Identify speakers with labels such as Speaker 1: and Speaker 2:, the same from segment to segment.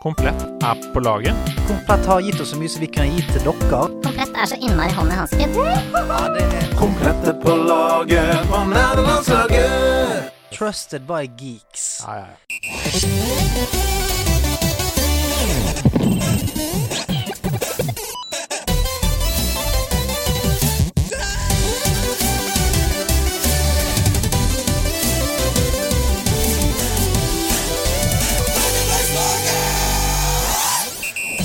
Speaker 1: Komplett er på laget.
Speaker 2: Komplett har gitt oss så mye som vi kan gi til dere.
Speaker 3: Komplett er så innmari hånd i hansken.
Speaker 4: Komplette på laget fra nerdelandslaget.
Speaker 2: Trusted by geeks.
Speaker 1: Ja, ja, ja.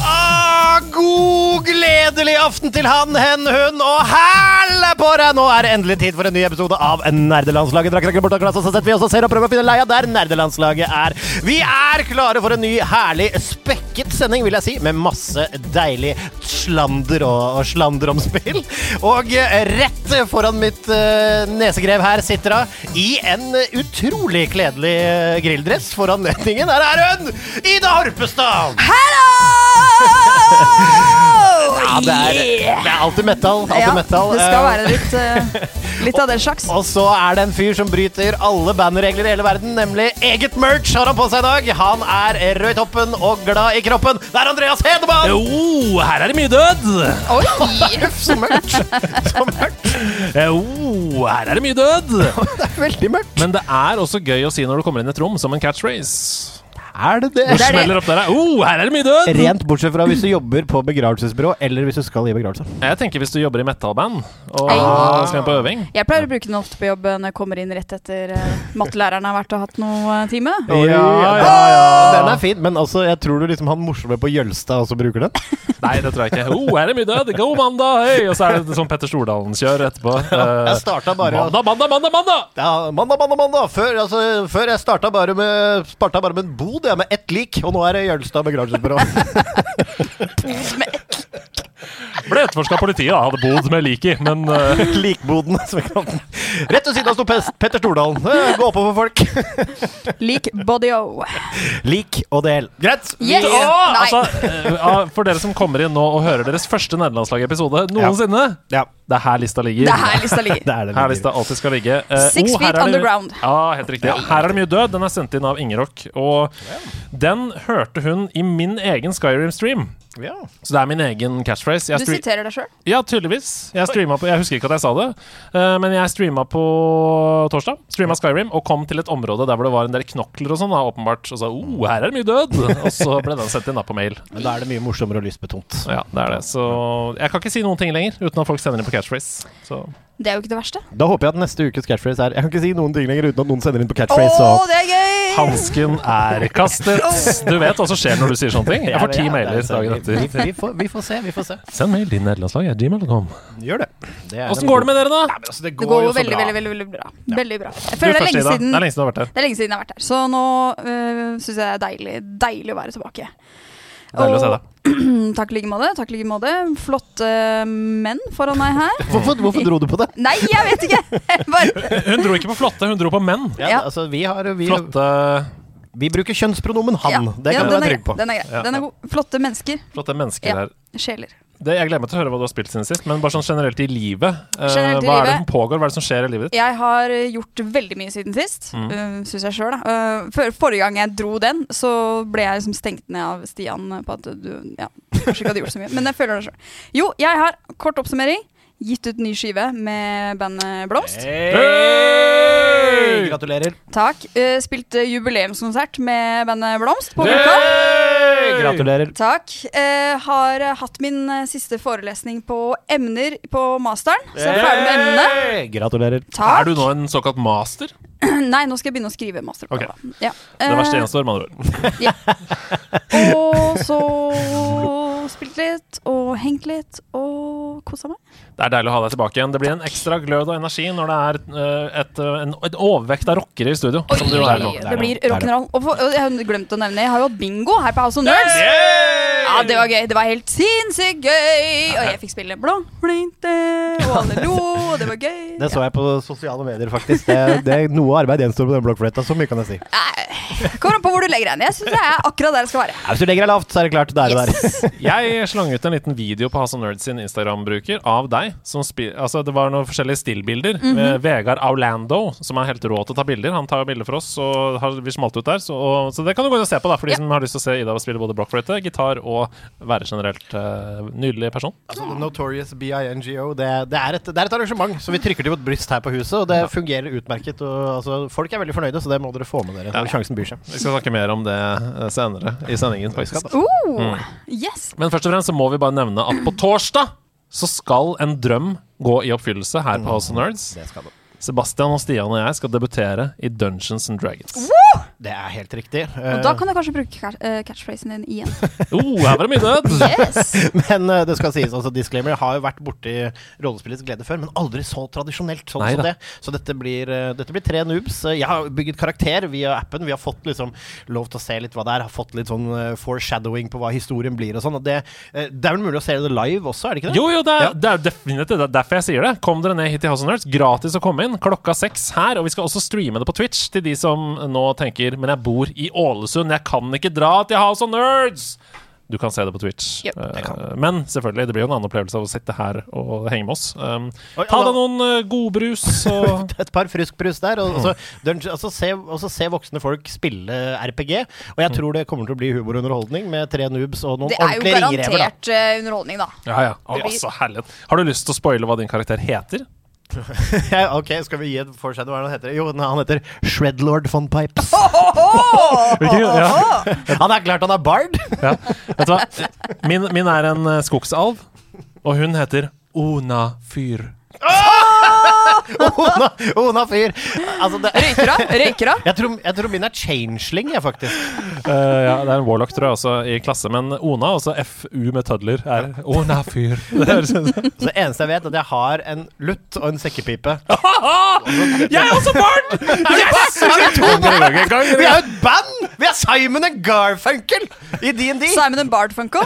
Speaker 5: Ah, god gledelig aften til han, hen, hun og hæle på deg! Nå er det endelig tid for en ny episode av Nerdelandslaget. Drakk dere bort av glasset, så setter vi oss og ser og prøver å finne leia der Nerdelandslaget er. Vi er klare for en ny herlig spekket sending, vil jeg si, med masse deilig slander og, og slander om spill. Og eh, rett foran mitt eh, nesegrev her sitter hun i en utrolig kledelig eh, grilldress for anledningen. Her er hun! Ida Horpestad! Ja, det er, det er alltid metal. Alltid
Speaker 6: Ja,
Speaker 5: metal.
Speaker 6: det skal
Speaker 5: Eh,
Speaker 6: være litt, eh, litt av den slags.
Speaker 5: Og så er det en fyr som bryter alle bandregler i hele verden, nemlig eget merch har han på seg i dag. Han er rød i toppen og glad i kroppen. Det er Andreas Hedemann!
Speaker 1: Jo, her er det mye død!
Speaker 6: Oi!
Speaker 5: Så mørkt. Så mørkt.
Speaker 1: Jo, Eh, oh, her er det mye død!
Speaker 5: Det er veldig mørkt.
Speaker 1: Men det er også gøy å si når du kommer inn i et rom, som en catchphrase.
Speaker 5: Er det
Speaker 1: Det
Speaker 5: det?
Speaker 6: er det.
Speaker 1: smeller opp der, ja. oh, her er det mye død!
Speaker 5: Rent bortsett fra hvis du jobber på begravelsesbyrå, eller hvis du skal i begravelse.
Speaker 1: Jeg tenker hvis du jobber i metalband og
Speaker 6: Ei.
Speaker 1: skal inn på øving.
Speaker 6: Jeg pleier å bruke den ofte på jobb eh, når jeg kommer inn rett etter eh, mattelæreren har vært og hatt noe eh, time.
Speaker 5: Ja,
Speaker 1: ja.
Speaker 5: Den er fin, men altså, jeg tror du liksom han morsomme på Jølstad også bruker den.
Speaker 1: Nei, det tror jeg ikke. Oh, her er det mye død! God mandag! Hei! Og så er det sånn Petter Stordalen-kjør etterpå. Eh,
Speaker 5: Jeg starta bare
Speaker 1: mandag, mandag, mandag! mandag
Speaker 5: Ja, mandag, mandag, mandag! Før, altså, før jeg starta bare med, starta bare med en bod, jeg, med ett lik. Og nå er det Jølstad begravelsesbyrå.
Speaker 1: Ble etterforska av politiet, da. Hadde bod med lik i, men eh,
Speaker 5: Likboden, som jeg kaller den. Rett ved siden av sto Pes- Petter Stordalen. Eh, Gå på for folk.
Speaker 6: Lik Bodyo.
Speaker 5: Lik og del. Greit.
Speaker 6: Yes!
Speaker 1: Å,
Speaker 6: Nei.
Speaker 1: altså, eh, ah, for dere som kommer inn nå og hører deres første nederlandslagepisode noensinne,
Speaker 5: Ja,
Speaker 1: det er her lista ligger.
Speaker 6: Det er her lista ligger.
Speaker 5: det er det.
Speaker 1: Her lista alltid skal ligge. Eh,
Speaker 6: Six
Speaker 1: her
Speaker 6: feet
Speaker 1: er det-
Speaker 6: underground.
Speaker 1: Ja, helt riktig. Her er det mye død. Den er sendt inn av Ingerok. Og den hørte hun i min egen Skyrim-stream.
Speaker 5: Ja.
Speaker 1: Så det er min egen catchphrase. Jeg
Speaker 6: Du
Speaker 1: stre-
Speaker 6: siterer deg sjøl.
Speaker 1: ja, tydeligvis. Jeg, streama på, jeg husker ikke at jeg sa det, eh, men jeg streama på torsdag. Streama Skyrim og kom til et område der hvor det var en del knokler og sånn, da, åpenbart. Og sa oh, her er det mye død! Og så ble den sendt inn da på mail.
Speaker 5: Men da er det mye morsommere og lystbetont.
Speaker 1: Ja, det er det. Så jeg kan ikke si noen ting lenger uten at folk sender inn på catchphrase. Så.
Speaker 6: Det er jo ikke det verste.
Speaker 5: Da håper jeg at neste ukes catchphrase er Jeg kan ikke si noen ting lenger uten at noen sender inn på
Speaker 6: Å,
Speaker 5: catchphrase. og-
Speaker 6: det er gøy!
Speaker 1: Hansken er kastet. Du vet hva som skjer når du sier sånne ting. Jeg får ti
Speaker 5: Ja, det er
Speaker 1: mailer
Speaker 5: sant.
Speaker 1: dagen etter.
Speaker 5: Vi, vi, får, vi får se, vi får se.
Speaker 1: Send mail til nederlandslaget. gmail.com.
Speaker 5: Gjør det. det er
Speaker 1: Åssen går det med dere, da?
Speaker 5: Altså, det
Speaker 6: Det går jo veldig, veldig, veldig, veldig bra. Veldig bra. Jeg
Speaker 1: Du
Speaker 6: føler det er
Speaker 1: først,
Speaker 6: lenge
Speaker 1: Ida.
Speaker 6: siden
Speaker 1: Det er lenge siden du har vært her.
Speaker 6: Det er lenge siden jeg har vært her, så nå øh, syns jeg det er deilig, deilig å være tilbake.
Speaker 1: Deilig å se deg.
Speaker 6: Mm, Takk i like måte. takk i like måte. Flotte eh, menn foran meg her.
Speaker 5: Hvorfor, hvorfor dro du på det?
Speaker 6: Nei, jeg vet ikke! Jeg Bare,
Speaker 1: Hun dro ikke på flotte, hun dro på menn.
Speaker 5: Ja,
Speaker 6: Ja.
Speaker 5: altså, vi, har, vi,
Speaker 1: Flotte,
Speaker 5: vi bruker kjønnspronomen han.
Speaker 6: ja,
Speaker 5: det
Speaker 6: ja,
Speaker 5: kan du
Speaker 6: den
Speaker 5: være
Speaker 6: er
Speaker 5: trygg
Speaker 6: grei,
Speaker 5: på.
Speaker 6: Den er grei.
Speaker 1: Ja,
Speaker 6: Den
Speaker 1: ja.
Speaker 6: er god. Flotte mennesker.
Speaker 1: flotte mennesker
Speaker 6: Ja.
Speaker 1: her.
Speaker 6: Sjeler.
Speaker 1: Det, jeg glemmer til å høre hva du har spilt siden sist, men bare sånn generelt i livet. eh,
Speaker 6: Generelt i
Speaker 1: hva er det
Speaker 6: livet.
Speaker 1: som pågår? Hva er det som skjer i livet ditt?
Speaker 6: Jeg har øh, gjort veldig mye siden sist, mm. syns jeg sjøl. Før, forrige gang jeg dro den, så ble jeg liksom stengt ned av Stian øh, på at du ja, kanskje ikke hadde gjort så mye. Men jeg føler det sjøl. Jo, jeg har, kort oppsummering, gitt ut ny skive med bandet Blomst.
Speaker 1: Hey!
Speaker 5: Gratulerer.
Speaker 6: Takk. Eh, spilte jubileumskonsert med bandet Blomst på Vulkan.
Speaker 1: Hey!
Speaker 5: Gratulerer.
Speaker 6: Takk. Eh, har eh, hatt min eh, siste forelesning på emner på masteren. Så jeg er ferdig med emnene.
Speaker 5: Gratulerer.
Speaker 6: Takk.
Speaker 1: Er du nå en såkalt master?
Speaker 6: Nei, nå skal jeg begynne å skrive masteroppgave. Ja.
Speaker 1: Det verste
Speaker 6: Eh,
Speaker 1: gjenstår, med andre ord.
Speaker 6: og så spilt litt og hengt litt og kosa meg.
Speaker 1: Det er deilig å ha deg tilbake igjen. Det blir en ekstra glød og energi når det er eh, et, eh, en, et overvekt av rockere i studio. som du er nå.
Speaker 5: det er
Speaker 6: det blir
Speaker 5: det.
Speaker 6: rock'n'roll. Og, for- og jeg har glemt å nevne, jeg har jo hatt bingo her på House of Nerds. Ja, det var gøy. Det var helt sinnssykt gøy. Og jeg fikk spille blå flinte. og alle lo, og det var gøy.
Speaker 5: Det så jeg på sosiale medier, faktisk. Det, det er Noe arbeid gjenstår på den blokkfløyta, så mye kan jeg si.
Speaker 6: Nei, Kommer an på hvor du legger deg ned. Jeg syns jeg er akkurat der jeg skal være.
Speaker 5: Ja, hvis du legger deg lavt, så er det klart. Da er det der.
Speaker 1: Jeg slang ut en liten video på Hasse Nerd sin Instagram-bruker av deg. Som spi altså, det var noen forskjellige stillbilder.
Speaker 6: Mhm.
Speaker 1: med Vegard Aulando, som er helt rå til å ta bilder. Han tar jo bilder for oss, og har, vi smalt ut der. Så, og, så det kan du gå inn og se på, da for de som har lyst til å se Ida spille både blokkfløyte, gitar og være generelt eh, nydelig person.
Speaker 5: Altså, the Notorious BINGO, det, det, er et, det er et arrangement som vi trykker til vårt bryst her på huset, og det fungerer utmerket. Og, altså, folk er veldig fornøyde, så det må dere få med dere når sjansen byr seg.
Speaker 1: Vi skal snakke mer om det eh, senere i sendingen. faktisk
Speaker 6: Oh, yes.
Speaker 1: Men først og fremst så må vi bare nevne at på torsdag så skal en drøm gå i oppfyllelse her på House of Nerds.
Speaker 5: Det, skal det.
Speaker 1: Sebastian og Stian og jeg skal debutere i Dungeons and Dragons.
Speaker 5: det er helt riktig.
Speaker 6: Og da kan jeg kanskje bruke ca- eh, catchphrasen din igjen.
Speaker 1: Oh, her var det mye død!
Speaker 6: Yes.
Speaker 5: Men eh, det skal sies, altså disclaimer, jeg har jo vært borti rollespillets glede før, men aldri så tradisjonelt. sånn
Speaker 1: Nei
Speaker 5: som
Speaker 1: da.
Speaker 5: det. Så dette blir, eh, dette blir tre noobs. Eh, Jeg har bygget karakter via appen. Vi har fått liksom lov til å se litt hva det er. Har fått litt sånn eh, foreshadowing på hva historien blir og sånn. Og det, eh, det er vel mulig å se det live også, er det ikke det?
Speaker 1: Jo, jo, det er,
Speaker 5: Ja.
Speaker 1: det er jo definitivt det er derfor jeg sier det. Kom dere ned hit til House of Nerds. Gratis å komme inn klokka seks her. Og vi skal også streame det på Twitch til de som nå tenker Men jeg bor i Ålesund, jeg kan ikke dra til House of Nerds! Du kan se det på Twitch.
Speaker 6: Yep.
Speaker 1: Eh, Men selvfølgelig, det blir jo en annen opplevelse av å sitte her og henge med oss. Um,
Speaker 5: Oi,
Speaker 1: ta
Speaker 5: hallo.
Speaker 1: deg noen eh, godbrus og
Speaker 5: Et par friskbrus der, og så, dunge- altså, se, og så se voksne folk spille RPG. Og jeg tror det kommer til å bli humor og underholdning med tre noobs og noen
Speaker 6: Det er jo
Speaker 5: ordentlige ringrever. da.
Speaker 6: garantert eh, underholdning, da.
Speaker 1: Ja, ja. Å, altså, herlighet. Har du lyst til å spoile hva din karakter heter?
Speaker 5: Ja, ok, skal vi gi en foreshadow? Hva er det han heter? Jo, han heter Shredlord von Pipes.
Speaker 1: Ja.
Speaker 5: Han er klart han er bard!
Speaker 1: Ja. Vet du hva? Min, min er en eh, skogsalv, og hun heter Ona Fyr.
Speaker 5: Ona, Ona fyr! Altså, det,
Speaker 6: Røyker av, røyker av.
Speaker 5: jeg, tror, jeg tror min er changeling, jeg, faktisk.
Speaker 1: Eh, ja, det er en warlock, tror jeg, også i klasse. Men Ona, også FU med tødler, er Ona Fyr. Det høres ut som
Speaker 5: Så det eneste jeg vet, er at jeg har en lutt og en sekkepipe.
Speaker 1: Jeg er også barn! Yes!
Speaker 5: Vi er jo et band! Vi er Simon and Garfunkel i DND!
Speaker 6: Simon and Bardfunkel.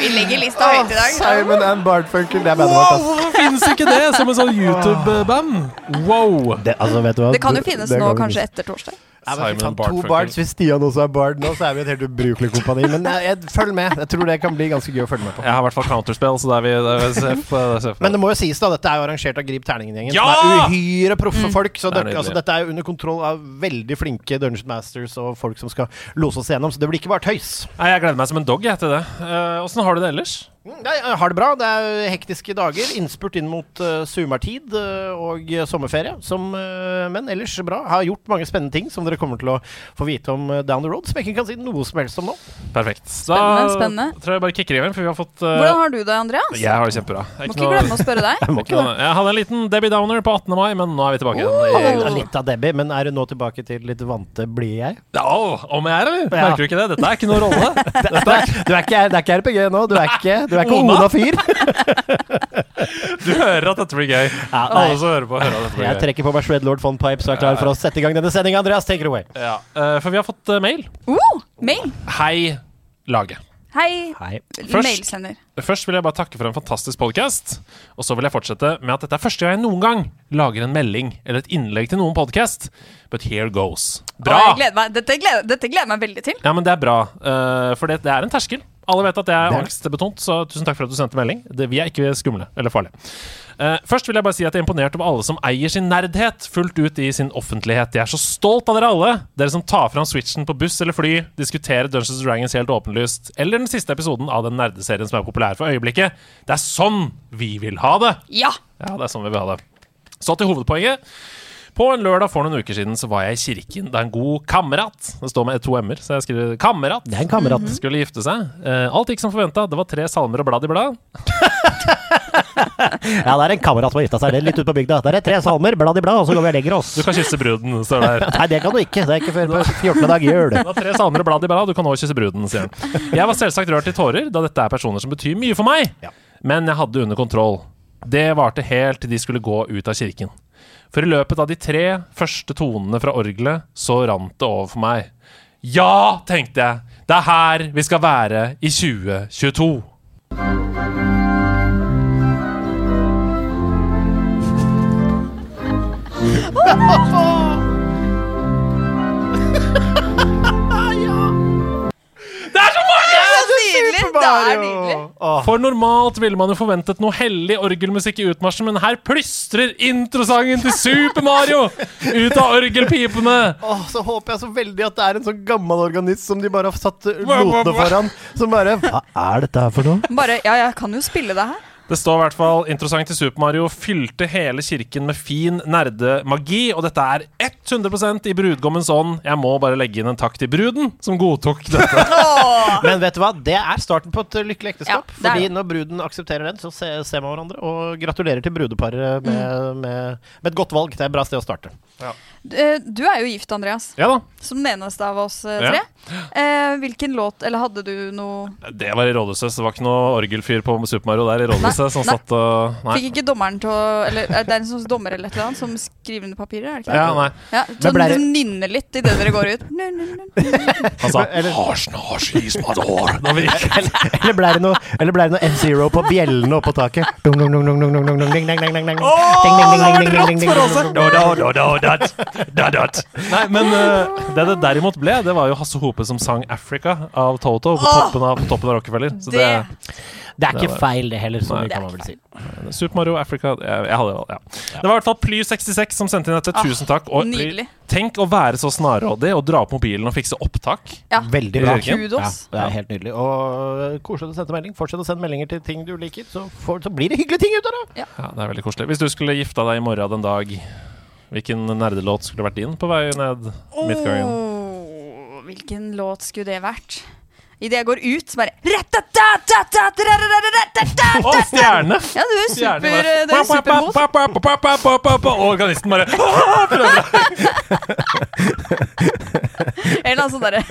Speaker 6: Vi legger lista høyt i dag.
Speaker 5: Simon and Bartfunkel, det er bandet
Speaker 1: Wow, hvorfor finnes ikke det som en sånn YouTube-band? Wow!
Speaker 5: Det, altså, vet du hva?
Speaker 6: Det kan jo finnes
Speaker 5: Det
Speaker 6: nå,
Speaker 5: kan vi
Speaker 6: kanskje
Speaker 5: ikke.
Speaker 6: etter torsdag.
Speaker 5: Nei, men fy
Speaker 1: Simon
Speaker 5: faen,
Speaker 1: and Garfunkel.
Speaker 5: To bards, hvis Stian også er bard nå, så er vi et helt ubrukelig kompani. Men jeg, jeg, følg med. Jeg tror det kan bli ganske gøy å følge med på.
Speaker 1: Jeg har i hvert fall counterspill, så det er vi det er vi safe på- det er safe på.
Speaker 5: Men det må jo sies, da. Dette er jo arrangert av Grip Terningen-gjengen.
Speaker 1: Ja! Mm.
Speaker 5: Som er uhyre proffe folk. Så
Speaker 1: Det
Speaker 5: det,
Speaker 1: er nydelig.
Speaker 5: altså, dette er jo under kontroll av veldig flinke Dungeon Masters og folk som skal lose oss gjennom. Så det blir ikke bare tøys.
Speaker 1: Nei, Jeg gleder meg som en dog jeg, til det. Eh, Åssen har du det ellers?
Speaker 5: Mm, Nei, jeg har det bra. Det er hektiske dager. Innspurt inn mot uh, sommertid eh, og eh, sommerferie. Som, eh, men ellers bra. Har gjort mange spennende ting som dere kommer til å få vite om eh, down the road. Som jeg ikke kan si noe som helst om nå.
Speaker 1: Perfekt.
Speaker 6: Spennende, spennende.
Speaker 1: Da tror jeg bare kicker i gang, for vi har fått eh,
Speaker 6: Hvordan har du det, Andreas?
Speaker 1: Jeg har det kjempebra. Det er
Speaker 6: Må
Speaker 1: ikke
Speaker 6: ikke
Speaker 1: noe-
Speaker 6: glemme å spørre deg.
Speaker 1: det er ikke noe- Jeg hadde en liten Debbie Downer på 18. mai, men nå er vi tilbake
Speaker 5: Det
Speaker 1: igjen.
Speaker 5: er litt av Debbie, men er du nå tilbake til litt vante, blide jeg?
Speaker 1: Ja, om jeg er, eller?
Speaker 5: Ja.
Speaker 1: Merker du ikke det? Dette er ikke noe rolle.
Speaker 5: Du er, du er ikke, det er ikke RPG nå. Du er ikke, du er ikke
Speaker 1: Ona.
Speaker 5: Ona fyr.
Speaker 1: Du hører at dette blir gøy.
Speaker 5: Ja,
Speaker 1: Alle som hører på, hører at dette
Speaker 5: Jeg
Speaker 1: blir gøy.
Speaker 5: trekker på meg Shred Lord von Pipes og er klar for å sette i gang denne sendinga. Andreas, take it away.
Speaker 1: Ja. eh, for vi har fått eh, mail.
Speaker 6: Oh, mail.
Speaker 1: Hei, laget.
Speaker 6: Hei,
Speaker 5: Hei.
Speaker 1: Først-
Speaker 6: mailsender.
Speaker 1: Først vil jeg bare takke for en fantastisk podkast. Og så vil jeg fortsette med at dette er første gang jeg noen gang lager en melding eller et innlegg til noen podkast. But here goes.
Speaker 6: Å,
Speaker 1: Bra!
Speaker 6: jeg gleder meg. Dette, gleder, dette gleder jeg meg veldig til.
Speaker 1: Ja, men det er bra. eh, for det, det er en terskel. Alle vet at jeg er
Speaker 5: Det er det.
Speaker 1: angstbetont, så tusen takk for at du sendte melding. Det, vi er ikke skumle eller farlige. Eh, først vil jeg bare si at jeg er imponert over alle som eier sin nerdhet fullt ut i sin offentlighet. Jeg er så stolt av dere alle! Dere som tar fram switchen på buss eller fly, diskuterer Dungeons and Dragons helt åpenlyst, eller den siste episoden av den nerdeserien som er populær for øyeblikket. Det er sånn vi vil ha det!
Speaker 6: Ja!
Speaker 1: Ja, det er sånn vi vil ha det. Så til hovedpoenget. På en lørdag for noen uker siden så var jeg i kirken da en god kamerat Det står med to m-er, så jeg skriver 'kamerat'
Speaker 5: Det er en kamerat.
Speaker 1: skulle gifte seg. Eh, alt gikk som forventa. Det var tre salmer og blad i blad.
Speaker 5: Ja, det er en kamerat som har gifta seg. Det er litt ute på bygda. Der er tre salmer, blad i blad, og så går vi og legger oss.
Speaker 1: Du kan kysse bruden, står det her.
Speaker 5: Nei, det kan du ikke. Det er ikke før på 14. dag jul.
Speaker 1: Det var tre salmer og blad i blad, du kan også kysse bruden, sier han. Jeg var selvsagt rørt i tårer, da dette er personer som betyr mye for meg.
Speaker 5: Ja.
Speaker 1: Men jeg hadde det under kontroll. Det varte helt til de skulle gå ut av kirken. For i løpet av de tre første tonene fra orgelet, så rant det over for meg. Ja, tenkte jeg. Det er her vi skal være i 2022. Det er så mange!
Speaker 6: Det er så nydelig! Det er nydelig.
Speaker 5: Åh,
Speaker 1: For normalt ville man jo forventet noe hellig orgelmusikk i utmarsjen, men her plystrer introsangen til Super Mario ut av orgelpipene!
Speaker 5: åh, så håper jeg så veldig at det er en sånn gammel organist som de bare har satt uh, notene foran, som bare Hva er dette her for noe?
Speaker 6: Bare Ja, jeg kan jo spille det her.
Speaker 1: Det står i hvert fall 'Interessant til Super Mario fylte hele kirken med fin nerdemagi', og dette er 100 i brudgommens ånd. Jeg må bare legge inn en takk til bruden, som godtok dette.
Speaker 6: Åh.
Speaker 5: Men vet du hva, det er starten på et uh, lykkelig
Speaker 6: Ja,
Speaker 5: ekteskap.
Speaker 6: det er
Speaker 5: fordi
Speaker 6: det.
Speaker 5: når bruden aksepterer den, så se- ser man hverandre. Og gratulerer til brudeparet med,
Speaker 6: Mm.
Speaker 5: med, med et godt valg. Det er et bra sted å starte.
Speaker 6: Du eh, du er jo gift, Andreas.
Speaker 1: Ja da.
Speaker 6: Som den eneste av oss eh,
Speaker 1: Ja.
Speaker 6: tre. Eh, hvilken låt Eller hadde du noe
Speaker 1: Det var i rådhuset, så det var ikke noe orgelfyr på Super Mario der i rådhuset som
Speaker 6: nei.
Speaker 1: satt og Nei.
Speaker 6: Fikk ikke dommeren til å Eller er det er en sånn dommer eller et eller annet som skriver under papirer? er det ikke det?
Speaker 1: Ja, nei.
Speaker 6: Ja,
Speaker 5: Men
Speaker 6: så
Speaker 5: ble
Speaker 6: ble...
Speaker 5: det-
Speaker 6: nynner litt idet dere går ut. Nyn, nyn, nyn.
Speaker 1: Han sa
Speaker 5: Eller-
Speaker 1: 'Harsen, harsen, is my door'. Da vi gikk.
Speaker 5: Eller ble det noe, eller ble det noe F-Zero på bjellene oppå taket? Dung, dung, dung, dung, dung, dung, dung, dung, ding, ding, ding, ding, ding. Ding, ding, ding, ding, ding, ding, ding, ding, ding.
Speaker 1: Nei, men eh, det det derimot ble, det var jo Hasse Hope som sang 'Africa' av Toto på toppen av, på toppen av Rockefeller. Så det,
Speaker 6: Det-
Speaker 5: Det er ikke feil, det heller, så
Speaker 1: Nei,
Speaker 5: mye
Speaker 1: det
Speaker 5: kan
Speaker 6: er
Speaker 5: man vel si.
Speaker 1: Super Mario Africa jeg, jeg hadde, ja. Det var i hvert fall Ply66 som sendte inn dette.
Speaker 6: Ah,
Speaker 1: Tusen takk. Og
Speaker 6: nydelig.
Speaker 1: tenk å være så snarrådig og dra opp mobilen og fikse opptak.
Speaker 6: Ja.
Speaker 5: Veldig bra.
Speaker 1: Jørgen?
Speaker 5: Ja,
Speaker 6: Kudos.
Speaker 5: det er helt nydelig. Og øh, koselig å sende melding. Fortsett å sende meldinger til ting du liker, så, får, så blir det hyggelige ting ut av det.
Speaker 1: Ja, det er veldig koselig. Hvis du skulle gifta deg i morgen den dag, hvilken nerdelåt skulle vært din på vei ned midtgangen?
Speaker 6: Åh, hvilken låt skulle det vært? Idet jeg går ut, så bare Ratatatatatatarararatatata.
Speaker 1: Å, stjerne!
Speaker 6: Ja, du er
Speaker 1: Stjerne
Speaker 6: super,
Speaker 1: bare-
Speaker 6: du er supermot.
Speaker 1: Pa, pa, pa, pa, pa, pa, pa, pa. Og organisten bare
Speaker 6: En Eller annen sånn derre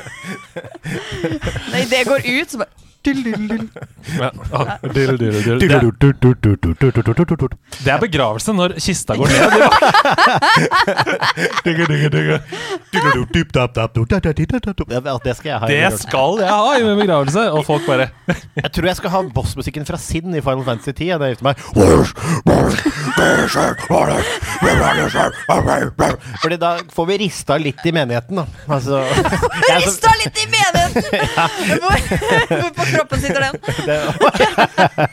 Speaker 6: Nei, det går ut, så bare
Speaker 1: ja. ah, dill, dill, dill. Det er- Det er begravelse når kista går ned.
Speaker 5: Ja, vel, Det skal jeg ha. i
Speaker 1: Det
Speaker 5: New York.
Speaker 1: skal jeg ha i min begravelse! Og folk bare
Speaker 5: Jeg tror jeg skal ha bossmusikken fra Sinn i Final Fantasy 10. Jeg, når jeg gifter meg. Fordi da får vi rista litt i menigheten, da. Altså, jeg er så-
Speaker 6: Rista litt i menigheten! Hvor, hvor på kroppen sitter den?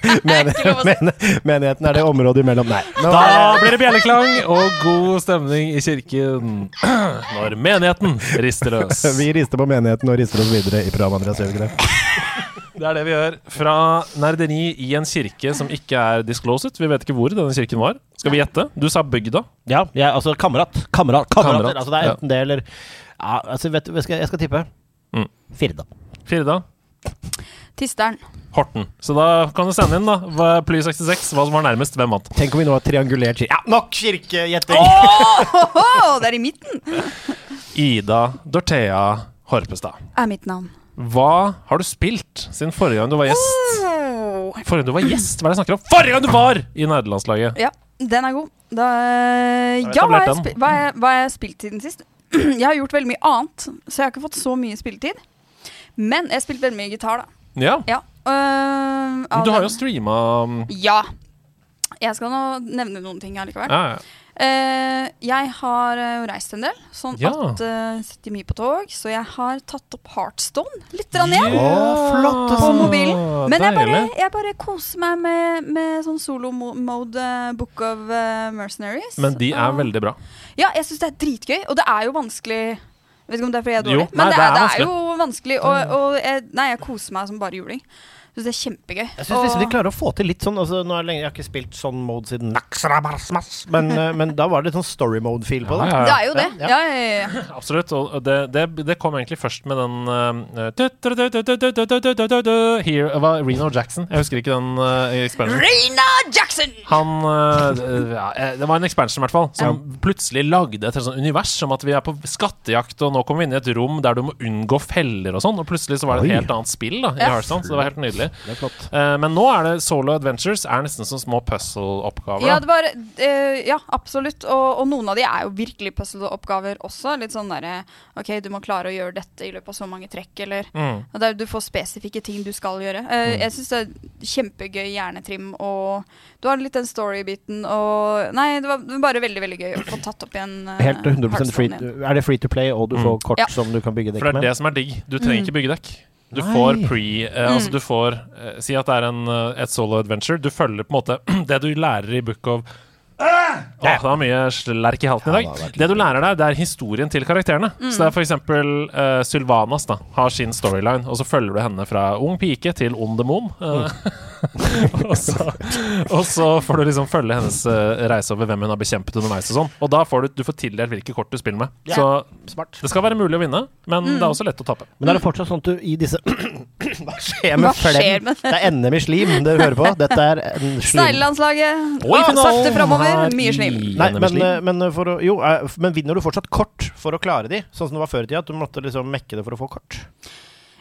Speaker 6: Det er ikke lov å si.
Speaker 5: Men, menigheten er det området imellom. Nei. Nå er
Speaker 1: Da blir det bjelleklang og god stemning i kirken når menigheten rister løs.
Speaker 5: det- Vi rister på menigheten og rister oss videre i programmet, Andreas Jørgen.
Speaker 1: Det er det vi gjør. Fra nerderi i en kirke som ikke er disclosed. Vi vet ikke hvor denne kirken var. Skal vi gjette? Du sa bygda.
Speaker 5: Ja, jeg, altså kamerat. Kamerat,
Speaker 1: kamerater.
Speaker 5: Altså, det er enten det eller ja, altså, vet, du, jeg, skal, jeg skal tippe.
Speaker 1: Mm.
Speaker 5: Firda.
Speaker 1: Firda.
Speaker 6: Tisteren.
Speaker 1: Horten. Så da kan du sende inn, da. hva- Ply66, hva som var nærmest. Hvem vant?
Speaker 5: Tenk om vi nå har triangulert kirke. Ja, nok kirkegjetting!
Speaker 6: Åh, det er i midten!
Speaker 1: Ida Dorthea Horpestad.
Speaker 6: Er mitt navn.
Speaker 1: Hva har du spilt siden forrige gang du var gjest?
Speaker 6: Åh.
Speaker 1: Forrige gang du var gjest? Hva er det jeg snakker om? Forrige gang du var i nerdelandslaget!
Speaker 6: Ja, den er god. Da,
Speaker 1: Da har vi
Speaker 6: ja, hva har, jeg
Speaker 1: etablert den.
Speaker 6: spi- hva, har jeg, hva har jeg spilt siden sist? Jeg har gjort veldig mye annet, så jeg har ikke fått så mye spilletid. Men jeg har spilt veldig mye gitar, da.
Speaker 1: Ja.
Speaker 6: Ja. øh,
Speaker 1: Men
Speaker 6: av
Speaker 1: du har jo um,
Speaker 6: den-
Speaker 1: streama
Speaker 6: Ja. Jeg skal nå nevne noen ting allikevel.
Speaker 1: ja, ja.
Speaker 6: Eh, jeg har eh, reist en del, sånn
Speaker 1: Ja.
Speaker 6: at uh, sitter mye på tog. Så jeg har tatt opp Heartstone litt grann igjen
Speaker 1: Ja, altså.
Speaker 5: flott,
Speaker 6: på mobilen. Men jeg bare,
Speaker 1: deilig.
Speaker 6: jeg bare koser meg med, med sånn solo-mode eh, Book of eh, Mercenaries.
Speaker 1: Men de er
Speaker 6: Og-
Speaker 1: veldig bra.
Speaker 6: Ja, jeg syns det er dritgøy, og det er jo vanskelig. Jeg vet ikke om det er fordi jeg er
Speaker 1: Jo,
Speaker 6: dårlig,
Speaker 1: nei,
Speaker 6: men det
Speaker 1: det
Speaker 6: er,
Speaker 1: er Mm.
Speaker 6: det er jo vanskelig. Og, og jeg, nei, jeg koser meg som bare juling. Jeg syns det er
Speaker 5: Jeg
Speaker 6: kjempegøy.
Speaker 5: syns liksom
Speaker 6: Og-
Speaker 5: de klarer å få til litt sånn altså, Nå er det lenge, Jeg har ikke spilt sånn mode siden Naxrabarsmas, men, eh, men da var det litt sånn story mode-feel på det.
Speaker 1: Ja,
Speaker 6: det er jo det.
Speaker 5: Ja,
Speaker 6: Ja, ja, ja.
Speaker 1: Absolutt. Og det, det, det kom egentlig først med den eh, tut-tut-tut-tut-tut-tut-tut-tut-tut-tut-tut. Here det var Reno Jackson. Jeg husker ikke den eh, expansion.
Speaker 6: Rena Jackson!
Speaker 1: Han eh, ja, eh, Det var en expansion, i hvert fall, som plutselig lagde et helt sånt univers som at vi er på skattejakt, og nå kommer vi inn i et rom der du må unngå feller og sånn. Og plutselig så var det
Speaker 5: Oi.
Speaker 1: et helt annet spill da i
Speaker 6: Ja.
Speaker 1: Hearthstone, så det var helt nydelig. mulig.
Speaker 5: Det er flott.
Speaker 1: Eh, men nå er det solo adventures er nesten som små puzzle-oppgaver.
Speaker 6: Ja,
Speaker 1: da.
Speaker 6: det var, eh, ja absolutt. Og, og noen av de er jo virkelig puzzle-oppgaver også. Litt sånn derre OK, du må klare å gjøre dette i løpet av så mange trekk, eller
Speaker 1: Mm.
Speaker 6: og der Du får spesifikke ting du skal gjøre. Eh,
Speaker 5: Mm.
Speaker 6: Jeg syns det er kjempegøy hjernetrim, og du har litt den story-biten og Nei, det var det var bare veldig, veldig gøy å få tatt opp igjen eh,
Speaker 5: Helt 100 free,
Speaker 6: Hearthstone igjen.
Speaker 5: er det free to play, og du får kort
Speaker 6: Ja.
Speaker 5: som du kan bygge
Speaker 1: Mm.
Speaker 5: dekk
Speaker 1: For det er
Speaker 5: med?
Speaker 1: det som er digg. Du trenger ikke bygge dekk. Du
Speaker 5: Nei.
Speaker 1: får pre eh, Altså,
Speaker 6: Mm.
Speaker 1: du får eh, Si at det er en, eh, et solo adventure. Du følger på en måte det du lærer i Book of Åh, det var mye slerk i halten i
Speaker 5: Ja, det har
Speaker 1: dag.
Speaker 5: vært
Speaker 1: Det du lærer der, det er historien til karakterene. Så det er for eksempel eh, Sylvanas da, har sin storyline, og så følger du henne fra ung pike til ond demon. Eh,
Speaker 5: Mm.
Speaker 1: og, så, og så får du liksom følge hennes eh, reise over hvem hun har bekjempet underveis og sånn. Og da får du, du får tildelt hvilke kort du spiller med.
Speaker 5: Ja.
Speaker 1: Så
Speaker 5: Smart.
Speaker 1: det skal være mulig å vinne, men det er også lett å tape.
Speaker 5: Men er det fortsatt sånn at du i disse Hva skjer med
Speaker 6: Hva skjer
Speaker 5: flem?
Speaker 6: med
Speaker 5: Det er NM i slim det du hører på. Dette er en slim.
Speaker 6: Sneglelandslaget. Ah,
Speaker 1: Og i finalen
Speaker 6: Sakte framover.
Speaker 1: har
Speaker 6: Mye slim.
Speaker 1: Ian
Speaker 5: Nei, men,
Speaker 1: Emersli.
Speaker 5: eh, men, eh, for å, jo, eh, f- men vinner du fortsatt kort for å klare de? Sånn som det var før i tida, at du måtte liksom mekke det for å få kort.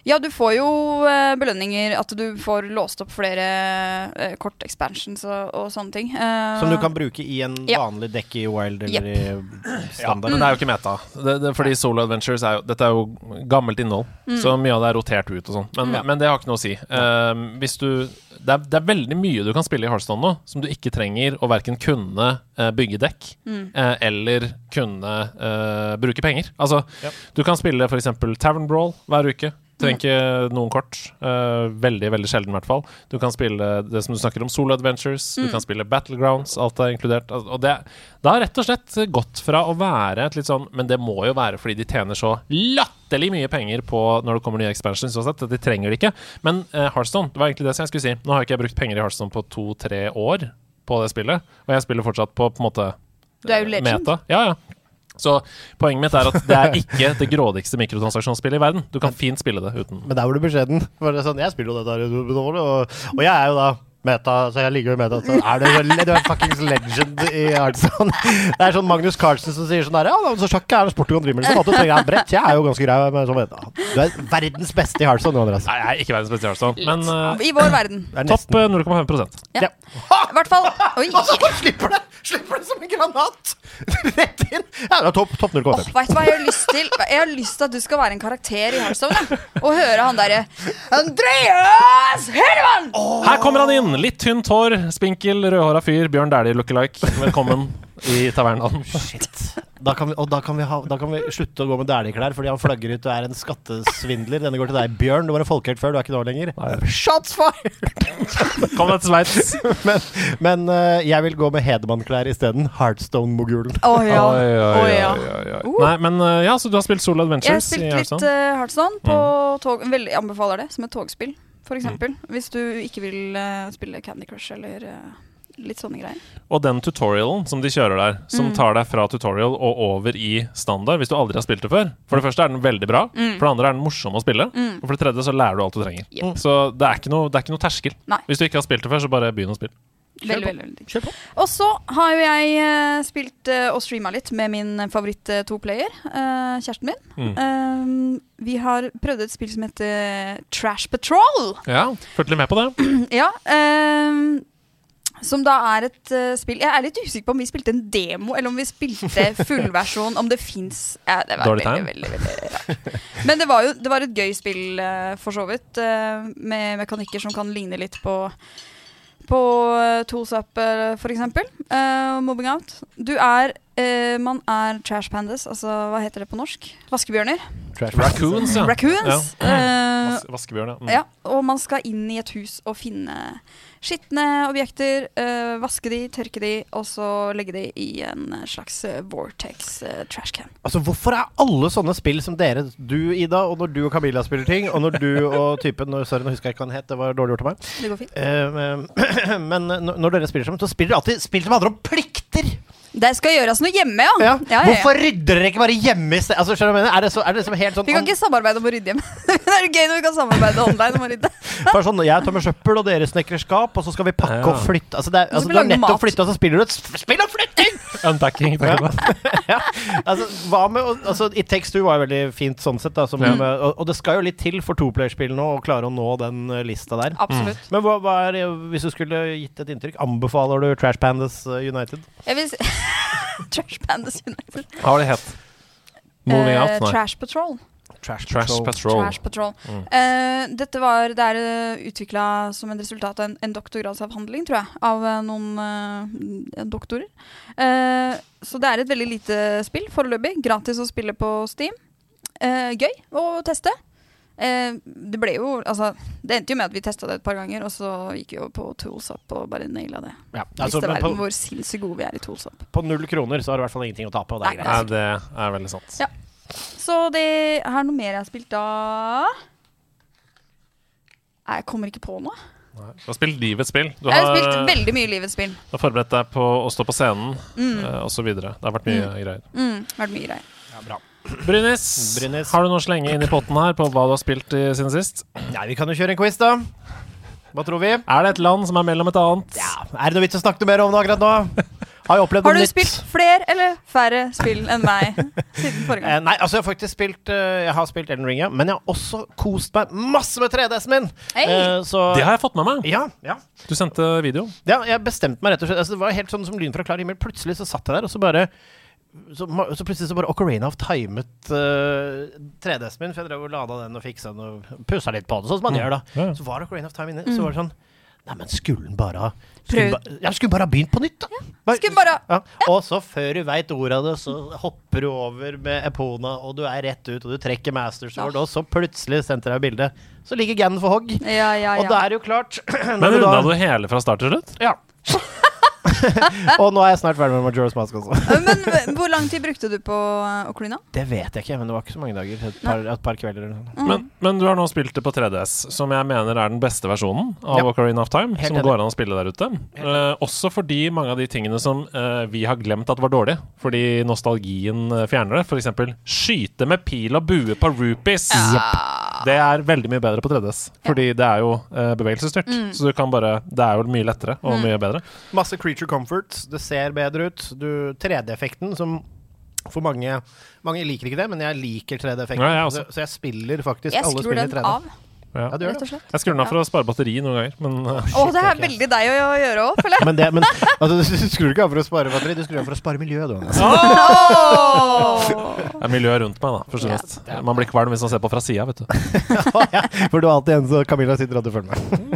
Speaker 6: Ja, du får jo eh, belønninger. At du får låst opp flere eh, kort expansions og, og sånne ting. Eh,
Speaker 5: Som du kan bruke i en
Speaker 6: Ja.
Speaker 5: vanlig dekk i Wild
Speaker 6: Jepp.
Speaker 5: eller i
Speaker 1: Ja,
Speaker 5: standard.
Speaker 1: men det er jo ikke meta. Det, det, fordi Solo Adventures er jo Dette er jo gammelt innhold, så mye av det er rotert ut og sånn. Men, men det har ikke noe å si. Ehm, hvis du det er, det er veldig mye du kan spille i Hearthstone nå, som du ikke trenger å verken kunne eh, bygge dekk
Speaker 6: Mm.
Speaker 1: eh, eller kunne eh, bruke penger. Altså,
Speaker 5: Ja.
Speaker 1: du kan spille f.eks. Tavern Brawl hver uke. Trenger ikke noen kort. eh, veldig, veldig sjelden, i hvert fall. Du kan spille det som du snakker om, Solo Adventures. Du kan spille Battlegrounds. Alt er inkludert. Al- Og det, det har rett og slett gått fra å være et litt sånn Men det må jo være fordi de tjener så latterlig mye penger på når det kommer nye expansions, sånn sett, at de trenger det ikke. Men eh, Hearthstone, det var egentlig det som jeg skulle si. Nå har jo ikke jeg brukt penger i Hearthstone på to-tre år på det spillet, og jeg spiller fortsatt på på en måte
Speaker 6: Du er jo legend.
Speaker 1: meta. Ja, ja. Så poenget mitt er at det er ikke det grådigste mikrotransaksjonsspillet i verden. Du kan fint spille det uten.
Speaker 5: Men der var du beskjeden. For det er sånn, jeg spiller jo dette her, i Nobel, og, og jeg er jo da meta, så jeg ligger jo i meta. Så er du, vel- du er fuckings legend i Arnson. Det er sånn Magnus Carlsen som sier sånn der, ja, da, så sjakk er en sport du kan drive med. Liksom. At du trenger en brett. Jeg er jo ganske grei med sånn meta. Du er verdens beste i Arnson, Andreas.
Speaker 1: Nei, jeg er ikke verdens beste i Hearthstone, men eh,
Speaker 6: I vår verden.
Speaker 5: Det er
Speaker 1: topp
Speaker 5: nesten.
Speaker 1: eh, 0,5
Speaker 6: Ja. I hvert fall Oi!
Speaker 5: Så bare slipper det! Slipper det som en granat! Rett inn! Ja, det er topp topp
Speaker 6: Åh,
Speaker 5: 0,5.
Speaker 6: vet du hva jeg har lyst til? Jeg har lyst til at du skal være en karakter i Hearthstone. jeg. Og høre han derre Andreas Herman!
Speaker 1: Her kommer han inn! Litt tynt hår, spinkel, rødhåra fyr, Bjørn Dæhlie lookalike. Velkommen i tavernaen.
Speaker 5: Da kan vi, og da kan, vi ha, da kan vi slutte å gå med Dæhlie-klær fordi han flagger ut og er en skattesvindler. Denne går til deg, Bjørn. Du var en folkehelt før, du er ikke nå lenger. Shots fired!
Speaker 1: Kom deg til Sveits.
Speaker 5: Men, men eh, jeg vil gå med Hedemann-klær isteden. Heartstone-mogulen.
Speaker 6: Å ja.
Speaker 1: Oi, oi,
Speaker 6: Å
Speaker 1: oi,
Speaker 6: ja.
Speaker 1: oi, oi.
Speaker 6: Uh.
Speaker 1: Nei, men uh, ja, så du har spilt Solo
Speaker 6: Jeg har
Speaker 1: Adventures i
Speaker 6: spilt litt
Speaker 1: Hearthstone?
Speaker 6: eh, Hearthstone på
Speaker 5: Mm.
Speaker 6: tog. Veldig anbefaler det som et togspill, f.eks. Hvis du ikke vil eh, spille Candy Crush eller eh, litt sånne greier.
Speaker 1: Og den tutorialen som de kjører der, som
Speaker 6: Mm.
Speaker 1: tar deg fra tutorial og over i standard, hvis du aldri har spilt det før For det første er den veldig bra,
Speaker 5: Mm.
Speaker 1: for det andre er den morsom å spille,
Speaker 6: Mm.
Speaker 1: og for det tredje så lærer du alt du trenger.
Speaker 6: Yep.
Speaker 1: Så det er ikke noe, det er ikke noe terskel.
Speaker 6: Mm. Nei.
Speaker 1: Hvis du ikke har spilt det før, så bare begynn å spille.
Speaker 6: Veldig, veldig, veldig.
Speaker 5: Kjør på.
Speaker 6: Og så har jo jeg eh, spilt eh, og streama litt med min favoritt eh, to-player, eh, kjæresten min.
Speaker 1: Mm.
Speaker 6: Eh, vi har prøvd et spill som heter Trash Patrol.
Speaker 1: Ja, Fulgte litt med på det.
Speaker 6: Ja, ehm, som da er et eh, spill Jeg er litt usikker på om vi spilte en demo, eller om vi spilte fullversjon, om det fins ja, Det var
Speaker 1: Dårlig
Speaker 6: veldig,
Speaker 1: tegn.
Speaker 6: veldig, veldig rart. Men det var jo det var et gøy spill, eh, for så vidt, eh, med mekanikker som kan ligne litt på på eh, Tools-app, eh, for eksempel. eh, mobbing out. Du er eh, Man er trash pandas, altså hva heter det på norsk? Vaskebjørner.
Speaker 1: Raccoons, ja.
Speaker 6: Raccoons. eh,
Speaker 1: Vas- Vaskebjørn, ja. Mm.
Speaker 6: ja, og man skal inn i et hus og finne skitne objekter, eh, vaske de, tørke de, og så legge de i en slags eh, vortex eh, trashcan.
Speaker 5: Altså, hvorfor er alle sånne spill som dere, du Ida, og når du og Camilla spiller ting, og når du og typen når, Sorry, nå husker jeg ikke hva han het, det var dårlig gjort av meg.
Speaker 6: Det går fint.
Speaker 5: Eh, men- men når dere spiller sammen, så spiller dere alltid spill som handler om plikter!
Speaker 6: Det skal gjøres noe hjemme, ja.
Speaker 5: Ja.
Speaker 6: ja, ja, ja.
Speaker 5: Hvorfor rydder dere ikke bare hjemme i sted? Altså, skjønner du hva jeg mener? Er det, så, er det liksom helt sånn
Speaker 6: Vi kan ikke samarbeide om å rydde hjemme. det er gøy når vi kan samarbeide online om å
Speaker 1: Mm.
Speaker 6: rydde.
Speaker 5: Bare sånn, Jeg tømmer søppel, og dere snekrer skap, og så skal vi pakke
Speaker 1: Ja.
Speaker 5: og flytte. Altså, det er, altså,
Speaker 6: skal vi
Speaker 5: du har
Speaker 6: lage
Speaker 5: nettopp
Speaker 6: mat.
Speaker 5: flytta, og så spiller du et sp- spill om flytting!
Speaker 1: Unpacking. tenker jeg på.
Speaker 5: ja. altså, hva med, å- altså, It Takes Two var jo veldig fint sånn sett, da, som,
Speaker 1: Ja.
Speaker 5: med, og, og det skal jo litt til for toplayerspill nå å klare å nå den eh, lista der.
Speaker 6: Absolutt.
Speaker 5: Men hva, hva er, hvis du skulle gitt et inntrykk, anbefaler du Trash Pandas eh, United?
Speaker 6: Jeg vil si Trash Pandas United.
Speaker 1: Hva var det het? Moving
Speaker 6: Eh,
Speaker 1: Out? Nei.
Speaker 6: Trash Patrol.
Speaker 5: Trash,
Speaker 1: Trash
Speaker 5: Patrol.
Speaker 1: Patrol.
Speaker 6: Trash Patrol. Eh, dette var, det er uh, utvikla som et resultat av en, en doktorgradsavhandling, tror jeg, av eh, noen eh, doktorer. Eh, så det er et veldig lite spill foreløpig. Gratis å spille på Steam. Eh, gøy å teste. Eh, det ble jo Altså, det endte jo med at vi testa det et par ganger, og så gikk vi jo på toolsup og bare naila det.
Speaker 5: Ja. Altså,
Speaker 6: Visste
Speaker 5: men
Speaker 6: verden
Speaker 5: på,
Speaker 6: hvor sinnssykt gode vi er i toolsup.
Speaker 5: på null kroner så har du i hvert fall ingenting å tape. Og det er
Speaker 6: Nei.
Speaker 5: greit.
Speaker 1: Nei, det er veldig sant.
Speaker 6: Så det er noe mer jeg har spilt da Nei, Jeg kommer ikke på noe.
Speaker 1: Du har spilt livets spill. Du
Speaker 6: Jeg
Speaker 1: har, eh,
Speaker 6: har spilt veldig mye livets spill.
Speaker 1: du har forberedt deg på å stå på scenen eh, og så videre Det har vært mye greier.
Speaker 6: Mm, vært mye greier.
Speaker 5: Ja, bra.
Speaker 1: Brynis,
Speaker 5: Brynis.
Speaker 1: har du noe å slenge inn i potten her på hva du har spilt i siden sist?
Speaker 5: Nei, vi kan jo kjøre en quiz, da. Hva tror vi?
Speaker 1: Er det et land som er mellom et annet?
Speaker 5: Ja, er det noe vits å snakke mer om det akkurat nå? Har jeg opplevd
Speaker 6: Har du
Speaker 5: noe nytt?
Speaker 6: spilt flere eller færre spill enn meg siden forrige
Speaker 5: Eh,
Speaker 6: gang?
Speaker 5: nei, altså jeg har faktisk spilt eh, Jeg har spilt Elden Ring, ja. Men jeg har også kost meg masse med 3DS-en min!
Speaker 6: Hei!
Speaker 5: Eh, så
Speaker 1: Det har jeg fått med meg.
Speaker 5: ja, ja.
Speaker 1: Du sendte video.
Speaker 5: ja, jeg bestemte meg rett og slett. Altså, det var helt sånn som lyn fra klar himmel. Plutselig så satt jeg der, og så bare så, ma- så plutselig så bare Ocarina of timet eh, 3DS-en min, for jeg drev og lada den og fiksa den og pussa litt på den, sånn som
Speaker 1: Mm.
Speaker 5: man gjør, da.
Speaker 1: Ja, ja.
Speaker 5: Så var Ocarina of Time inne,
Speaker 6: Mm.
Speaker 5: så var det sånn Nei, men skulle den bare ha
Speaker 6: Prøvd.
Speaker 5: skulle ba, Jeg skulle bare ha begynt på nytt, da! Bare-
Speaker 6: Skulle bare
Speaker 5: ja. Og så før du veit ordet av det, så hopper du over med Epona, og du er rett ut, og du trekker Master Sword,
Speaker 6: Ja.
Speaker 5: og så plutselig sendte deg bildet. Så ligger Gannon for hogg.
Speaker 6: Ja, ja,
Speaker 5: Og da
Speaker 6: ja.
Speaker 5: er det jo klart
Speaker 1: Men runda du hele fra start til slutt?
Speaker 5: Ja. og nå er jeg snart ferdig med Majora's Mask også.
Speaker 6: Men v- hvor lang tid brukte du på eh, Ocarina?
Speaker 5: Det vet jeg ikke, men det var ikke så mange dager. Et par, et par kvelder eller noe.
Speaker 1: Men, men du har nå spilt det på 3DS, som jeg mener er den beste versjonen av
Speaker 5: Ja.
Speaker 1: Ocarina of Time.
Speaker 5: Helt
Speaker 1: som
Speaker 5: enig.
Speaker 1: går an å spille der ute. Eh, også fordi mange av de tingene som eh, vi har glemt at var dårlige, fordi nostalgien eh, fjerner det. F.eks. skyte med pil og bue på rupees. Det er veldig mye bedre på 3DS, fordi det er jo eh, bevegelsesstyrt. Så du kan bare Det er jo mye lettere og mye bedre.
Speaker 5: Masse creature comforts, det ser bedre ut. Du, 3D-effekten som for mange Mange liker ikke det, men jeg liker 3D-effekten.
Speaker 1: Ja, jeg også.
Speaker 5: så, så jeg spiller faktisk
Speaker 6: Jeg
Speaker 5: alle
Speaker 6: skrur
Speaker 5: spiller
Speaker 6: den
Speaker 5: 3D.
Speaker 6: av,
Speaker 1: Ja.
Speaker 5: Ja, du gjør
Speaker 6: rett
Speaker 5: det.
Speaker 6: og slett.
Speaker 1: Jeg skrur den av for å spare batteri noen ganger, men eh,
Speaker 6: Å, det er
Speaker 5: Shit, ok.
Speaker 6: veldig deg å å gjøre òg, føler jeg.
Speaker 5: Men, det, men altså, du skrur ikke av for å spare batteri, du skrur av for å spare miljøet. Du. Anders.
Speaker 6: Åh!
Speaker 1: det er miljøet rundt meg, da. Først og
Speaker 6: Ja.
Speaker 1: fremst. Man blir kvalm hvis man ser på fra sida, vet du.
Speaker 5: For du er alltid en som Camilla sitter og du følger med.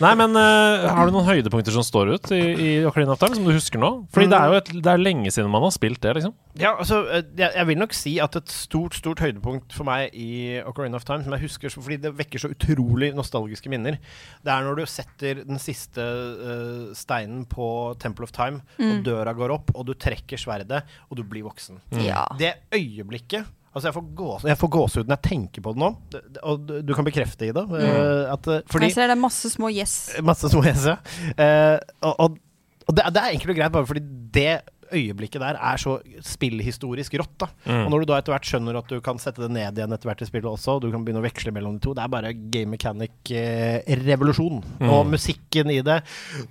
Speaker 1: Nei, men eh, har du noen høydepunkter som står ut i, i Ocarina of Time, som du husker nå? Fordi det er jo et, det er lenge siden man har spilt det, liksom.
Speaker 5: Ja, altså, eh, jeg, jeg vil nok si at et stort stort høydepunkt for meg i Ocarina of Time, som jeg husker så- fordi det vekker så utrolig nostalgiske minner, det er når du setter den siste eh, steinen på Temple of Time, og døra går opp, og du trekker sverdet, og du blir voksen.
Speaker 6: Ja.
Speaker 5: Det øyeblikket Altså, jeg får gås- jeg får gåsehud når jeg tenker på det nå, det, det- og du- du kan bekrefte, Ida. eh, At, eh, fordi
Speaker 6: Jeg ser det er masse små yes.
Speaker 5: Masse små hese. Eh, og og, og det, er- det er enkelt og greit, bare fordi det øyeblikket der er så spillhistorisk rått. da. Og når du da etter hvert skjønner at du kan sette det ned igjen etter hvert i spillet også, og du kan begynne å veksle mellom de to, det er bare game mechanic-revolusjon. Og musikken i det,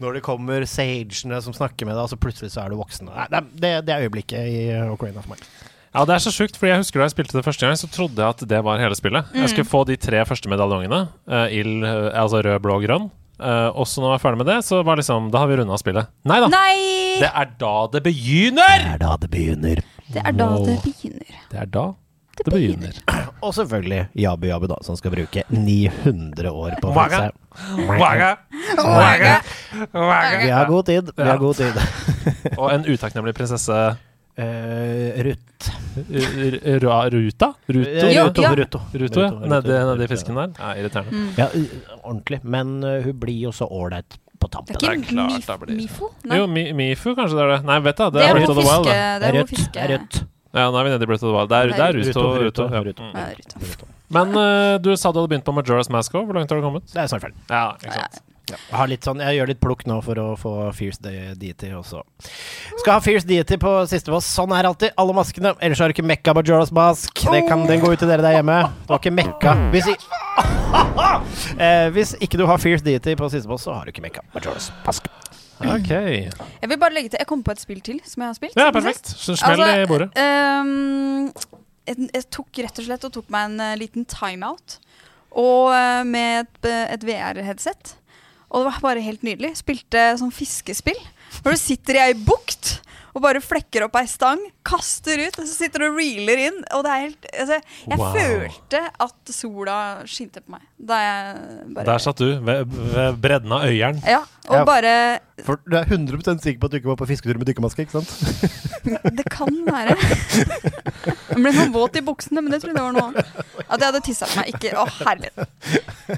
Speaker 5: når det kommer sagene som snakker med deg, og så plutselig så er du voksen. Nei, det, er- det, det er øyeblikket i eh, Ocarina for meg.
Speaker 1: Ja, det er så sjukt, fordi jeg husker da jeg spilte det første gang, så trodde jeg at det var hele spillet. Jeg skulle få de tre første medaljongene, eh, ild, eh, altså rød, blå, grønn. Eh, og så når jeg var ferdig med det, så var liksom Da har vi runda spillet. Nei da!
Speaker 6: Nei!
Speaker 1: Det er da det begynner!
Speaker 5: er da det begynner.
Speaker 6: Det er da
Speaker 1: Wow.
Speaker 6: det begynner.
Speaker 1: Det er da det begynner.
Speaker 5: Og selvfølgelig Jabu Jabu, da, som skal bruke 900 år på å fikse.
Speaker 1: Waga. Waga. Waga. Waga.
Speaker 5: Vi har god tid. Vi har god tid.
Speaker 1: Og en utakknemlig prinsesse
Speaker 5: Eh, Ruth. Eh,
Speaker 1: R- R- Ra- Ruta? Ruto?
Speaker 6: Ja,
Speaker 1: Ruto,
Speaker 6: ja.
Speaker 5: Ruto.
Speaker 1: Ruto, ja.
Speaker 5: Ruto,
Speaker 1: Nedi,
Speaker 5: Ruto,
Speaker 1: nedi
Speaker 5: Ruto.
Speaker 1: fisken der. Ja, irriterende.
Speaker 5: Ja, eh, ordentlig. Men eh, hun blir jo så ålreit på
Speaker 6: Det
Speaker 5: tampen.
Speaker 6: er
Speaker 1: Det er
Speaker 6: ikke
Speaker 1: klart
Speaker 6: Mif
Speaker 1: det blir-
Speaker 6: Mifo? Nei.
Speaker 1: Jo, Mi- Mifu, kanskje det er det. Nei, vet du, det,
Speaker 6: Det
Speaker 1: er
Speaker 6: er
Speaker 1: Breath
Speaker 6: hun
Speaker 1: of the Wild. Da.
Speaker 6: fiske... Det er hun
Speaker 5: Rødt.
Speaker 6: fiske...
Speaker 5: Det er Rødt.
Speaker 1: Ja, nå er vi nede i Breath of the Wild. Det er,
Speaker 6: Det
Speaker 1: det
Speaker 6: er
Speaker 1: er Ruto.
Speaker 5: Ruto,
Speaker 1: Ruto, ja.
Speaker 5: Ruto.
Speaker 1: Mm.
Speaker 6: Ja, Ruto.
Speaker 1: Men eh, du sa du hadde begynt på Majora's Mask òg. Hvor langt har du kommet?
Speaker 5: Det er snart ferdig.
Speaker 1: Ja, ikke sant.
Speaker 5: Jeg, har litt sånn, jeg gjør litt plukk nå for å få Fierce De- Deity også. Skal ha Fierce Deity på sisteplass. Sånn er alltid. Alle maskene. Ellers har du ikke mekka Majora's Mask. Det kan den gå ut til dere der hjemme. Du har ikke mekka. Hvis, i, eh, hvis ikke du har Fierce Deity på sisteplass, så har du ikke mekka Majora's Mask.
Speaker 1: Ok.
Speaker 6: Jeg vil bare legge til Jeg kom på et spill til som jeg har spilt.
Speaker 1: Ja,
Speaker 6: siden sist.
Speaker 1: perfekt. Så
Speaker 6: Altså,
Speaker 1: Smell i bordet.
Speaker 6: ehm, en- jeg tok rett og slett og tok meg en eh, liten timeout. Og eh, med et, eh, et VR-headset. Og det var bare helt nydelig. Spilte sånn fiskespill. Hvor du sitter i ei bukt og bare flekker opp ei stang, kaster ut, og så sitter du og reeler inn. Og det er helt altså, Jeg
Speaker 1: Wow.
Speaker 6: følte at sola skinte på meg da jeg bare
Speaker 1: Der satt du, ved, ved bredden av øyeren.
Speaker 6: Ja, og
Speaker 5: Ja.
Speaker 6: bare
Speaker 5: For du er 100 sikker på at du ikke var på fisketur med dykkermaske, ikke sant?
Speaker 6: Det kan være. Jeg ble noe våt i buksene, men det trodde jeg var noe annet. At jeg hadde tissa på meg. Ikke Å, herlighet.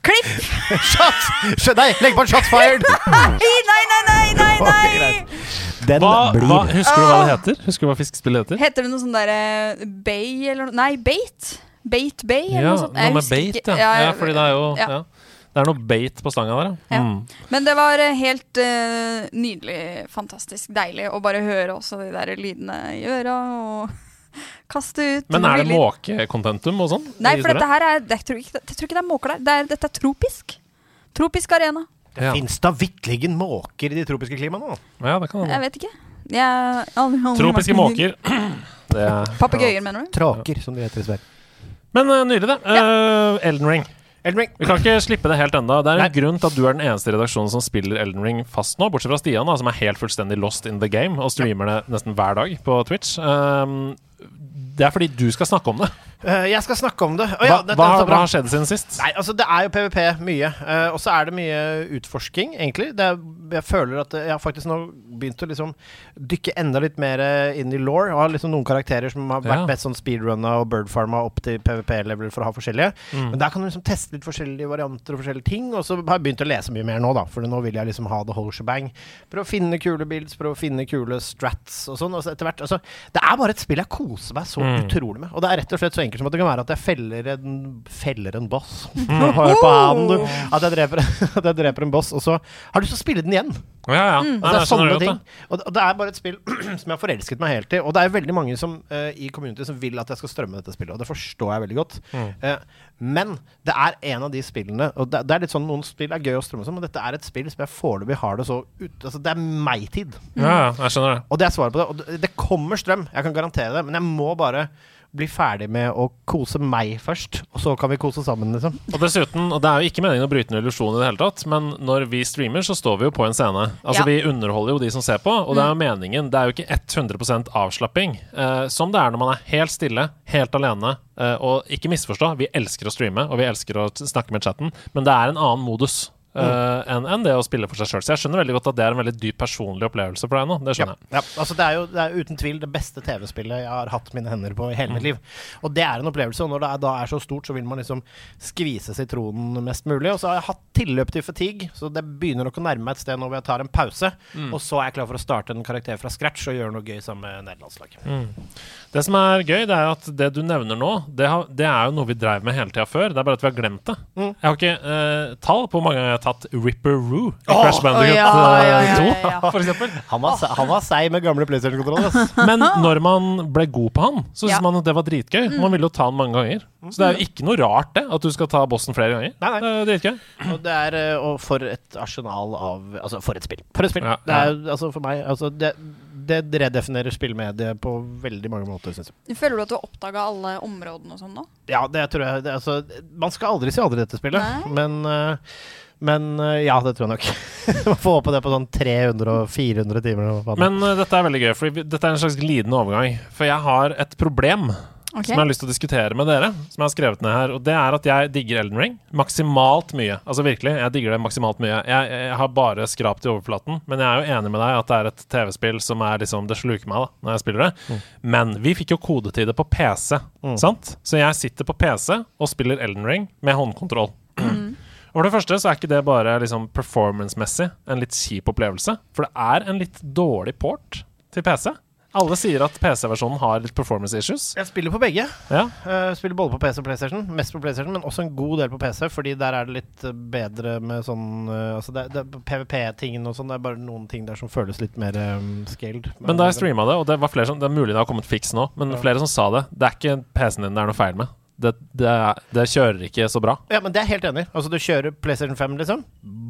Speaker 6: Klipp!
Speaker 5: Shots! Nei, legg på en shots fired!
Speaker 6: Nei, nei, nei, nei! nei,
Speaker 5: Ok, greit.
Speaker 6: nei.
Speaker 5: Den
Speaker 1: Hva, hva,
Speaker 5: blir
Speaker 1: husker du hva det heter? Husker du hva fiskespillet heter?
Speaker 6: Heter det noe sånn derre Bay eller noe? Nei, Bait. Bait Bay eller
Speaker 1: Ja,
Speaker 6: noe sånt. Jeg
Speaker 1: noe med
Speaker 6: husker
Speaker 1: bait,
Speaker 6: ikke.
Speaker 1: ja.
Speaker 6: Ja,
Speaker 1: ja.
Speaker 6: jeg-
Speaker 1: Fordi det er jo
Speaker 6: ja.
Speaker 1: ja. Det er noe bait på stanga der, ja.
Speaker 6: Ja.
Speaker 1: Mm.
Speaker 6: Men det var eh, helt eh, nydelig, fantastisk deilig å bare høre også de der lydene i øra og kaste ut.
Speaker 1: Men er det
Speaker 6: Briller.
Speaker 1: måkekontentum og sånn? i
Speaker 6: Nei, for
Speaker 1: historien?
Speaker 6: dette her er det, jeg, tror ikke, jeg tror ikke det er måker der. Det er, dette er tropisk. Tropisk arena.
Speaker 1: ja.
Speaker 5: Fins da vitterlig måker i de tropiske klimaene? nå?
Speaker 1: ja, det kan
Speaker 6: Jeg
Speaker 1: hende.
Speaker 6: vet ikke. Jeg har aldri- aldri
Speaker 1: Tropiske
Speaker 6: vært i-
Speaker 1: måker. Det er.
Speaker 6: Papegøyer, mener du?
Speaker 5: Tråker, som det heter i Sverige.
Speaker 1: Men uh, nydelig, det. Eh, Elden Ring.
Speaker 5: Elden Ring.
Speaker 1: Vi kan ikke slippe det helt ennå. Det er en
Speaker 5: Nei.
Speaker 1: grunn til at du er den eneste i redaksjonen som spiller Elden Ring fast nå, bortsett fra Stian, da, som er helt fullstendig lost in the game og streamer det nesten hver dag på Twitch. Um, det er fordi du skal snakke om det.
Speaker 5: Eh, jeg skal snakke om det. Å,
Speaker 1: Hva,
Speaker 5: ja, dette
Speaker 1: hva,
Speaker 5: er så bra.
Speaker 1: hva har skjedd siden sist?
Speaker 5: Nei, altså Det er jo PVP mye, eh, og så er det mye utforsking, egentlig. Det er, jeg føler at jeg har faktisk nå begynt å liksom dykke enda litt mer eh, inn i law. Og har liksom noen karakterer som har vært
Speaker 1: Ja.
Speaker 5: best sånn speedrunna og birdfarma opp til PVP-level for å ha forskjellige. Men der kan du liksom teste litt forskjellige varianter og forskjellige ting. Og så har jeg begynt å lese mye mer nå, da. For nå vil jeg liksom ha the whole shebang. Prøve å finne kule builds, prøve å finne kule strats og sånn. Og så etter hvert altså, Det er bare et spill jeg koser meg så
Speaker 1: Mm.
Speaker 5: utrolig med. Og det er rett og slett så enkelt som at det kan være at jeg feller en, feller en boss. Hør på han, du. At jeg, dreper, at jeg dreper en boss, og så har du lyst til å spille den igjen.
Speaker 1: Ja, ja. Nei,
Speaker 5: Altså, det
Speaker 1: nei,
Speaker 5: er
Speaker 1: skjønner
Speaker 5: sånne
Speaker 1: du
Speaker 5: ting.
Speaker 1: godt,
Speaker 5: Og det- og det er bare et spill som jeg har forelsket meg helt i. Og det er veldig mange som, eh, i community som vil at jeg skal strømme dette spillet, og det forstår jeg veldig godt.
Speaker 1: Mm.
Speaker 5: Eh, men det er en av de spillene Og det, det er litt sånn noen spill er gøy å strømme som, men dette er et spill som jeg foreløpig har det så ut, altså, Det er meg-tid.
Speaker 1: det. Ja, ja, jeg skjønner det.
Speaker 5: Og det er svaret på det. Og det- det kommer strøm, jeg kan garantere det. Men jeg må bare bli ferdig med å kose meg først, og så kan vi kose sammen, liksom.
Speaker 1: Og dessuten, og det er jo ikke meningen å bryte noen illusjon i det hele tatt, men når vi streamer, så står vi jo på en scene. Altså,
Speaker 6: Ja.
Speaker 1: vi underholder jo de som ser på, og det er jo meningen. Det er jo ikke 100 avslapping, eh, som det er når man er helt stille, helt alene. Eh, og ikke misforstå, vi elsker å streame, og vi elsker å t- snakke med chatten, men det er en annen modus. eh, enn enn det å spille for seg sjøl. Så jeg skjønner veldig godt at det er en veldig dyp personlig opplevelse for deg nå. Det skjønner jeg.
Speaker 5: Ja, altså Det er jo det er uten tvil det beste TV-spillet jeg har hatt mine hender på i hele mitt liv. Og det er en opplevelse, og når det er, da er så stort, så vil man liksom skvise sitronen mest mulig. Og så har jeg hatt tilløp til fatigue, så det begynner nok å nærme meg et sted nå hvor jeg tar en pause. Og så er jeg klar for å starte en karakter fra scratch og gjøre noe gøy sammen med nederlandslaget.
Speaker 1: Det som er gøy, det er jo at det du nevner nå, det, har, det er jo noe vi drev med hele tida før. Det er bare at vi har glemt det.
Speaker 6: Mm.
Speaker 1: Jeg har ikke eh, tall på hvor mange ganger jeg har tatt Ripper Roo i Crash Bandicoot
Speaker 6: ja, ja, ja,
Speaker 1: 2,
Speaker 6: ja, ja.
Speaker 1: for eksempel.
Speaker 5: Han var, se- han var seig med gamle PlayStation-kontroller. ass.
Speaker 1: Men når man ble god på han, så syntes
Speaker 6: Ja. Mm.
Speaker 1: man at det var dritgøy. Man ville jo ta han mange ganger. Så det er jo ikke noe rart, det, at du skal ta bossen flere ganger.
Speaker 5: Nei, nei.
Speaker 1: Det er dritgøy.
Speaker 5: Og det er eh, og for et arsenal av Altså, for et spill. For et spill.
Speaker 1: Ja,
Speaker 5: Det er altså for meg altså, det, det redefinerer spillmediet på veldig mange måter, syns jeg.
Speaker 6: Føler du at du har oppdaga alle områdene og sånn nå?
Speaker 5: Ja, det tror jeg det, altså, Man skal aldri si aldri i dette spillet,
Speaker 6: Nei.
Speaker 5: men eh, men eh, ja, det tror jeg nok. Man får håpe det på sånn 300-400 timer. eller hva faen.
Speaker 1: Men eh, dette er veldig gøy, for dette er en slags glidende overgang. For jeg har et problem som jeg har lyst til å diskutere med dere. Som jeg har skrevet ned her Og det er at jeg digger Elden Ring maksimalt mye. Altså virkelig, jeg digger det maksimalt mye. Jeg, jeg har bare skrapt i overflaten, men jeg er jo enig med deg at det er et TV-spill som er liksom Det sluker meg da når jeg spiller det. Men vi fikk jo kode til det på PC, sant? Så jeg sitter på PC og spiller Elden Ring med håndkontroll. Og For det første så er ikke det bare liksom performance-messig en litt kjip opplevelse. For det er en litt dårlig port til PC. Alle sier at PC-versjonen har litt performance issues.
Speaker 5: Jeg spiller på begge.
Speaker 1: Ja.
Speaker 5: Eh, spiller både på PC og PlayStation. Mest på PlayStation, men også en god del på PC, fordi der er det litt eh, bedre med sånn eh, altså det, det, PVP-tingen og sånn. Det er bare noen ting der som føles litt mer um, scaled.
Speaker 1: Men da jeg streama det, og det var flere som Det er mulig det har kommet fiks nå, men flere som sa det. Det er ikke PC-en din det er noe feil med. Det, det, er- det kjører ikke så bra.
Speaker 5: Ja, men det er jeg helt enig. i. Altså, du kjører PlayStation 5, liksom.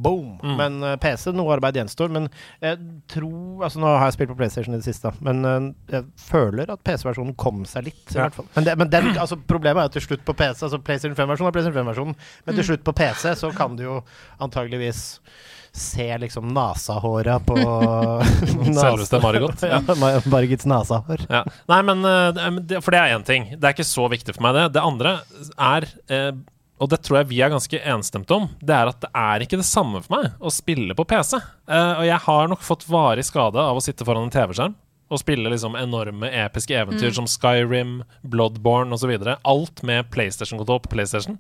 Speaker 5: Boom! Men eh, PC, noe arbeid gjenstår. Men jeg tror Altså, nå har jeg spilt på PlayStation i det siste, da, men eh, jeg føler at PC-versjonen kom seg litt, i
Speaker 1: Ja.
Speaker 5: hvert fall. Men, det, men den, altså, problemet er jo til slutt på PC. Altså, PlayStation 5-versjonen er PlayStation 5-versjonen, men
Speaker 1: Mm.
Speaker 5: til slutt på PC så kan du jo antageligvis se liksom nasahåra på
Speaker 1: Selveste Margot.
Speaker 5: Ja, Mar- Margits nasahår.
Speaker 1: Ja. Nei, men eh, det- men det, For det er én ting. Det er ikke så viktig for meg, det. Det andre er eh, og det tror jeg vi er ganske enstemte om. Det er at det er ikke det samme for meg å spille på PC. Eh, og jeg har nok fått varig skade av å sitte foran en TV-skjerm og spille liksom enorme episke eventyr som Skyrim, Bloodborne osv. Alt med PlayStation-kontroll på PlayStation.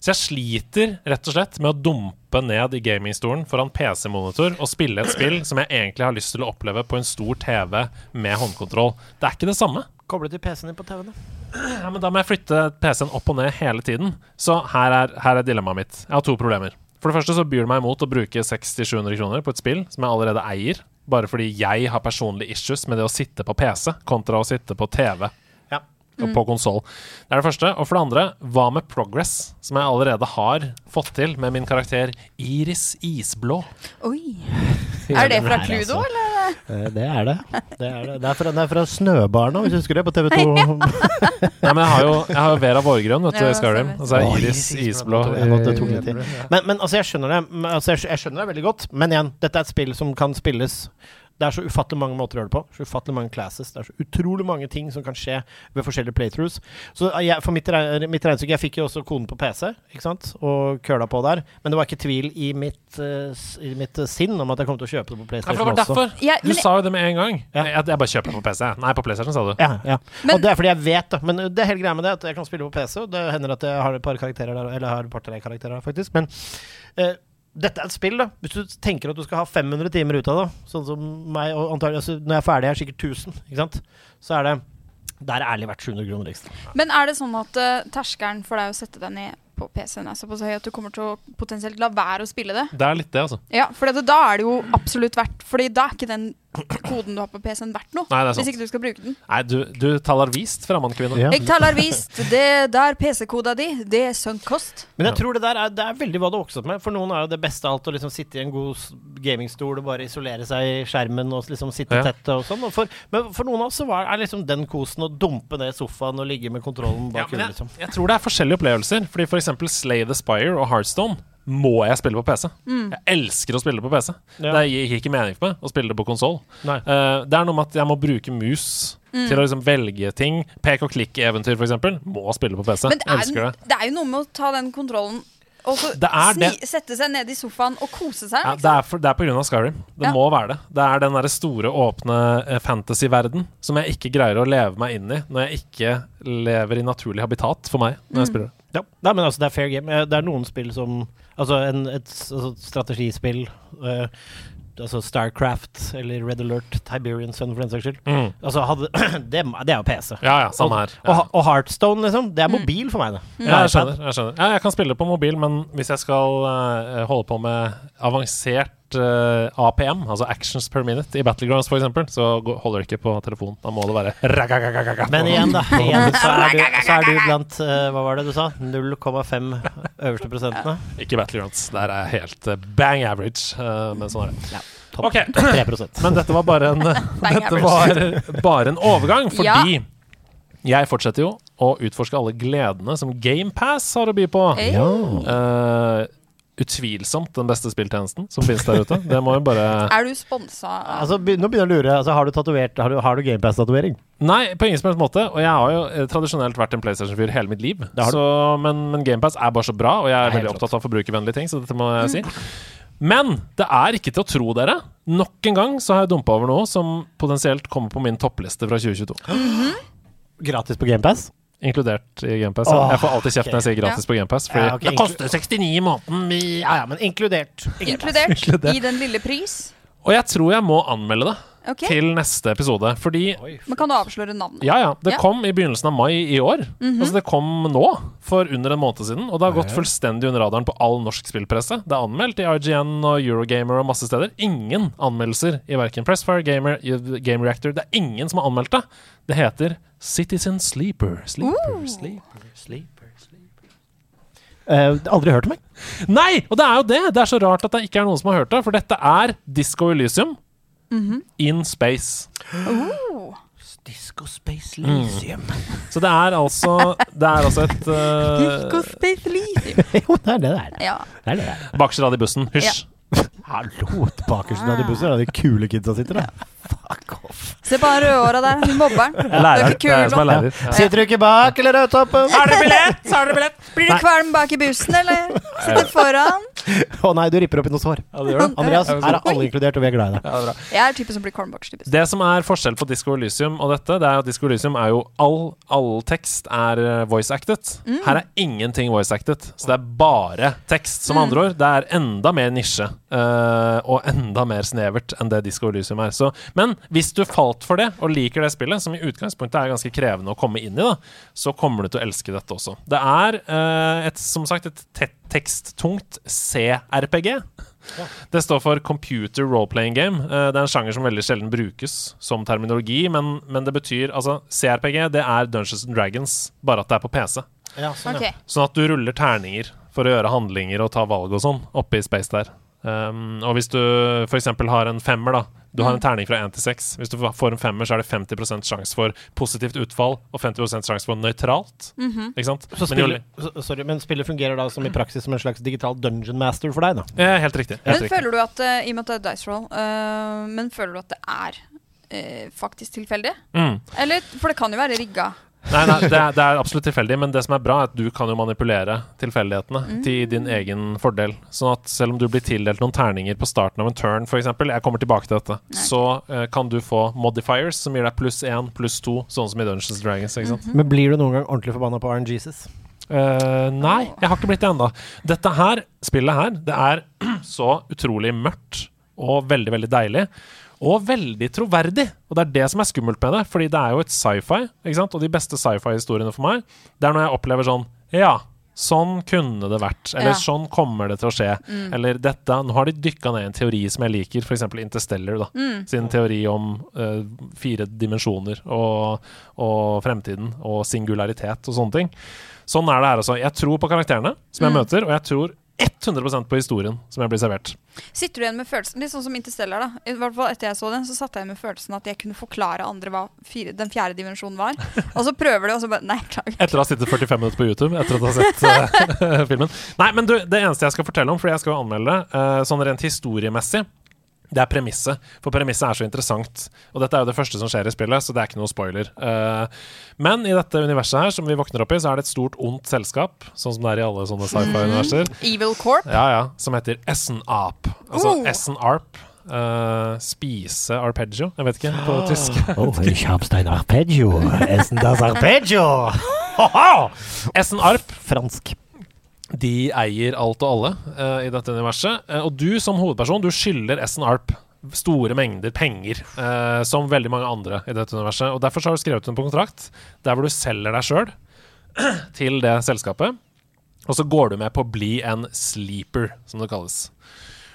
Speaker 1: Så jeg sliter rett og slett med å dumpe ned i gamingstolen foran PC-monitor og spille et spill som jeg egentlig har lyst til å oppleve på en stor TV med håndkontroll. Det er ikke det samme.
Speaker 5: Koble til PC-en din på TV-en, da.
Speaker 1: Ja, men da må jeg flytte PC-en opp og ned hele tiden. Så her er, her er dilemmaet mitt. Jeg har to problemer. For det første så byr det meg imot å bruke 600-700 kroner på et spill som jeg allerede eier, bare fordi jeg har personlige issues med det å sitte på PC kontra å sitte på TV
Speaker 5: Ja.
Speaker 1: og
Speaker 6: Mm.
Speaker 1: på konsoll. Det er det første. Og for det andre, hva med Progress, som jeg allerede har fått til med min karakter Iris Isblå?
Speaker 6: Oi. Er det fra
Speaker 5: Nei,
Speaker 6: Cluedo,
Speaker 5: altså.
Speaker 6: eller?
Speaker 5: Eh, Det er det. Det er, det. Det er, fra, det er fra Snøbarna, hvis du husker det, på TV2.
Speaker 1: Nei, men jeg har jo, jeg har jo Vera Vårgrønn, vet du,
Speaker 6: Ja,
Speaker 1: i Skyrim.
Speaker 6: stemmer.
Speaker 1: Og så er
Speaker 5: Oi,
Speaker 1: Iris Isblå.
Speaker 5: Det tok- det tok litt tid. Men, men altså, jeg skjønner det men, altså, jeg, skj- jeg skjønner det veldig godt. Men igjen, dette er et spill som kan spilles Det er så ufattelig mange måter å gjøre det på. Så ufattelig mange classes. Det er så utrolig mange ting som kan skje ved forskjellige playthroughs. Så eh, jeg, for mitt, reg- mitt regnestykke Jeg fikk jo også koden på PC, ikke sant, og køla på der. Men det var ikke tvil i mitt, eh, s- i mitt eh, sinn om at jeg kom til å kjøpe det
Speaker 1: Ja,
Speaker 5: på
Speaker 1: for
Speaker 5: PlayStation
Speaker 1: det var
Speaker 5: også.
Speaker 1: derfor.
Speaker 6: Jeg-
Speaker 1: Du
Speaker 6: men-
Speaker 1: sa jo det med en gang.
Speaker 5: Ja.
Speaker 1: Jeg, jeg bare kjøper på PC. Nei, på PlayStation, sa du.
Speaker 5: Ja, ja.
Speaker 6: Men-
Speaker 5: og det er fordi jeg vet det. Men det er hele greia med det at jeg kan spille på PC, og det hender at jeg har et par karakterer der, eller jeg har et par-tre karakterer der, faktisk. Men eh, dette er et spill, da. Hvis du tenker at du skal ha 500 timer ut av det, sånn som meg, og antagelig altså, når jeg er ferdig, er det sikkert 1000, ikke sant, så er det der er ærlig verdt 700 kroner ekstra.
Speaker 6: Men er det sånn at eh, terskelen for deg å sette deg ned på PC-en er såpass høy at du kommer til å potensielt la være å spille det?
Speaker 1: Det er litt det, altså.
Speaker 6: Ja, for det, da er det jo absolutt verdt Fordi da er ikke den koden du har på PC-en verdt noe.
Speaker 1: Nei, det er sant.
Speaker 6: hvis ikke du skal bruke den.
Speaker 1: Nei, du, du taler vist, fremmedkvinne.
Speaker 5: Ja.
Speaker 6: Jeg taler vist. Det der PC-koda di, det er sunk kost.
Speaker 5: Men jeg
Speaker 1: Ja.
Speaker 5: tror det der er, det er veldig hva du har vokst opp med. For noen er jo det beste av alt å liksom sitte i en god s- gamingstol og bare isolere seg i skjermen og liksom sitte
Speaker 1: Ja.
Speaker 5: tett og sånn. Og for, men for noen av oss så var, er liksom den kosen å dumpe ned i sofaen og ligge med kontrollen
Speaker 1: Ja,
Speaker 5: bak
Speaker 1: men
Speaker 5: huet,
Speaker 1: jeg,
Speaker 5: liksom.
Speaker 1: jeg tror det er forskjellige opplevelser. Fordi for eksempel Slay the Spire og Heartstone må jeg spille på PC.
Speaker 6: Mm.
Speaker 1: Jeg elsker å spille på PC.
Speaker 5: Ja.
Speaker 1: Det gir ikke mening for meg å spille det på konsoll. Eh,
Speaker 5: Nei.
Speaker 1: det er noe med at jeg må bruke mus
Speaker 6: Mm.
Speaker 1: til å liksom velge ting. Pek og klikk-eventyr, for eksempel, må spille på PC.
Speaker 6: Men det er,
Speaker 1: elsker det.
Speaker 6: det er jo noe med å ta den kontrollen og så
Speaker 1: Det er
Speaker 6: sni,
Speaker 1: det.
Speaker 6: sette seg ned i sofaen og kose seg.
Speaker 1: Ja,
Speaker 6: liksom.
Speaker 1: det, er for, det er på grunn av Skyrim. Det
Speaker 6: Ja.
Speaker 1: må være det. Det er den der store, åpne eh, fantasy-verden som jeg ikke greier å leve meg inn i når jeg ikke lever i naturlig habitat for meg
Speaker 5: Mm.
Speaker 1: når jeg spiller det.
Speaker 5: Ja. Nei, men altså, det er fair game. Eh, Det er noen spill som Altså, en, et s- altså, strategispill eh, Altså Starcraft eller Red Alert, Tiberian Sun, for den saks skyld.
Speaker 1: Mm.
Speaker 5: Altså, hadde, det, det er jo PC.
Speaker 1: Ja, ja, samme her.
Speaker 5: Og, Mm.
Speaker 1: Ja.
Speaker 5: og, og Heartstone, liksom. Det er mobil for meg, det.
Speaker 1: Ja, jeg skjønner. Jeg, skjønner. Ja, jeg kan spille på mobil, men hvis jeg skal eh, holde på med avansert eh, APM, altså actions per minute, i Battlegrounds for eksempel, så gå- holder det ikke på telefon. Da må det være ragagagaga.
Speaker 5: Men igjen, da. Igjen, så, er du, så er du blant eh, Hva var det du sa? 0,5 øverste prosentene?
Speaker 1: Ikke Battlegrounds. Der er jeg helt eh, bang average, eh, men sånn er det.
Speaker 5: Topp
Speaker 1: Ok.
Speaker 5: 3 prosent.
Speaker 1: Men dette var bare en Dette var bare en overgang, fordi jeg fortsetter jo å utforske alle gledene som GamePass har å by på.
Speaker 6: Hey.
Speaker 1: Eh, utvilsomt den beste spilltjenesten som finnes der ute. Det må jo bare
Speaker 6: Er du sponsa? av-
Speaker 5: Altså, be- nå begynner jeg å lure. Altså, har du tatovert Har du, har du GamePass-tatovering?
Speaker 1: Nei, på ingen som helst måte. Og jeg har jo eh, tradisjonelt vært en PlayStation-fyr hele mitt liv.
Speaker 5: har du.
Speaker 1: Så, men men GamePass er bare så bra, og jeg er
Speaker 5: Det er
Speaker 1: veldig
Speaker 5: helt
Speaker 1: opptatt av forbrukervennlige ting, så dette må jeg si. Men det er ikke til å tro, dere. Nok en gang så har jeg dumpa over noe som potensielt kommer på min toppliste fra 2022.
Speaker 5: Gratis på GamePass?
Speaker 1: Inkludert i GamePass. Ja.
Speaker 5: Åh,
Speaker 1: jeg får alltid kjeft
Speaker 5: ok.
Speaker 1: når jeg sier gratis på GamePass. Fordi
Speaker 5: Ja, ok,
Speaker 1: det koster 69 i måneden. i-
Speaker 5: Ja ja, men inkludert.
Speaker 6: Inkludert i den lille pris?
Speaker 1: Og jeg tror jeg må anmelde det.
Speaker 6: Ok.
Speaker 1: til neste episode. Fordi
Speaker 6: Men kan du avsløre navnet?
Speaker 1: Ja, ja. Det
Speaker 6: Ja.
Speaker 1: kom i begynnelsen av mai i år. Altså Det kom nå, for under en måned siden. Og det har gått fullstendig under radaren på all norsk spillpresse. Det er anmeldt i IGN og Eurogamer og masse steder. Ingen anmeldelser i verken Pressfire, Gamer, Game Reactor. Det er ingen som har anmeldt det. Det heter Citizen Sleeper. Sleeper, sleeper, sleeper.
Speaker 5: Eh, aldri hørt om, jeg.
Speaker 1: Nei! Og det er jo det! Det er så rart at det ikke er noen som har hørt det, for dette er Disco Elysium in space.
Speaker 6: Oh.
Speaker 4: Disco Space Lysium.
Speaker 1: Så det er altså, det er altså et eh,
Speaker 6: Disco Space Lysium.
Speaker 5: jo, det er det det er.
Speaker 6: Ja.
Speaker 5: Det er det det er.
Speaker 1: Bakerstrad i bussen. Hysj.
Speaker 5: Hallo, bakersten av de bussen. Det er de kule kidsa sitter der.
Speaker 6: Se på han rødhåra der, han mobberen. Du
Speaker 1: Lærer.
Speaker 6: er ikke
Speaker 1: Det er jeg som
Speaker 6: kul.
Speaker 1: er
Speaker 6: bro.
Speaker 1: lærer. Ja.
Speaker 5: Sitter du ikke bak eller ut oppe? Å
Speaker 1: Har dere billett? Så har dere billett.
Speaker 6: Blir du kvalm bak i bussen, eller? Sitter foran?
Speaker 5: nei, du ripper opp i noe sår.
Speaker 1: Ja, det gjør det.
Speaker 5: Andreas, her er alle inkludert, og vi er glad i deg.
Speaker 6: Jeg er typen som blir kvalm bak i bussen.
Speaker 1: Det som er forskjell på Disco Elysium og dette, det er at Disco Elysium er jo all, all tekst er eh, voice acted. Her er ingenting voice acted, så det er bare tekst. Som andre ord, det er enda mer nisje eh, og enda mer snevert enn det Disco Elysium er. Så, men hvis du falt for det og liker det spillet, som i utgangspunktet er ganske krevende å komme inn i, da, så kommer du til å elske dette også. Det er eh, et, som sagt et te- teksttungt CRPG. Det står for Computer Role-Playing Game. Eh, Det er en sjanger som veldig sjelden brukes som terminologi, men, men det betyr altså CRPG, det er Dungeons and Dragons, bare at det er på PC.
Speaker 6: Ok,
Speaker 1: Sånn at du ruller terninger for å gjøre handlinger og ta valg og sånn oppe i space der. Um, og hvis du f.eks. har en femmer, da. Du
Speaker 6: Mm.
Speaker 1: har en terning fra 1 til 6. Hvis du får en femmer, så er det 50 sjanse for positivt utfall og 50 sjanse for nøytralt.
Speaker 6: mhm.
Speaker 1: Ikke sant?
Speaker 5: Så
Speaker 1: Men jo
Speaker 5: spillet,
Speaker 1: li-
Speaker 5: så- sorry, men spillet fungerer da som i praksis som en slags digital dungeon master for deg, da?
Speaker 1: Eh, helt riktig. Helt
Speaker 6: Men
Speaker 1: riktig.
Speaker 6: føler du at, eh, i og med at det er dice roll, eh, men føler du at det er eh, faktisk tilfeldig?
Speaker 1: Mm.
Speaker 6: Eller, for det kan jo være rigga.
Speaker 1: Nei, nei det, er, det er absolutt tilfeldig, men det som er bra, er at du kan jo manipulere tilfeldighetene til din egen fordel. Sånn at selv om du blir tildelt noen terninger på starten av en turn, f.eks., jeg kommer tilbake til dette, så eh, kan du få modifiers som gir deg pluss én, pluss to, sånn som i Dungeons and Dragons. Ikke sant?
Speaker 5: Men blir du noen gang ordentlig forbanna på RNGesus?
Speaker 1: Eh, nei, jeg har ikke blitt det ennå. Dette her, spillet her, det er så utrolig mørkt og veldig, veldig deilig. Og veldig troverdig. Og det er det som er skummelt med det. Fordi det er jo et sci-fi, ikke sant? og de beste sci-fi-historiene for meg, det er når jeg opplever sånn Ja, sånn kunne det vært. Eller
Speaker 6: Ja.
Speaker 1: sånn kommer det til å skje. Eller dette Nå har de dykka ned i en teori som jeg liker, f.eks. Interstellar, da. Sin teori om eh, fire dimensjoner og, og fremtiden og singularitet og sånne ting. Sånn er det her, altså. Jeg tror på karakterene som jeg møter, og jeg tror 100 på historien som jeg blir servert.
Speaker 6: Sitter du igjen med følelsen, litt sånn som Interstellar, da. I hvert fall etter jeg så den, så satt jeg igjen med følelsen at jeg kunne forklare andre hva fire, den fjerde dimensjonen var. Og så prøver du, og så bare Nei, klager.
Speaker 1: Etter å ha sittet 45 minutter på YouTube etter å ha sett eh, filmen. Nei, men du, det eneste jeg skal fortelle om, fordi jeg skal jo anmelde det, eh, sånn rent historiemessig, det er premisset. For premisset er så interessant. Og dette er jo det første som skjer i spillet, så det er ikke noe spoiler. Eh, men i dette universet her, som vi våkner opp i, så er det et stort, ondt selskap. Sånn som det er i alle sånne sci-fi-universer.
Speaker 6: Mm. Evil Corp.
Speaker 1: Ja, ja. Som heter Essen-Ap. Altså
Speaker 6: Oh.
Speaker 1: Essen-Arp. eh, spise arpeggio. Jeg vet ikke, på tysk.
Speaker 5: Oh, Kjapstein arpeggio. Esendas arpeggio.
Speaker 1: Essen-Arp.
Speaker 5: Fransk.
Speaker 1: De eier alt og alle eh, i dette universet. Eh, og du som hovedperson, du skylder Essen-Arp store mengder penger. eh, som veldig mange andre i dette universet. Og derfor så har du skrevet under på kontrakt der hvor du selger deg sjøl til det selskapet. Og så går du med på å bli en sleeper, som det kalles.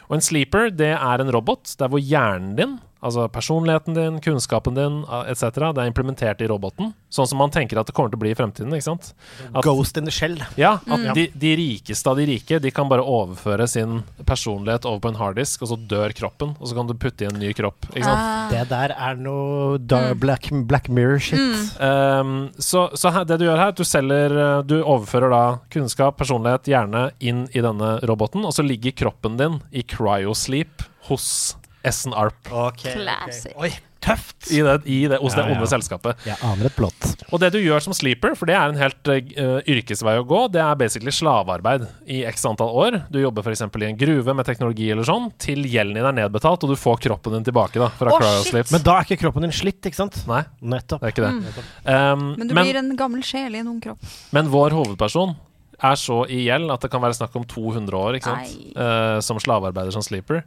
Speaker 1: Og en sleeper, det er en robot der hvor hjernen din, altså personligheten din, kunnskapen din etc., det er implementert i roboten. Sånn som man tenker at det kommer til å bli i fremtiden, ikke sant? At-
Speaker 5: Ghost in the shell.
Speaker 1: Ja, at de, de rikeste av de rike De kan bare overføre sin personlighet over på en harddisk, og så dør kroppen, og så kan du putte i en ny kropp. Ikke sant?
Speaker 6: Ah.
Speaker 5: Det der er noe da- black, black mirror shit.
Speaker 6: Mm.
Speaker 1: Um, så så her, det du gjør her, er at du selger eh, Du overfører da kunnskap, personlighet, hjerne inn i denne roboten, og så ligger kroppen din i cryosleep hos SNARP.
Speaker 6: Classic.
Speaker 5: Oi, tøft!
Speaker 1: I det, i det, hos
Speaker 5: Ja,
Speaker 1: det
Speaker 5: ja.
Speaker 1: onde selskapet.
Speaker 5: Jeg aner et blått.
Speaker 1: Og det du gjør som sleeper, for det er en helt eh, yrkesvei å gå, det er basically slavearbeid i x antall år. Du jobber f.eks. i en gruve med teknologi eller sånn, til gjelden din er nedbetalt, og du får kroppen din tilbake da, fra
Speaker 6: Å,
Speaker 1: cryosleep.
Speaker 6: shit! Mm.
Speaker 5: Men da er ikke kroppen din slitt, ikke sant?
Speaker 1: Nei,
Speaker 5: Nettopp.
Speaker 1: det er ikke det. Um,
Speaker 6: Men du blir en gammel sjel i en ung kropp.
Speaker 1: Men vår hovedperson er så i gjeld at det kan være snakk om 200 år ikke sant?
Speaker 6: Nei.
Speaker 1: Eh, som slavearbeider som sleeper.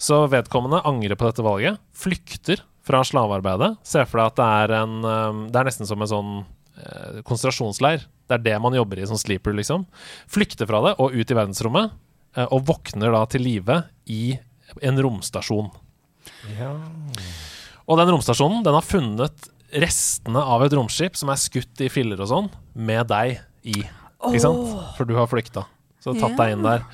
Speaker 1: Så vedkommende angrer på dette valget, flykter fra slavearbeidet. Se for deg at det er en eh, Det er nesten som en sånn eh, konsentrasjonsleir. Det er det man jobber i som sleeper, liksom. Flykter fra det og ut i verdensrommet, eh, og våkner da til live i en romstasjon. Og den romstasjonen den har funnet restene av et romskip som er skutt i filler og sånn, med deg i. Ikke sant? For du har flykta. Så tatt deg inn der.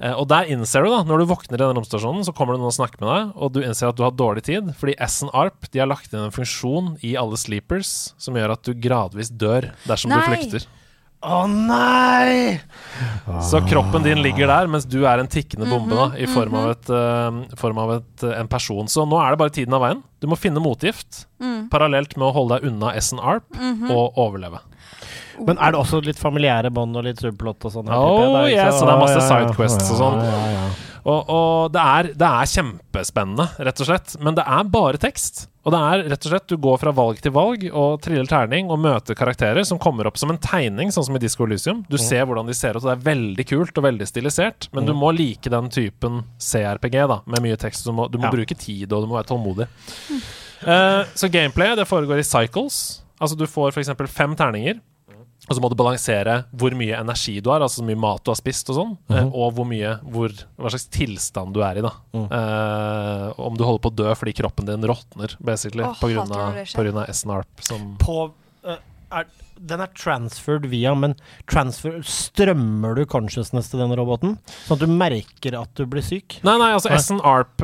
Speaker 1: Eh, Og der innser du, da, når du våkner i den romstasjonen, så kommer det noen og snakker med deg, og du innser at du har dårlig tid, fordi Essen Arp de har lagt inn en funksjon i alle sleepers som gjør at du gradvis dør dersom du
Speaker 6: Nei.
Speaker 1: flykter.
Speaker 5: Å nei!
Speaker 1: Så kroppen din ligger der, mens du er en tikkende bombe da, i form av, et, eh, form av et, eh, en person. Så nå er det bare tiden av veien. Du må finne motgift, parallelt med å holde deg unna Essen Arp og overleve.
Speaker 5: Men er det også litt familiære bånd og litt subplot og sånn? her
Speaker 1: Oh,
Speaker 5: type? ikke
Speaker 1: yes,
Speaker 5: så-
Speaker 1: og det er masse
Speaker 5: Ja, ja, ja.
Speaker 1: sidequests og sånn.
Speaker 5: Ja, ja, ja.
Speaker 1: Og, og det, er, det er kjempespennende, rett og slett. Men det er bare tekst. Og det er rett og slett, du går fra valg til valg og triller terning og møter karakterer som kommer opp som en tegning, sånn som i Disco Elysium. Du ser hvordan de ser ut, og det er veldig kult og veldig stilisert. Men du må like den typen CRPG, da, med mye tekst. Du må, du må
Speaker 5: Ja.
Speaker 1: bruke tid, og du må være tålmodig. Eh, så gameplay det foregår i cycles. Altså Du får f.eks. fem terninger. Og så må du balansere hvor mye energi du har, altså hvor mye mat du har spist, og sånn, eh,
Speaker 5: Mhm.
Speaker 1: og hvor mye, hvor, hva slags tilstand du er i. da.
Speaker 5: Mm.
Speaker 1: Eh, om du holder på å dø fordi kroppen din råtner, basically,
Speaker 6: Åh,
Speaker 1: på grunn
Speaker 6: hater
Speaker 1: av-
Speaker 6: når det skjer.
Speaker 1: på grunn av SNARP. Som
Speaker 5: På, eh, er, den er transferred via, men transfer, strømmer du consciousness til den roboten? Sånn at du merker at du blir syk?
Speaker 1: Nei, nei, altså
Speaker 5: Nei.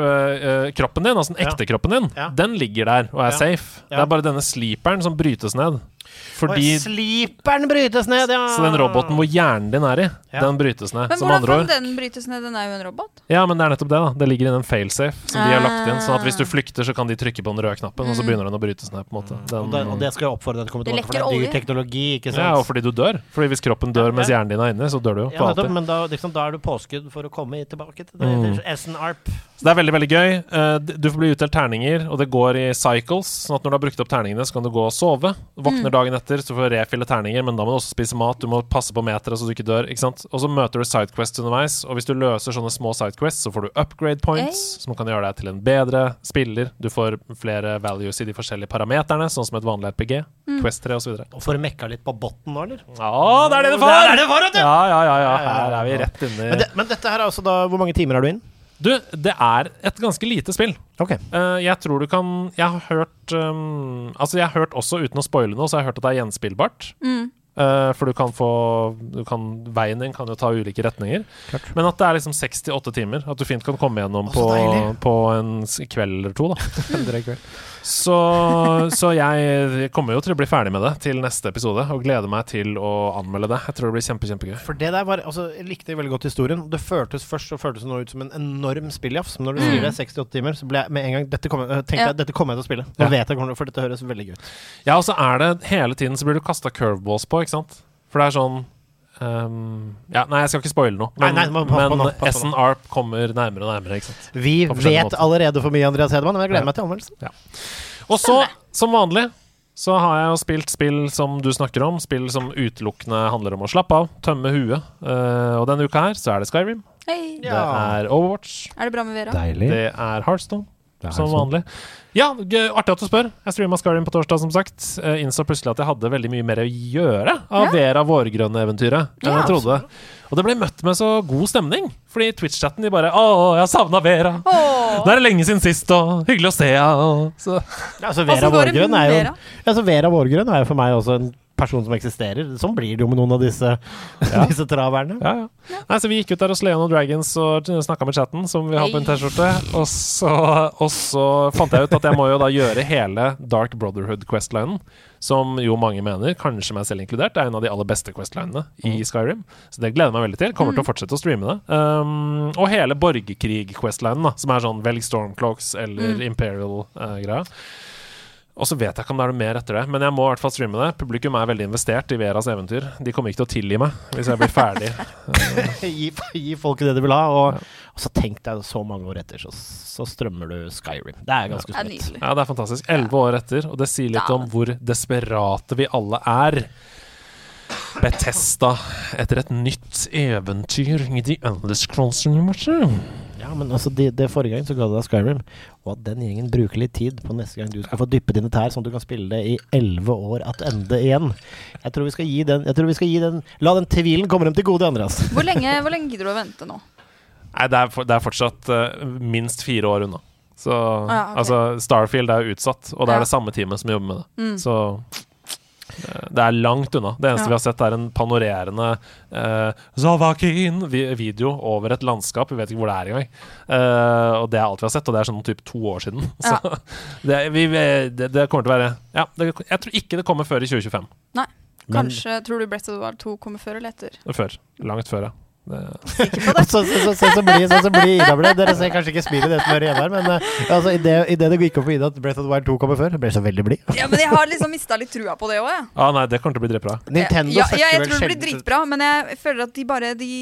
Speaker 1: SNARP-kroppen din, altså den
Speaker 5: Ja.
Speaker 1: ekte kroppen din,
Speaker 5: Ja.
Speaker 1: den ligger der og er
Speaker 5: Ja.
Speaker 1: safe. Det
Speaker 5: Ja.
Speaker 1: er bare denne sleeperen som brytes ned.
Speaker 5: Oi,
Speaker 1: Fordi
Speaker 5: sliperen brytes ned, ja!
Speaker 1: Så den roboten hvor hjernen din er i,
Speaker 5: Ja.
Speaker 1: den brytes ned.
Speaker 6: Men
Speaker 1: Som
Speaker 6: hvordan
Speaker 1: andre
Speaker 6: kan
Speaker 1: ord.
Speaker 6: den brytes ned? Den er jo en robot.
Speaker 1: Ja, men det er nettopp det, da. Det ligger inne en failsafe som de har lagt inn. Sånn at hvis du flykter, så kan de trykke på den røde knappen, og så begynner den å brytes ned, på en måte.
Speaker 5: Ah. Mm. Og det,
Speaker 1: Den,
Speaker 5: og det skal jeg oppfordre deg til å komme
Speaker 6: Det
Speaker 5: tilbake, for det
Speaker 6: lekker
Speaker 5: er dyr
Speaker 6: olje.
Speaker 5: teknologi, ikke sant?
Speaker 1: ja, og fordi du dør. Fordi hvis kroppen dør mens hjernen din er inne, så dør du jo.
Speaker 5: Ja,
Speaker 1: For
Speaker 5: nettopp,
Speaker 1: alltid.
Speaker 5: men da, liksom, da er du påskudd for å komme tilbake til det. sånn
Speaker 1: Mm.
Speaker 5: til SNARP.
Speaker 1: Så det er veldig, veldig gøy. Eh, d- Du får bli utdelt terninger, og det går i cycles. Sånn at når du har brukt opp terningene, så kan du gå og sove. Våkner dagen etter, så får du refille terninger, men da må du også spise mat. Du må passe på meteret så du ikke dør. Ikke sant? Og så møter du sidequests underveis, og hvis du løser sånne små sidequests, så får du upgrade points, som kan gjøre deg til en bedre spiller. Du får flere values i de forskjellige parameterne, sånn som et vanlig RPG. Quest 3 osv.
Speaker 5: Og får mekka litt på botten nå, eller?
Speaker 1: Ja, det er det du får!
Speaker 5: Der er det for, vet du!
Speaker 1: Ja, ja, ja, ja. Her er vi rett inni
Speaker 5: Men, det, men dette her er altså da Hvor mange timer er du inn?
Speaker 1: Du, det er et ganske lite spill.
Speaker 5: Ok.
Speaker 1: Eh, jeg tror du kan Jeg har hørt um, Altså, jeg har hørt også, uten å spoile noe, så har jeg hørt at det er gjenspillbart.
Speaker 6: Mm.
Speaker 1: Eh, for du kan få du kan, Veien din kan jo ta ulike retninger.
Speaker 5: Klart.
Speaker 1: Men at det er liksom seks til åtte timer. At du fint kan komme gjennom
Speaker 5: Å,
Speaker 1: på,
Speaker 5: så deilig.
Speaker 1: på en s- kveld eller to. da Så, så jeg kommer jo til å bli ferdig med det til neste episode, og gleder meg til å anmelde det. Jeg tror det blir kjempe, kjempegøy.
Speaker 5: For det der var Altså, jeg likte veldig godt historien. Det føltes først så føltes det nå ut som en enorm spilljafs, men når du sier det er 68 timer, så ble jeg med en gang Dette kommer, øh, tenkte
Speaker 6: Mm. Ja.
Speaker 5: jeg dette kommer jeg til å spille.
Speaker 1: Ja.
Speaker 5: Nå vet jeg kommer, til å- For dette høres veldig gøy ut.
Speaker 1: Ja, og så er det hele tiden så blir du kasta curveballs på, ikke sant? For det er sånn ehm, Ja, nei, jeg skal ikke spoile noe, men,
Speaker 5: Nei, nei, må passe på
Speaker 1: men
Speaker 5: nå, passe på nå.
Speaker 1: Essen Arp kommer nærmere og nærmere, ikke sant.
Speaker 5: Vi
Speaker 1: På forskjellige
Speaker 5: vet
Speaker 1: måter.
Speaker 5: allerede for mye, Andreas Hedemann, men jeg
Speaker 1: Ja.
Speaker 5: gleder meg til anmeldelsen.
Speaker 1: Og så, som vanlig, så har jeg jo spilt spill som du snakker om, spill som utelukkende handler om å slappe av, tømme huet. Eh, og denne uka her så er det Skyrim,
Speaker 6: Hei.
Speaker 5: Ja.
Speaker 1: det er Overwatch,
Speaker 6: Er det bra med Vera?
Speaker 7: Deilig.
Speaker 1: det er Heartstone.
Speaker 7: Det er
Speaker 1: Som
Speaker 7: sånn.
Speaker 1: vanlig. Ja, gøy, artig at du spør. Jeg streama Skyrim på torsdag, som sagt. Eh, innså plutselig at jeg hadde veldig mye mer å gjøre av Vera Vårgrønne-eventyret enn jeg trodde. Og det ble møtt med så god stemning, fordi Twitch-chatten de bare 'Å, jeg har savna Vera'.
Speaker 6: Åh.
Speaker 1: Nå er det lenge siden sist, og hyggelig å se deg. og Så
Speaker 5: Altså,
Speaker 6: Åssen
Speaker 5: Vera
Speaker 6: går det
Speaker 5: Vårgrønn
Speaker 6: med
Speaker 5: er jo
Speaker 6: Vera?
Speaker 5: altså, Vera Vårgrønn er jo for meg også en person som eksisterer. Sånn blir det jo med noen av disse, disse traverne.
Speaker 1: Ja, ja. Nei, så vi gikk ut der og slet noen dragons og snakka med chatten, som vi har på en T-skjorte. Og, så- og så fant jeg ut at jeg må jo da gjøre hele Dark Brotherhood Questlinen. Som jo mange mener, kanskje meg selv inkludert, er en av de aller beste questlinene i Skyrim. Så det gleder jeg meg veldig til. Kommer til å fortsette å streame det. Um, og hele borgerkrig-questlinen, da, som er sånn velg Stormcloaks eller Imperial-greia. Og så vet jeg ikke om det er noe mer etter det, men jeg må i hvert fall streame det. Publikum er veldig investert i Veras eventyr. De kommer ikke til å tilgi meg hvis jeg blir ferdig.
Speaker 5: gi, gi folk det de vil ha. Og, og så tenk deg så mange år etter, så, så strømmer du Skyrim. Det er ganske
Speaker 6: Det er
Speaker 5: sprøtt.
Speaker 6: nydelig.
Speaker 1: Ja, det er fantastisk. Elleve år etter, og det sier litt om hvor desperate vi alle er. Bethesda etter et nytt eventyr i The Endless Crossing Universe.
Speaker 5: Ja, men altså, det, det forrige gang så ga du deg Skyrim. Og at den gjengen bruker litt tid på neste gang du skal få dyppe dine tær, sånn at du kan spille det i elleve år attende igjen. Jeg tror vi skal gi den, jeg tror vi skal gi den La den tvilen komme dem til gode, Andreas.
Speaker 6: Hvor lenge, hvor lenge gidder du å vente nå?
Speaker 1: Nei, det er, for, det er fortsatt eh, minst fire år unna. Så
Speaker 6: ja, ok.
Speaker 1: altså, Starfield er jo utsatt, og det
Speaker 6: Ja.
Speaker 1: er det samme teamet som jobber med det.
Speaker 6: Mm.
Speaker 1: Så eh, det er langt unna. Det eneste
Speaker 6: Ja.
Speaker 1: vi har sett, er en panorerende eh, Zavakin-video over et landskap. Vi vet ikke hvor det er engang. Eh, og det er alt vi har sett, og det er sånn typ to år siden.
Speaker 6: Ja.
Speaker 1: Så det, vi, det, det kommer til å være Ja, det, jeg tror ikke det kommer før i 2025.
Speaker 5: Men-
Speaker 6: Kanskje tror du Breath of the Wild 2 kommer før eller etter?
Speaker 1: Før. Langt før, ja. Det,
Speaker 6: Sikker på
Speaker 5: Og
Speaker 6: det?
Speaker 5: så- så- så- Sånn som blir sånn som blir Ida ble. Dere ser kanskje ikke smilet deres når dere er hjemme her, men eh, altså, idet det, det gikk opp for Ida at Breath of the Wild 2 kommer før, jeg ble så veldig blid.
Speaker 6: Ja, men jeg har liksom mista litt trua på det òg, jeg.
Speaker 1: ah, nei, det kommer til å bli dritbra.
Speaker 5: Nintendo
Speaker 6: ja,
Speaker 5: søkker
Speaker 6: ja, jeg
Speaker 5: vel
Speaker 6: tror det blir
Speaker 5: sjelden-
Speaker 6: dritbra, men jeg føler at de bare de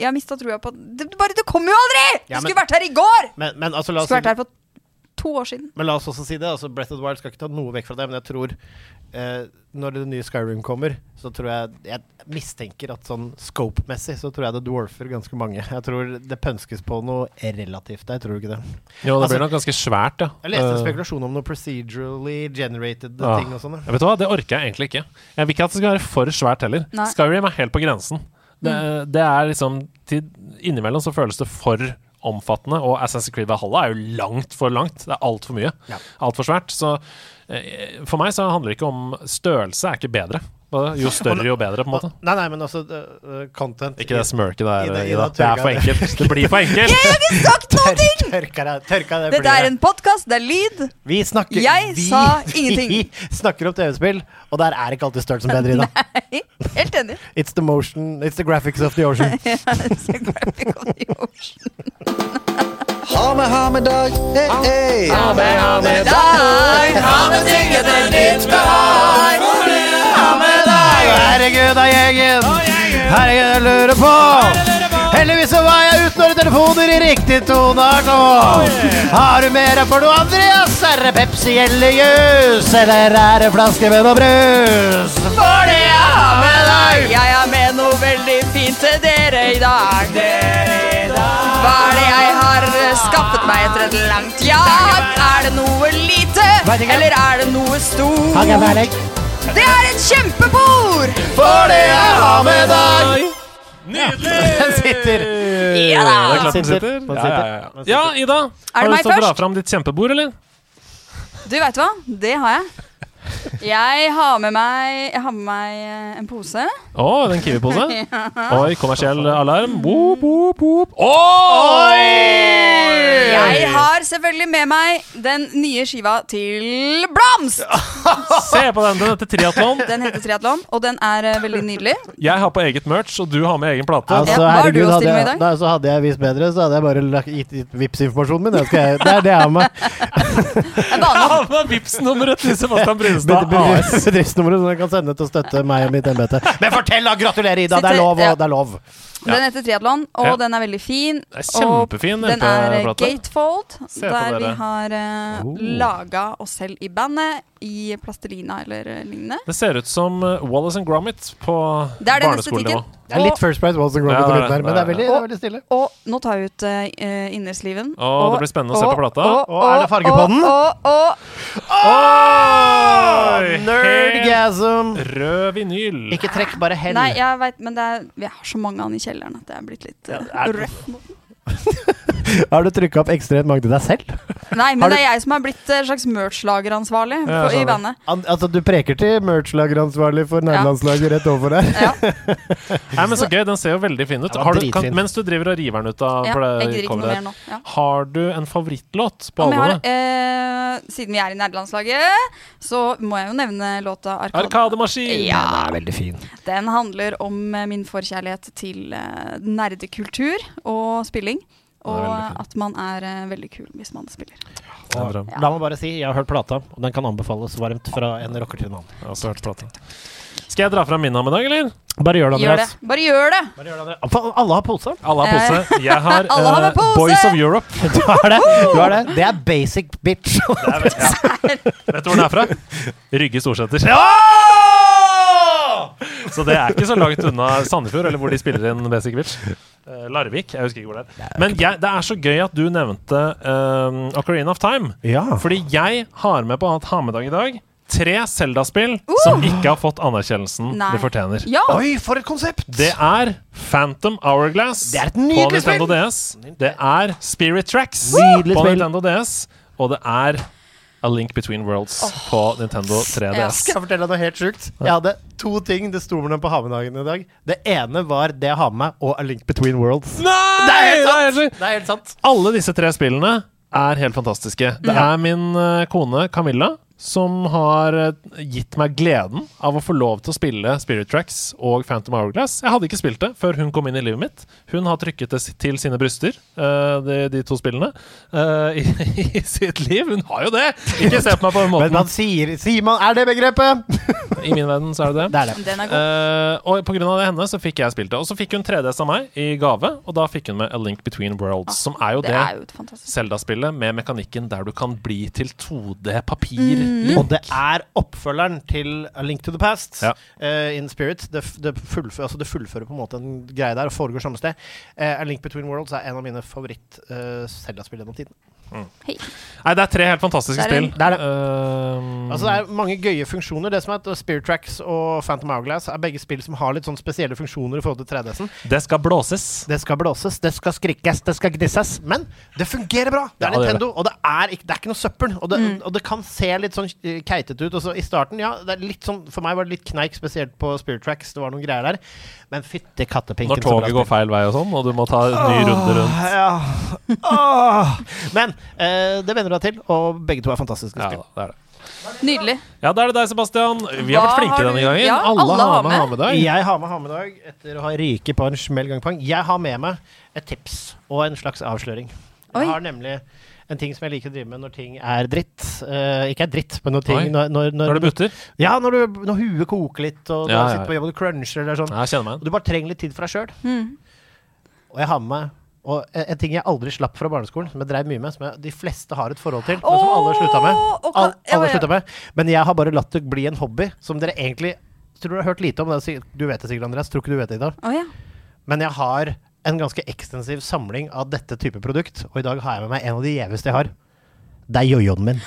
Speaker 6: Jeg har mista trua på det, det bare, det kommer jo aldri!
Speaker 5: Ja,
Speaker 6: Du
Speaker 5: men-
Speaker 6: skulle vært her i går!
Speaker 5: Men, men, altså, la
Speaker 6: Du
Speaker 5: oss
Speaker 6: skulle vært
Speaker 5: si,
Speaker 6: her for to år siden.
Speaker 5: men la oss også si det. Altså, Breath of the Wild skal ikke ta noe vekk fra det, men jeg tror eh, når det nye Skyrim kommer, så tror jeg Jeg mistenker at sånn scope-messig så tror jeg det dwarfer ganske mange. Jeg tror det pønskes på noe relativt der, tror du ikke det?
Speaker 1: Jo, det
Speaker 5: Altså,
Speaker 1: blir nok ganske svært, ja.
Speaker 5: Jeg leste en
Speaker 1: Eh,
Speaker 5: spekulasjon om noe procedurally generated
Speaker 1: Ja.
Speaker 5: ting og sånn. da.
Speaker 1: Ja, Vet du hva, Det orker jeg egentlig ikke. Jeg vil ikke at det skal være for svært heller.
Speaker 6: Nei. Mm.
Speaker 1: Skyrim er helt på grensen. Det, det er liksom til, Innimellom så føles det for omfattende, og Assassin's Creed Valhalla er jo langt for langt. Det er altfor mye.
Speaker 5: Ja.
Speaker 1: Altfor svært. Så eh, for meg så handler det ikke om Størrelse er ikke bedre. Jo større, jo bedre, på en måte.
Speaker 5: Nei, nei, men altså eh, Content
Speaker 1: Ikke det smørket der, Ida.
Speaker 5: Ida- Ida
Speaker 1: Det er for
Speaker 5: tørka det.
Speaker 1: enkelt. Det blir for enkelt!
Speaker 6: Ikke sagt noe!
Speaker 5: Tørka det, tørka det
Speaker 6: Dette er en podkast, det er lyd.
Speaker 5: Vi snakker
Speaker 6: Jeg
Speaker 5: vi,
Speaker 6: sa ingenting.
Speaker 5: Vi snakker om TV-spill, og der er ikke alltid størrelsen bedre, Ida.
Speaker 6: Helt enig.
Speaker 5: It's the motion, it's the graphics of the ocean.
Speaker 6: Ja, it's a graphic on the ocean.
Speaker 4: Ha med, ha med dag. Hey, hey.
Speaker 5: Herregud, da, gjengen! Herregud, jeg lurer på! Heldigvis så var jeg uten noen telefoner i riktig toneart nå. Har du mer for noe, Andreas? Er det Pepsi eller jus? Eller er det flaske med noe brus? For det jeg har med deg!
Speaker 6: Jeg har med noe veldig fint til dere i dag. Hva er det jeg har eh, skaffet meg etter et langt jag? Er det noe lite,
Speaker 5: Vet ikke.
Speaker 6: eller er det noe
Speaker 5: Takk, jeg er
Speaker 6: stort?
Speaker 5: ferdig.
Speaker 6: Det er et kjempebord!
Speaker 5: For det jeg har med deg! Den sitter.
Speaker 1: Ja, det er klart den
Speaker 5: Sitter.
Speaker 1: sitter.
Speaker 5: Den
Speaker 1: Ja, ja, ja. ja, Ida.
Speaker 6: det
Speaker 1: Har du
Speaker 6: meg
Speaker 1: lyst til å dra
Speaker 6: først?
Speaker 1: fram ditt kjempebord, eller?
Speaker 6: Du vet hva? Det har jeg. Jeg har med meg, jeg har med meg eh, en pose.
Speaker 1: Å, den kiwi-pose? Oi, kommersiell alarm. Boop, boop, boop. Oi!
Speaker 6: Jeg har selvfølgelig med meg den nye skiva til Blomst!
Speaker 1: Se på den, den heter Triatlon.
Speaker 6: Den heter Triatlon, og den er eh, veldig nydelig.
Speaker 1: Jeg har på eget merch, og du har med egen plate.
Speaker 5: Altså,
Speaker 6: Ja, hva har du
Speaker 5: herregud,
Speaker 6: å
Speaker 5: hadde
Speaker 6: stille med
Speaker 5: jeg,
Speaker 6: i dag?
Speaker 5: nei, så hadde jeg visst bedre, så hadde jeg bare lagt, gitt, gitt Vipps-informasjonen min. Det, skal jeg, det er det jeg har med.
Speaker 6: Jeg baner opp.
Speaker 1: Han har Vipps-nummeret til Sebastian
Speaker 5: Bed-
Speaker 1: Brunestad AS.
Speaker 5: bedrift- Bedriftsnummeret som jeg kan sende til å støtte meg og mitt embete. Men fortell, da! Gratulerer, Ida! Det er lov.
Speaker 6: Ja.
Speaker 5: Og, det er lov.
Speaker 6: Den heter Triatlon, og
Speaker 1: Ja.
Speaker 6: den er veldig fin.
Speaker 1: Det er kjempefin
Speaker 6: Den er eh,
Speaker 1: LP-plate.
Speaker 6: Gatefold,
Speaker 1: Se på
Speaker 6: der vi
Speaker 1: dere.
Speaker 6: har uh,
Speaker 5: Oh.
Speaker 6: laga oss selv i bandet i plastelina eller eh, lignende.
Speaker 1: Det ser ut som eh, Wallace and Gromit på
Speaker 6: Det er den neste
Speaker 1: barneskolenivå.
Speaker 6: tikken.
Speaker 5: Det er litt First Price Walls and
Speaker 1: Ja,
Speaker 5: Gromit
Speaker 1: det er
Speaker 5: rundt der, men det er veldig, det er veldig stille.
Speaker 6: Og nå tar vi ut eh, eh, innersliven.
Speaker 1: Å, det blir spennende å se på plata.
Speaker 5: Å, er det farge på den?
Speaker 6: Og, og,
Speaker 1: Oi! Helt
Speaker 5: Nerdgasm!
Speaker 1: rød vinyl.
Speaker 5: Ikke trekk, bare hell.
Speaker 6: Nei, jeg vet, men det er, vi har så mange av den i kjelleren at det er blitt litt uh,
Speaker 5: er-
Speaker 6: røff.
Speaker 5: Har du trykka opp ekstremt mange til deg selv?
Speaker 6: Nei, men
Speaker 5: Har du-
Speaker 6: det er jeg som er blitt eh, slags merch-lageransvarlig
Speaker 1: Ja,
Speaker 6: for- i
Speaker 1: skjønner.
Speaker 6: bandet.
Speaker 5: An altså, du preker til merch-lageransvarlig for nærlandslaget rett overfor her.
Speaker 6: Ja.
Speaker 1: Nei, men Så gøy, den ser jo veldig fin ut.
Speaker 5: Den var
Speaker 1: Har du, kan,
Speaker 5: dritfin.
Speaker 1: mens du driver og river den ut av
Speaker 6: Ja,
Speaker 1: for det
Speaker 6: jeg gidder ikke noe
Speaker 1: coveret
Speaker 6: mer nå. Ja.
Speaker 1: Har du en favorittlåt på
Speaker 6: Ja, men jeg har,
Speaker 1: albumet?
Speaker 6: eh, siden vi er i nerdelandslaget, så må jeg jo nevne låta Arkade.
Speaker 1: Arkademaskin!
Speaker 6: Ja,
Speaker 5: er veldig fin.
Speaker 6: Den handler om eh, min forkjærlighet til eh, nerdekultur og spilling.
Speaker 1: er
Speaker 6: Og
Speaker 1: veldig fin.
Speaker 6: at man er eh, veldig kul hvis man spiller.
Speaker 1: Den er bra.
Speaker 6: Ja.
Speaker 5: La meg bare si, jeg har hørt plata, og den kan anbefales varmt fra en rocker til en annen.
Speaker 1: Jeg har også hørt plata. Skal jeg dra fram min ham i dag, eller?
Speaker 5: Bare gjør det,
Speaker 6: Gjør det.
Speaker 5: Andreas.
Speaker 6: Bare gjør det!
Speaker 5: Bare gjør det, Andreas. Faen, Alle har pose.
Speaker 1: Alle har pose. Jeg har,
Speaker 6: Alle har med
Speaker 1: eh,
Speaker 6: pose!
Speaker 1: Boys of Europe.
Speaker 5: Du har det. Du har det. det er basic bitch.
Speaker 1: Vet du hvor den er fra? Rygge Storsæter. Så det er ikke så langt unna Sandefjord, eller hvor de spiller inn Basic Bitch. Eh, Larvik, jeg husker ikke hvor det er. Men jeg, det er så gøy at du nevnte eh, Ocarina of Time.
Speaker 5: Ja.
Speaker 1: Fordi jeg har med på annet Hamedag i dag tre Zelda-spill som ikke har fått anerkjennelsen
Speaker 6: Nei.
Speaker 1: de fortjener.
Speaker 6: Ja!
Speaker 5: Oi, for et konsept!
Speaker 1: Det er Phantom Hourglass
Speaker 5: Det er et
Speaker 1: på
Speaker 5: nydelig
Speaker 1: Nintendo DS. Det er Spirit Tracks
Speaker 5: Nydelig
Speaker 1: på
Speaker 5: spill.
Speaker 1: Nintendo DS. Og det er A Link Between Worlds på Nintendo 3DS.
Speaker 5: Skal jeg fortelle deg noe helt sjukt? Jeg hadde to ting det sto mellom på Hamedagen i dag. Det ene var det jeg har med meg, og A Link Between Worlds.
Speaker 1: Nei!
Speaker 5: Det er helt sant!
Speaker 1: sjukt.
Speaker 5: Det er helt sant. Mhm.
Speaker 1: Alle disse tre spillene er helt fantastiske. Det er min eh, kone Camilla som har eh, gitt meg gleden av å få lov til å spille Spirit Tracks og Phantom Hourglass. Jeg hadde ikke spilt det før hun kom inn i livet mitt. Hun har trykket det s- til sine bryster, eh, de, de to spillene, eh, i, i sitt liv. Hun har jo det! Ikke se på meg på den
Speaker 5: Men man
Speaker 1: måten.
Speaker 5: sier, sier man Er det begrepet?
Speaker 1: I min verden så er det det.
Speaker 5: Det er det.
Speaker 6: Den er god.
Speaker 1: Eh, og pga. henne så fikk jeg spilt det. Og så fikk hun 3DS av meg i gave, og da fikk hun med A Link Between Worlds, som er jo
Speaker 6: Ah, det
Speaker 1: det,
Speaker 6: er jo et fantastisk
Speaker 1: Zelda-spillet med mekanikken der du kan bli til 2D-papir.
Speaker 6: Mhm.
Speaker 5: Og det er oppfølgeren til A Link to the Past
Speaker 1: Mm. Ja.
Speaker 5: eh, in Spirit. Det, f- det, fullfører, altså det fullfører på en måte en greie der og foregår samme sted. Eh, A Link Between Worlds er en av mine favoritt-Selda-spill gjennom tiden.
Speaker 6: Hei.
Speaker 1: Nei, det er tre helt fantastiske
Speaker 6: Det er
Speaker 1: spill.
Speaker 6: en-
Speaker 5: Det er det.
Speaker 1: Ehm,
Speaker 5: Altså Det er mange gøye funksjoner. Det som er at eh, Spirit Tracks og Phantom Hourglass er begge spill som har litt sånn spesielle funksjoner i forhold til 3DS-en.
Speaker 1: det skal blåses.
Speaker 5: Det skal blåses, det skal skrikkes, det skal gnisses. Men det fungerer bra!
Speaker 1: Ja,
Speaker 5: Det er
Speaker 1: det gjør
Speaker 5: Nintendo, og det er, ikke, det er ikke noe søppel. Og det, og det kan se litt sånn eh, keitete ut. Og så I starten, ja, det er litt sånn, for meg var det litt kneik, spesielt på Spirit Tracks. Det var noen greier der. Men fytti kattepinken.
Speaker 1: Når toget går feil vei og sånn, og du må ta en ny runde rundt.
Speaker 5: Ja. Åh. Men eh, det venner du deg til, og begge to er fantastiske
Speaker 1: Ja,
Speaker 5: spill.
Speaker 1: det er det.
Speaker 6: Nydelig.
Speaker 1: Ja, da er det deg, Sebastian. Vi har
Speaker 6: Hva
Speaker 1: vært flinke
Speaker 6: har du-
Speaker 1: denne gangen.
Speaker 6: Ja,
Speaker 1: alle, har med ha med deg.
Speaker 5: Jeg har med Hamedag etter å ha ryket på en smell gang pang. Jeg har med meg et tips og en slags avsløring.
Speaker 6: Oi.
Speaker 5: Jeg har nemlig en ting som jeg liker å drive med når ting er dritt. Eh, ikke er dritt, men når ting
Speaker 1: Oi.
Speaker 5: når, når, når,
Speaker 1: Når det butter.
Speaker 5: Ja, når, du, når huet koker litt, og
Speaker 1: Ja,
Speaker 5: du
Speaker 1: ja,
Speaker 5: sitter på jobb og du cruncher eller sånn.
Speaker 1: Ja, jeg kjenner meg
Speaker 5: Og
Speaker 1: igjen.
Speaker 5: du bare trenger litt tid for deg sjøl.
Speaker 6: Mm.
Speaker 5: Og jeg har med meg og e, en en ting jeg aldri slapp fra barneskolen, som jeg drev mye med, som jeg, de fleste har et forhold til, men som alle slutta med.
Speaker 6: Åh,
Speaker 5: Al
Speaker 6: og kan- ja,
Speaker 5: alle
Speaker 6: ja.
Speaker 5: slutta med. Men jeg har bare latt det bli en hobby som dere egentlig tror dere har hørt lite om. Det er sikkert- Du vet det sikkert, Andreas. Tror ikke du vet det, Ida.
Speaker 6: Å ja.
Speaker 5: Men jeg har en ganske ekstensiv samling av dette type produkt, og i dag har jeg med meg en av de gjeveste jeg har. Det er jojoen min.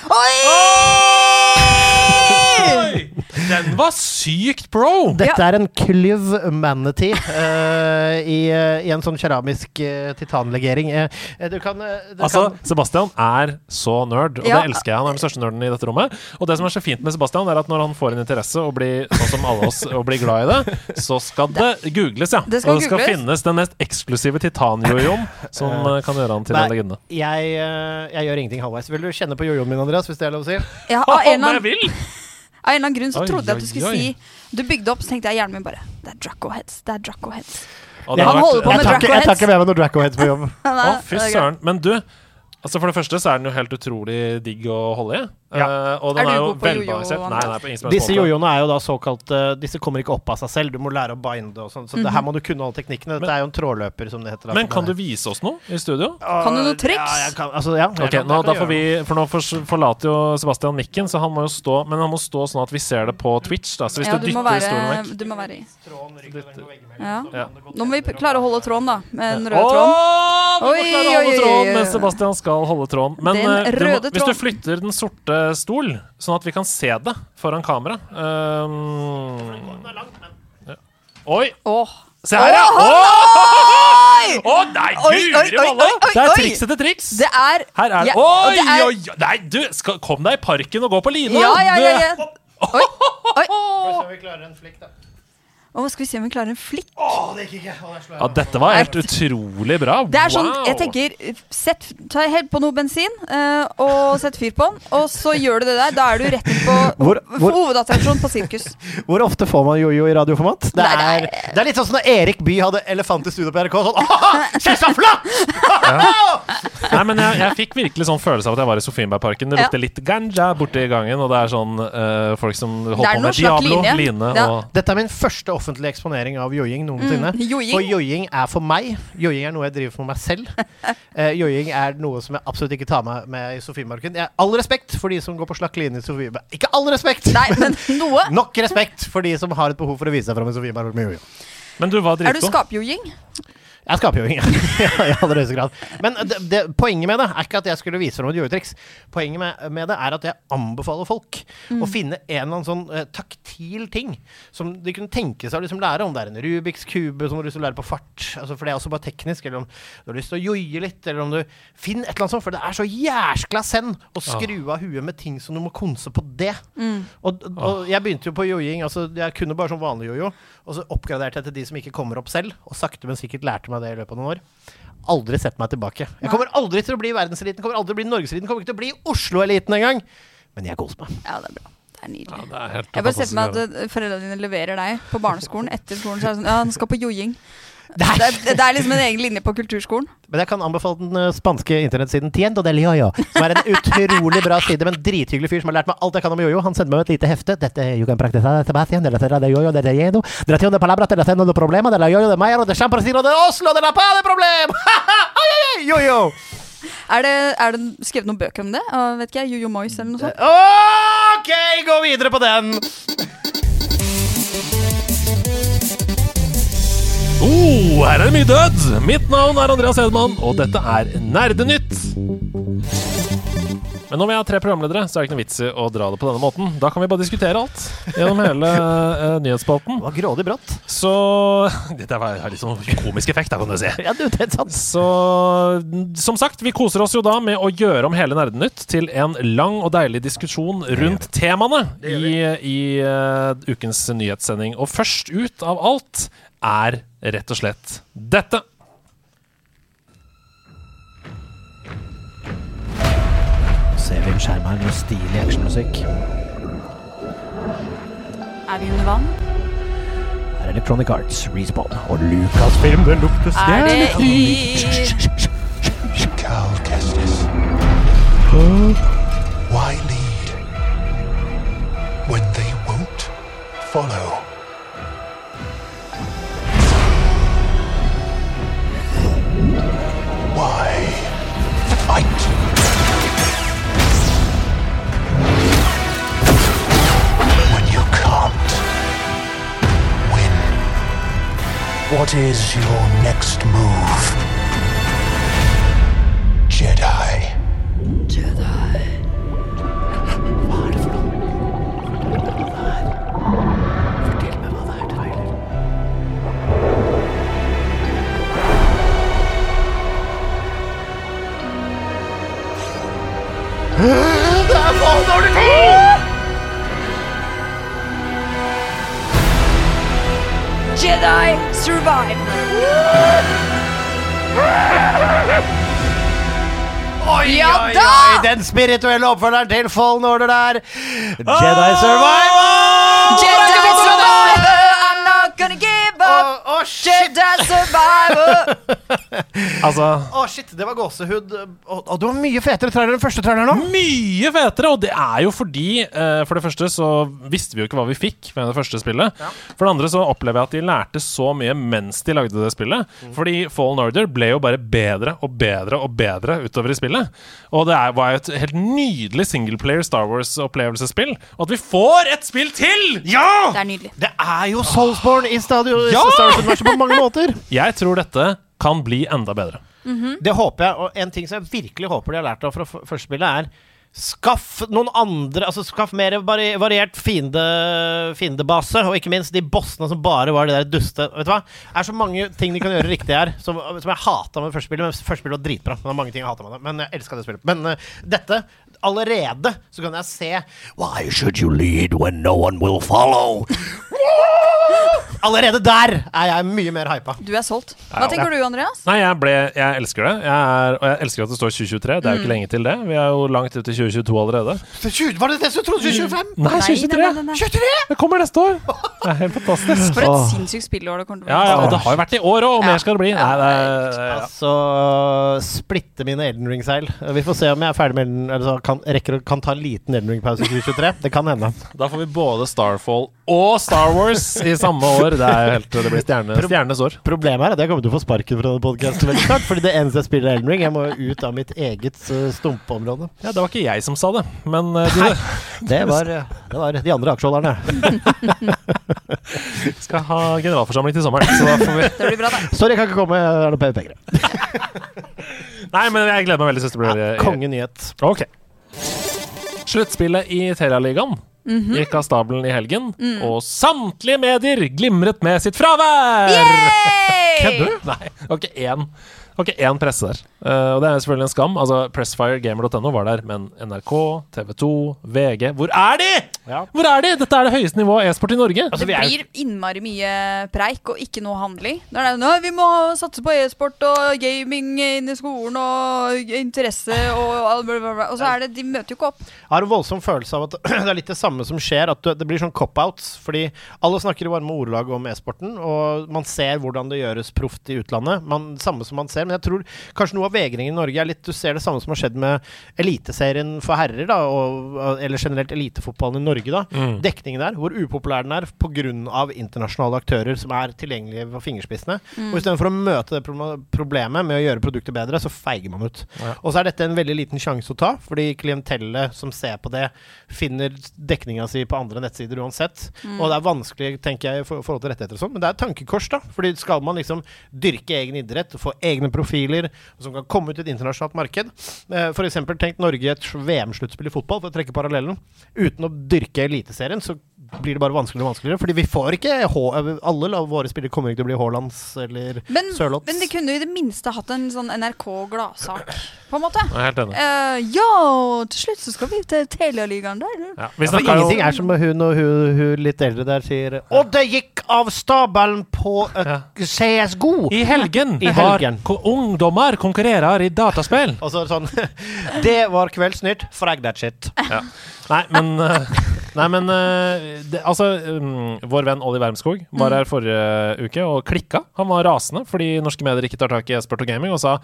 Speaker 1: Den var sykt pro!
Speaker 5: Dette er en klyv manatee eh, i, eh, i en sånn keramisk eh, titanlegering. Eh, eh, du kan, eh, du
Speaker 1: Altså,
Speaker 5: kan
Speaker 1: Sebastian er så nerd, og
Speaker 6: Ja.
Speaker 1: det elsker jeg. Han er den største nerden i dette rommet. Og det som er så fint med Sebastian, er at når han får en interesse og blir sånn som alle oss og blir glad i det, så skal det googles, ja.
Speaker 6: Det skal
Speaker 1: og det skal
Speaker 6: googles.
Speaker 1: finnes den mest eksklusive titanjojoen som eh, kan gjøre han til en
Speaker 5: Nei.
Speaker 1: legende.
Speaker 5: jeg, eh, jeg gjør ingenting halvveis. Vil du kjenne på jojoen min, Andreas? Hvis det er lov å si?
Speaker 6: ja
Speaker 1: Om
Speaker 6: av, en eller
Speaker 1: jeg
Speaker 6: annen,
Speaker 1: vil!
Speaker 6: av en eller annen grunn så
Speaker 1: Oi,
Speaker 6: trodde jeg at
Speaker 1: oi,
Speaker 6: du skulle
Speaker 1: oi.
Speaker 6: si Du bygde opp, så tenkte jeg i hjernen min bare Det er Draco Heads. Det er Draco Heads.
Speaker 1: Og det
Speaker 6: Han
Speaker 1: har
Speaker 6: holder på
Speaker 5: Jeg
Speaker 6: med
Speaker 5: tar
Speaker 1: vært-
Speaker 5: ikke- jeg tar ikke med meg noen Dracoheads på jobb.
Speaker 1: Å, fy søren. Men du, altså for det første så er den jo helt utrolig digg å holde i. Eh, og den er,
Speaker 6: Er du
Speaker 1: jo
Speaker 6: god på jojo,
Speaker 1: velbalansert. Nei, nei, på ingen som helst
Speaker 5: Disse
Speaker 1: måte.
Speaker 5: jojoene er jo da såkalt eh, Disse kommer ikke opp av seg selv. Du må lære å binde og sånn. Så det her må du kunne alle teknikkene. Dette er jo en trådløper, som det heter. da.
Speaker 1: Men kan du vise oss noe i studio?
Speaker 6: Kan du
Speaker 5: Ah,
Speaker 6: noen
Speaker 5: Ja,
Speaker 6: triks?
Speaker 5: jeg kan, altså, ja, jeg
Speaker 1: Ok,
Speaker 5: kan-
Speaker 1: nå,
Speaker 5: jeg kan
Speaker 1: da
Speaker 5: gjøre
Speaker 1: får vi, for nå fors- forlater jo Sebastian mikken, så han må jo stå Men han må stå sånn at vi ser det på Twitch. da Så hvis
Speaker 6: Ja,
Speaker 1: du
Speaker 6: du må
Speaker 1: dytter
Speaker 6: være,
Speaker 1: stolen vekk
Speaker 6: du må være i.
Speaker 5: Tråden ryggen, den går veggimellom.
Speaker 6: Ja.
Speaker 1: Ja.
Speaker 6: Nå må vi p- klare å holde tråden, da. Med den røde
Speaker 1: Åh,
Speaker 6: tråden.
Speaker 1: vi må
Speaker 6: Oi,
Speaker 1: klare å holde
Speaker 6: oi, oi,
Speaker 1: tråden,
Speaker 6: oi.
Speaker 1: men Sebastian skal holde tråden. Men
Speaker 6: Den
Speaker 1: eh, du må,
Speaker 6: røde
Speaker 1: hvis du
Speaker 6: tråden.
Speaker 1: flytter den sorte stol, sånn at vi kan se det foran kamera um, Ja. Oi!
Speaker 6: Åh.
Speaker 1: Se her, ja! Å nei,
Speaker 6: Oi, oi,
Speaker 1: guri
Speaker 6: oi,
Speaker 1: malla!
Speaker 6: oi, oi,
Speaker 1: Det er
Speaker 6: oi.
Speaker 1: triks etter triks.
Speaker 6: Det er
Speaker 1: Her er det
Speaker 6: Ja, og
Speaker 1: Oi,
Speaker 6: det er-
Speaker 1: oi, oi! Nei, du, skal, kom deg i parken og gå på line!
Speaker 6: Ja, ja, ja.
Speaker 1: du.
Speaker 6: ja. Oi. Oi.
Speaker 5: Skal vi se om vi klarer en flikk, da.
Speaker 6: Å, skal vi se om vi klarer en flikk?
Speaker 5: Å, det gikk ikke! Å, der slår jeg
Speaker 1: Ja, dette var helt utrolig bra.
Speaker 6: Det er sånn,
Speaker 1: wow.
Speaker 6: jeg tenker sett, Ta helt på noe bensin eh, og sett fyr på den, og så gjør du det der. Da er du rett inn på
Speaker 5: Hvor-
Speaker 6: ho-
Speaker 5: hvor-
Speaker 6: hovedattraksjon på sirkus.
Speaker 5: Hvor ofte får man jojo i radioformat? Det
Speaker 6: Nei,
Speaker 5: er,
Speaker 6: det
Speaker 5: det er litt sånn som når Erik Bye hadde elefant i studio på NRK. Sånn «Åh, Kjell Stafla!
Speaker 1: Nei, men jeg, jeg fikk virkelig sånn følelse av at jeg var i Sofienbergparken. Det
Speaker 6: Ja.
Speaker 1: lukter litt ganja borti gangen, og det er sånn eh, folk som holder på
Speaker 6: Det er noe
Speaker 1: med
Speaker 6: slags
Speaker 1: Diablo,
Speaker 6: linje.
Speaker 1: line,
Speaker 6: Ja.
Speaker 1: og
Speaker 5: Dette er min første offentlige eksponering av joiing noensinne.
Speaker 6: joiing?
Speaker 5: For joiing er for meg. Joiing er noe jeg driver for meg selv. Eh, joiing er noe som jeg absolutt ikke tar med, med i Sofiemarken. Jeg- All respekt for de som går på slakk line i Sofiemarken. Ikke all respekt!
Speaker 6: Nei, men noe.
Speaker 5: Nok respekt for de som har et behov for å vise seg fram i Sofiemarken med joiing.
Speaker 1: Men du var
Speaker 6: Er du
Speaker 1: dritgod.
Speaker 6: skapjojing?
Speaker 5: Jeg skaper joiing, ja. I aller høyeste grad. Men det, det, poenget med det er ikke at jeg skulle vise fram et joitriks. Poenget med, med det er at jeg anbefaler folk å finne en eller annen sånn eh, taktil ting som de kunne tenke seg å liksom lære. Om det er en Rubiks kube som du har lyst til å lære på fart, altså, for det er også bare teknisk, eller om du har lyst til å joie litt, eller om du Finn et eller annet sånt, for det er så jæskla send å skru av huet med ting som du må konse på det. Og, og jeg begynte jo på joiing. Altså, jeg kunne bare som vanlig jojo. Og så oppgraderte jeg til de som ikke kommer opp selv. Og sakte, men sikkert lærte meg det i løpet av noen år. Aldri sett meg tilbake. Jeg kommer aldri til å bli verdenseliten, kommer aldri til å bli norgeseliten, kommer ikke til å bli Oslo-eliten engang. Men jeg koser meg.
Speaker 6: Ja, det er bra. Det er nydelig.
Speaker 1: Det er helt
Speaker 6: Jeg bare
Speaker 1: fantastisk
Speaker 6: ser for meg
Speaker 1: å
Speaker 6: at eh, foreldrene dine leverer deg på barneskolen etter skolen. Så er det sånn, ja, han skal på joiing.
Speaker 5: Nei.
Speaker 6: Det, er- det er liksom en egen linje på kulturskolen.
Speaker 5: Men jeg kan anbefale den eh, spanske internettsiden Tiendo del Jojo, som er en utrolig bra side med en drithyggelig fyr som har lært meg alt jeg kan om jojo. Han sender meg et lite hefte. Dette er you can practice that, Sebastian, de la Serra de jojo, de la Yedo, de la Tion de palabra, de la Seno de problema, de la jojo de Mayer, de San Francisco de Oslo, de la pa de problem! Ai, ai, ai, jojo!
Speaker 6: Er det, er det skrevet noen bøker om det? Uh, vet ikke jeg, Jojo Moyes eller noe sånt?
Speaker 5: OK, gå videre på den!
Speaker 1: høre. Oh, her er det mye død! Mitt navn er Andreas Hedman, og dette er Nerdenytt. Men om jeg har tre programledere, så er det ikke noe vits i å dra det på denne måten. Da kan vi bare diskutere alt gjennom hele eh, nyhetsspalten.
Speaker 5: Det var grådig brått.
Speaker 1: Så Dette var- har litt sånn komisk effekt, da, kan du si.
Speaker 5: Ja, du, det er sant.
Speaker 1: Så n- som sagt, vi koser oss jo da med å gjøre om hele Nerdenytt til en lang og deilig diskusjon rundt temaene i, i eh, ukens nyhetssending. Og først ut av alt er rett og slett dette.
Speaker 5: Ser vi på skjermen her noe stilig actionmusikk.
Speaker 6: Er vi under vann?
Speaker 5: Her er Electronic Arts, Respawn og Lucasfilm. Det lukter
Speaker 6: Er det i
Speaker 7: Cal Kestis. Why lead when they won't follow? Why fight? when you can't win? What is your next move? Jedi.
Speaker 6: Jedi Survive? Ja da!
Speaker 5: Den spirituelle oppfølgeren til Fallen Order der. Jedi Survivor!
Speaker 6: Jedi Survivor, I'm not gonna give up.
Speaker 5: Å, å, shit!
Speaker 6: Jedi Survivor.
Speaker 1: Altså
Speaker 5: Å, shit, det var gåsehud. Å, å, det var mye fetere trailer enn første trailer nå.
Speaker 1: mye fetere, og det er jo fordi eh, For det første så visste vi jo ikke hva vi fikk med det første spillet. For det andre så opplever jeg at de lærte så mye mens de lagde det spillet. Fordi Fallen Order ble jo bare bedre og bedre og bedre utover i spillet. Og det er, var jo et helt nydelig singleplayer Star Wars-opplevelsesspill. Og at vi får et spill til!
Speaker 6: Det er nydelig.
Speaker 5: Det er jo Soulsborne i stadio
Speaker 1: Ja!
Speaker 5: Star Wars-universet på mange måter.
Speaker 1: Jeg tror dette kan bli enda bedre.
Speaker 5: Det håper jeg, og en ting som jeg virkelig håper de har lært av fra f- første spillet, er Skaff noen andre Altså skaff mer vari- variert fiende, fiendebase, og ikke minst de bossene som bare var de der duste Vet du hva? Det er så mange ting de kan gjøre riktig her, som, som jeg hata med første spillet. Men første spillet var dritbra. Men det er mange ting jeg hatet med det. Men jeg elska det spillet. Men eh, dette Allerede så kan jeg se Why should you lead when no one will follow? Allerede der er jeg mye mer hypa.
Speaker 6: Du er solgt. Hva tenker du, Andreas?
Speaker 1: Nei, jeg, ble, jeg elsker det. Jeg er, og jeg elsker at det står 2023. Det er jo ikke lenge til det. Vi er jo langt ut i 2022 allerede.
Speaker 5: Så tjue- Var det det som trodde 25?
Speaker 1: Nei,
Speaker 6: Nei,
Speaker 1: 2023!
Speaker 6: nei, nei, nei.
Speaker 5: 23?
Speaker 1: Det kommer neste år! Det er helt fantastisk.
Speaker 6: For et
Speaker 1: Åh.
Speaker 6: sinnssykt spillår det kommer til
Speaker 1: Ja,
Speaker 6: å
Speaker 1: ja,
Speaker 6: bli.
Speaker 1: og det har jo vært i år òg, og
Speaker 6: Ja.
Speaker 1: mer skal det bli. Nei, det er, ja.
Speaker 5: Altså splitte mine Elden Ring-seil. Vi får se om jeg er ferdig med Elden altså, kan, Rekker å kan ta en liten Elden Ring-pause i 2023. Det kan hende.
Speaker 1: Da får vi både Starfall og Star Wars i samme år. Det, er jo helt, det blir stjerne, stjernenes år.
Speaker 5: Problemet er at jeg kommer til å få sparken fra podkasten veldig snart. Fordi det eneste jeg spiller, er Elden Ring. Jeg må jo ut av mitt eget eh, stumpeområde.
Speaker 1: Ja, det var ikke jeg som sa det, men eh, du
Speaker 5: Det var, eh, det var de andre aksjeholderne.
Speaker 1: skal ha generalforsamling til sommeren. Så da får vi
Speaker 6: Det blir bra, det.
Speaker 5: Sorry, jeg kan ikke komme. Jeg har noe penger.
Speaker 1: Nei, men jeg gleder meg veldig. Synes det blir eh,
Speaker 5: Ja, Kongenyhet.
Speaker 1: Ok. Sluttspillet i Telialigaen gikk av stabelen i helgen, og samtlige medier glimret med sitt fravær!
Speaker 6: Yay!
Speaker 1: Kødder du? Nei, det var ikke én. det var ikke én presse der. Eh, og det er selvfølgelig en skam. Altså, Pressfiregamer.no var der, men NRK, TV 2, VG Hvor er de?! Hvor er de?! Dette er det høyeste nivået e-sport i Norge.
Speaker 5: Altså,
Speaker 6: Det blir innmari mye preik og ikke noe handling. Da er det Nå, vi må satse på e-sport og gaming inn i skolen og interesse og all bla, bla, bla. Og så er det De møter jo ikke opp.
Speaker 5: Jeg har en voldsom følelse av at det er litt det samme som skjer, at du- det blir sånn cop-outs. Fordi alle snakker i varme ordelag om e-sporten, og man ser hvordan det gjøres proft i utlandet. Man, samme som man ser, men jeg tror kanskje noe av vegringen i Norge er litt Du ser det samme som har skjedd med Eliteserien for herrer, da, og, eller generelt elitefotballen i Norge, da. Dekningen der, hvor upopulær den er pga. internasjonale aktører som er tilgjengelige på fingerspissene. Og istedenfor å møte det proble- problemet med å gjøre produktet bedre, så feiger man ut. Og så er dette en veldig liten sjanse å ta, fordi klientellet som ser på det, finner dekninga si på andre nettsider uansett.
Speaker 6: Mm.
Speaker 5: Og det er vanskelig, tenker jeg, i for- forhold til rettigheter og sånn, men det er et tankekors, da. Fordi skal man liksom dyrke egen idrett, få egne profiler som kan komme ut i et internasjonalt marked eh, For eksempel, tenk Norge i et VM-sluttspill i fotball, for å trekke parallellen. Uten å dyrke Eliteserien, så blir det bare vanskeligere og vanskeligere. Fordi vi får ikke H Alle la- våre spillere kommer ikke til å bli Haalands eller
Speaker 6: Men,
Speaker 5: Sørloths.
Speaker 6: men de kunne jo i det minste hatt en sånn NRK-gladsak, på en måte.
Speaker 1: Jeg er helt enig.
Speaker 6: Eh, ja, til slutt så skal vi til Telialigaen der. du.
Speaker 1: Ja, vi
Speaker 5: For
Speaker 1: snakka
Speaker 5: Altså, ingenting
Speaker 1: jo
Speaker 5: er som hun og hun, hun litt eldre der sier Og det gikk av stabelen på et CSGO!
Speaker 1: I helgen
Speaker 5: I
Speaker 1: har
Speaker 5: helgen.
Speaker 1: ko- ungdommer konkurrerer i dataspill.
Speaker 5: Og så er det sånn Det var Kveldsnytt. Frag that shit.
Speaker 1: Nei, men, eh, nei, men eh, det, Altså, mm, vår venn Olli Wermskog var her forrige uke og klikka. Han var rasende fordi norske medier ikke tar tak i e-sport og gaming, og sa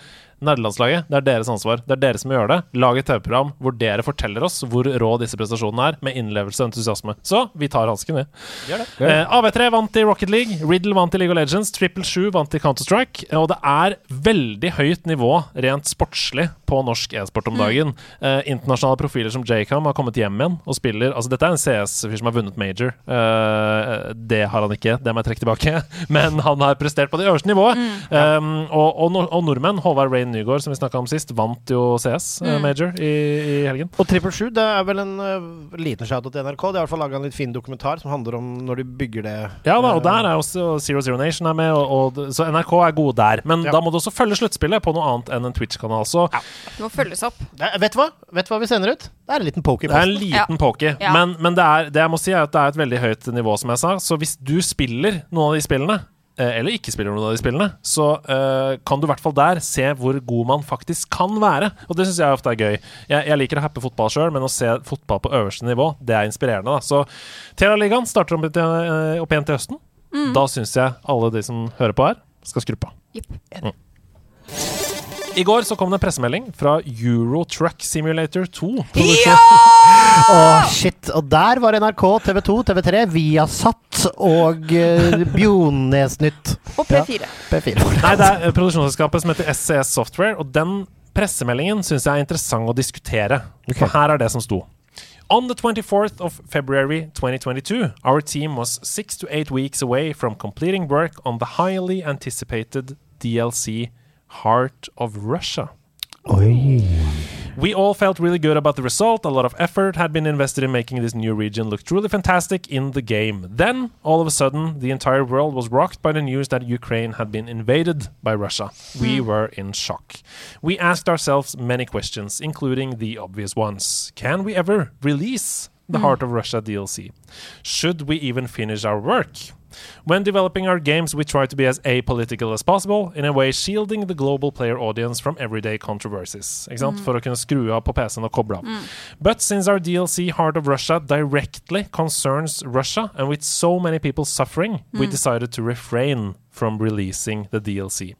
Speaker 1: nerdelandslaget, det er deres ansvar. Det er dere som gjør det. Lag et TV-program hvor dere forteller oss hvor rå disse prestasjonene er, med innlevelse og entusiasme. Så vi tar hansken, vi. Eh, AV3 vant i Rocket League, Riddle vant i League of Legends, Triple Sju vant i Counter-Strike. eh, Og det er veldig høyt nivå rent sportslig på norsk e-sport om dagen. Eh, internasjonale profiler som Jacom har kommet hjem igjen og spiller Altså, dette er en CS-fyr som har vunnet major. Eh, det har han ikke, det må jeg trekke tilbake. Men han har prestert på det øverste nivået. Eh, og, og, nor- og nordmenn, Håvard Rain Nygaard, som vi snakka om sist, vant jo CS eh, major i, i helgen.
Speaker 5: Og Triple Sju det er vel en eh, liten shout til NRK. De har i hvert fall laga en litt fin dokumentar som handler om når de bygger det
Speaker 1: Ja da, og
Speaker 5: eh,
Speaker 1: der er også Zero Zero Nation er med, og, og, så NRK er gode der. Men
Speaker 5: Ja.
Speaker 1: da må du også følge sluttspillet på noe annet enn en Twitch-kanal. Så
Speaker 6: Det må følges opp.
Speaker 5: det, er- Vet du hva? Vet du hva vi sender ut? Det er en liten poker
Speaker 1: det er en liten poke.
Speaker 6: Ja.
Speaker 1: Men, men det, er, det jeg må si er at det er et veldig høyt nivå, som jeg sa. Så hvis du spiller noen av de spillene, eh, eller ikke spiller noen av de spillene, så eh, kan du i hvert fall der se hvor god man faktisk kan være. Og det syns jeg ofte er gøy. Jeg, jeg liker å happe fotball sjøl, men å se fotball på øverste nivå, det er inspirerende. Da. Så Terraligaen starter opp, eh, opp igjen til høsten.
Speaker 6: Mm.
Speaker 1: Da syns jeg alle de som hører på her, skal skru på. Mm. I går så kom det en pressemelding fra Euro Truck Simulator 2.
Speaker 5: Å, shit. Og der var NRK, TV 2, TV3, Viasat og uh, Bjonesnytt.
Speaker 6: Og P4.
Speaker 5: P4.
Speaker 1: Nei, det er eh, produksjonsselskapet som heter SCS Software, og den pressemeldingen syns jeg er interessant å diskutere. For her er det som sto. On the 24th of February 2022, our team was six to eight weeks away from completing work on the highly anticipated DLC Heart of Russia. We all felt really good about the result. A lot of effort had been invested in making this new region look truly fantastic in the game. Then, all of a sudden, the entire world was rocked by the news that Ukraine had been invaded by Russia. We were in shock. We asked ourselves many questions, including the obvious ones Can we ever release the Heart of Russia DLC? Should we even finish our work? When developing our games, we try to be as apolitical as possible, in a way shielding the global player audience from everyday controversies. Ikke sant? For å kunne skru av på PC-en og koble av. But since our DLC Heart of Russia directly concerns Russia, and with so many people suffering, we decided to refrain from releasing the DLC.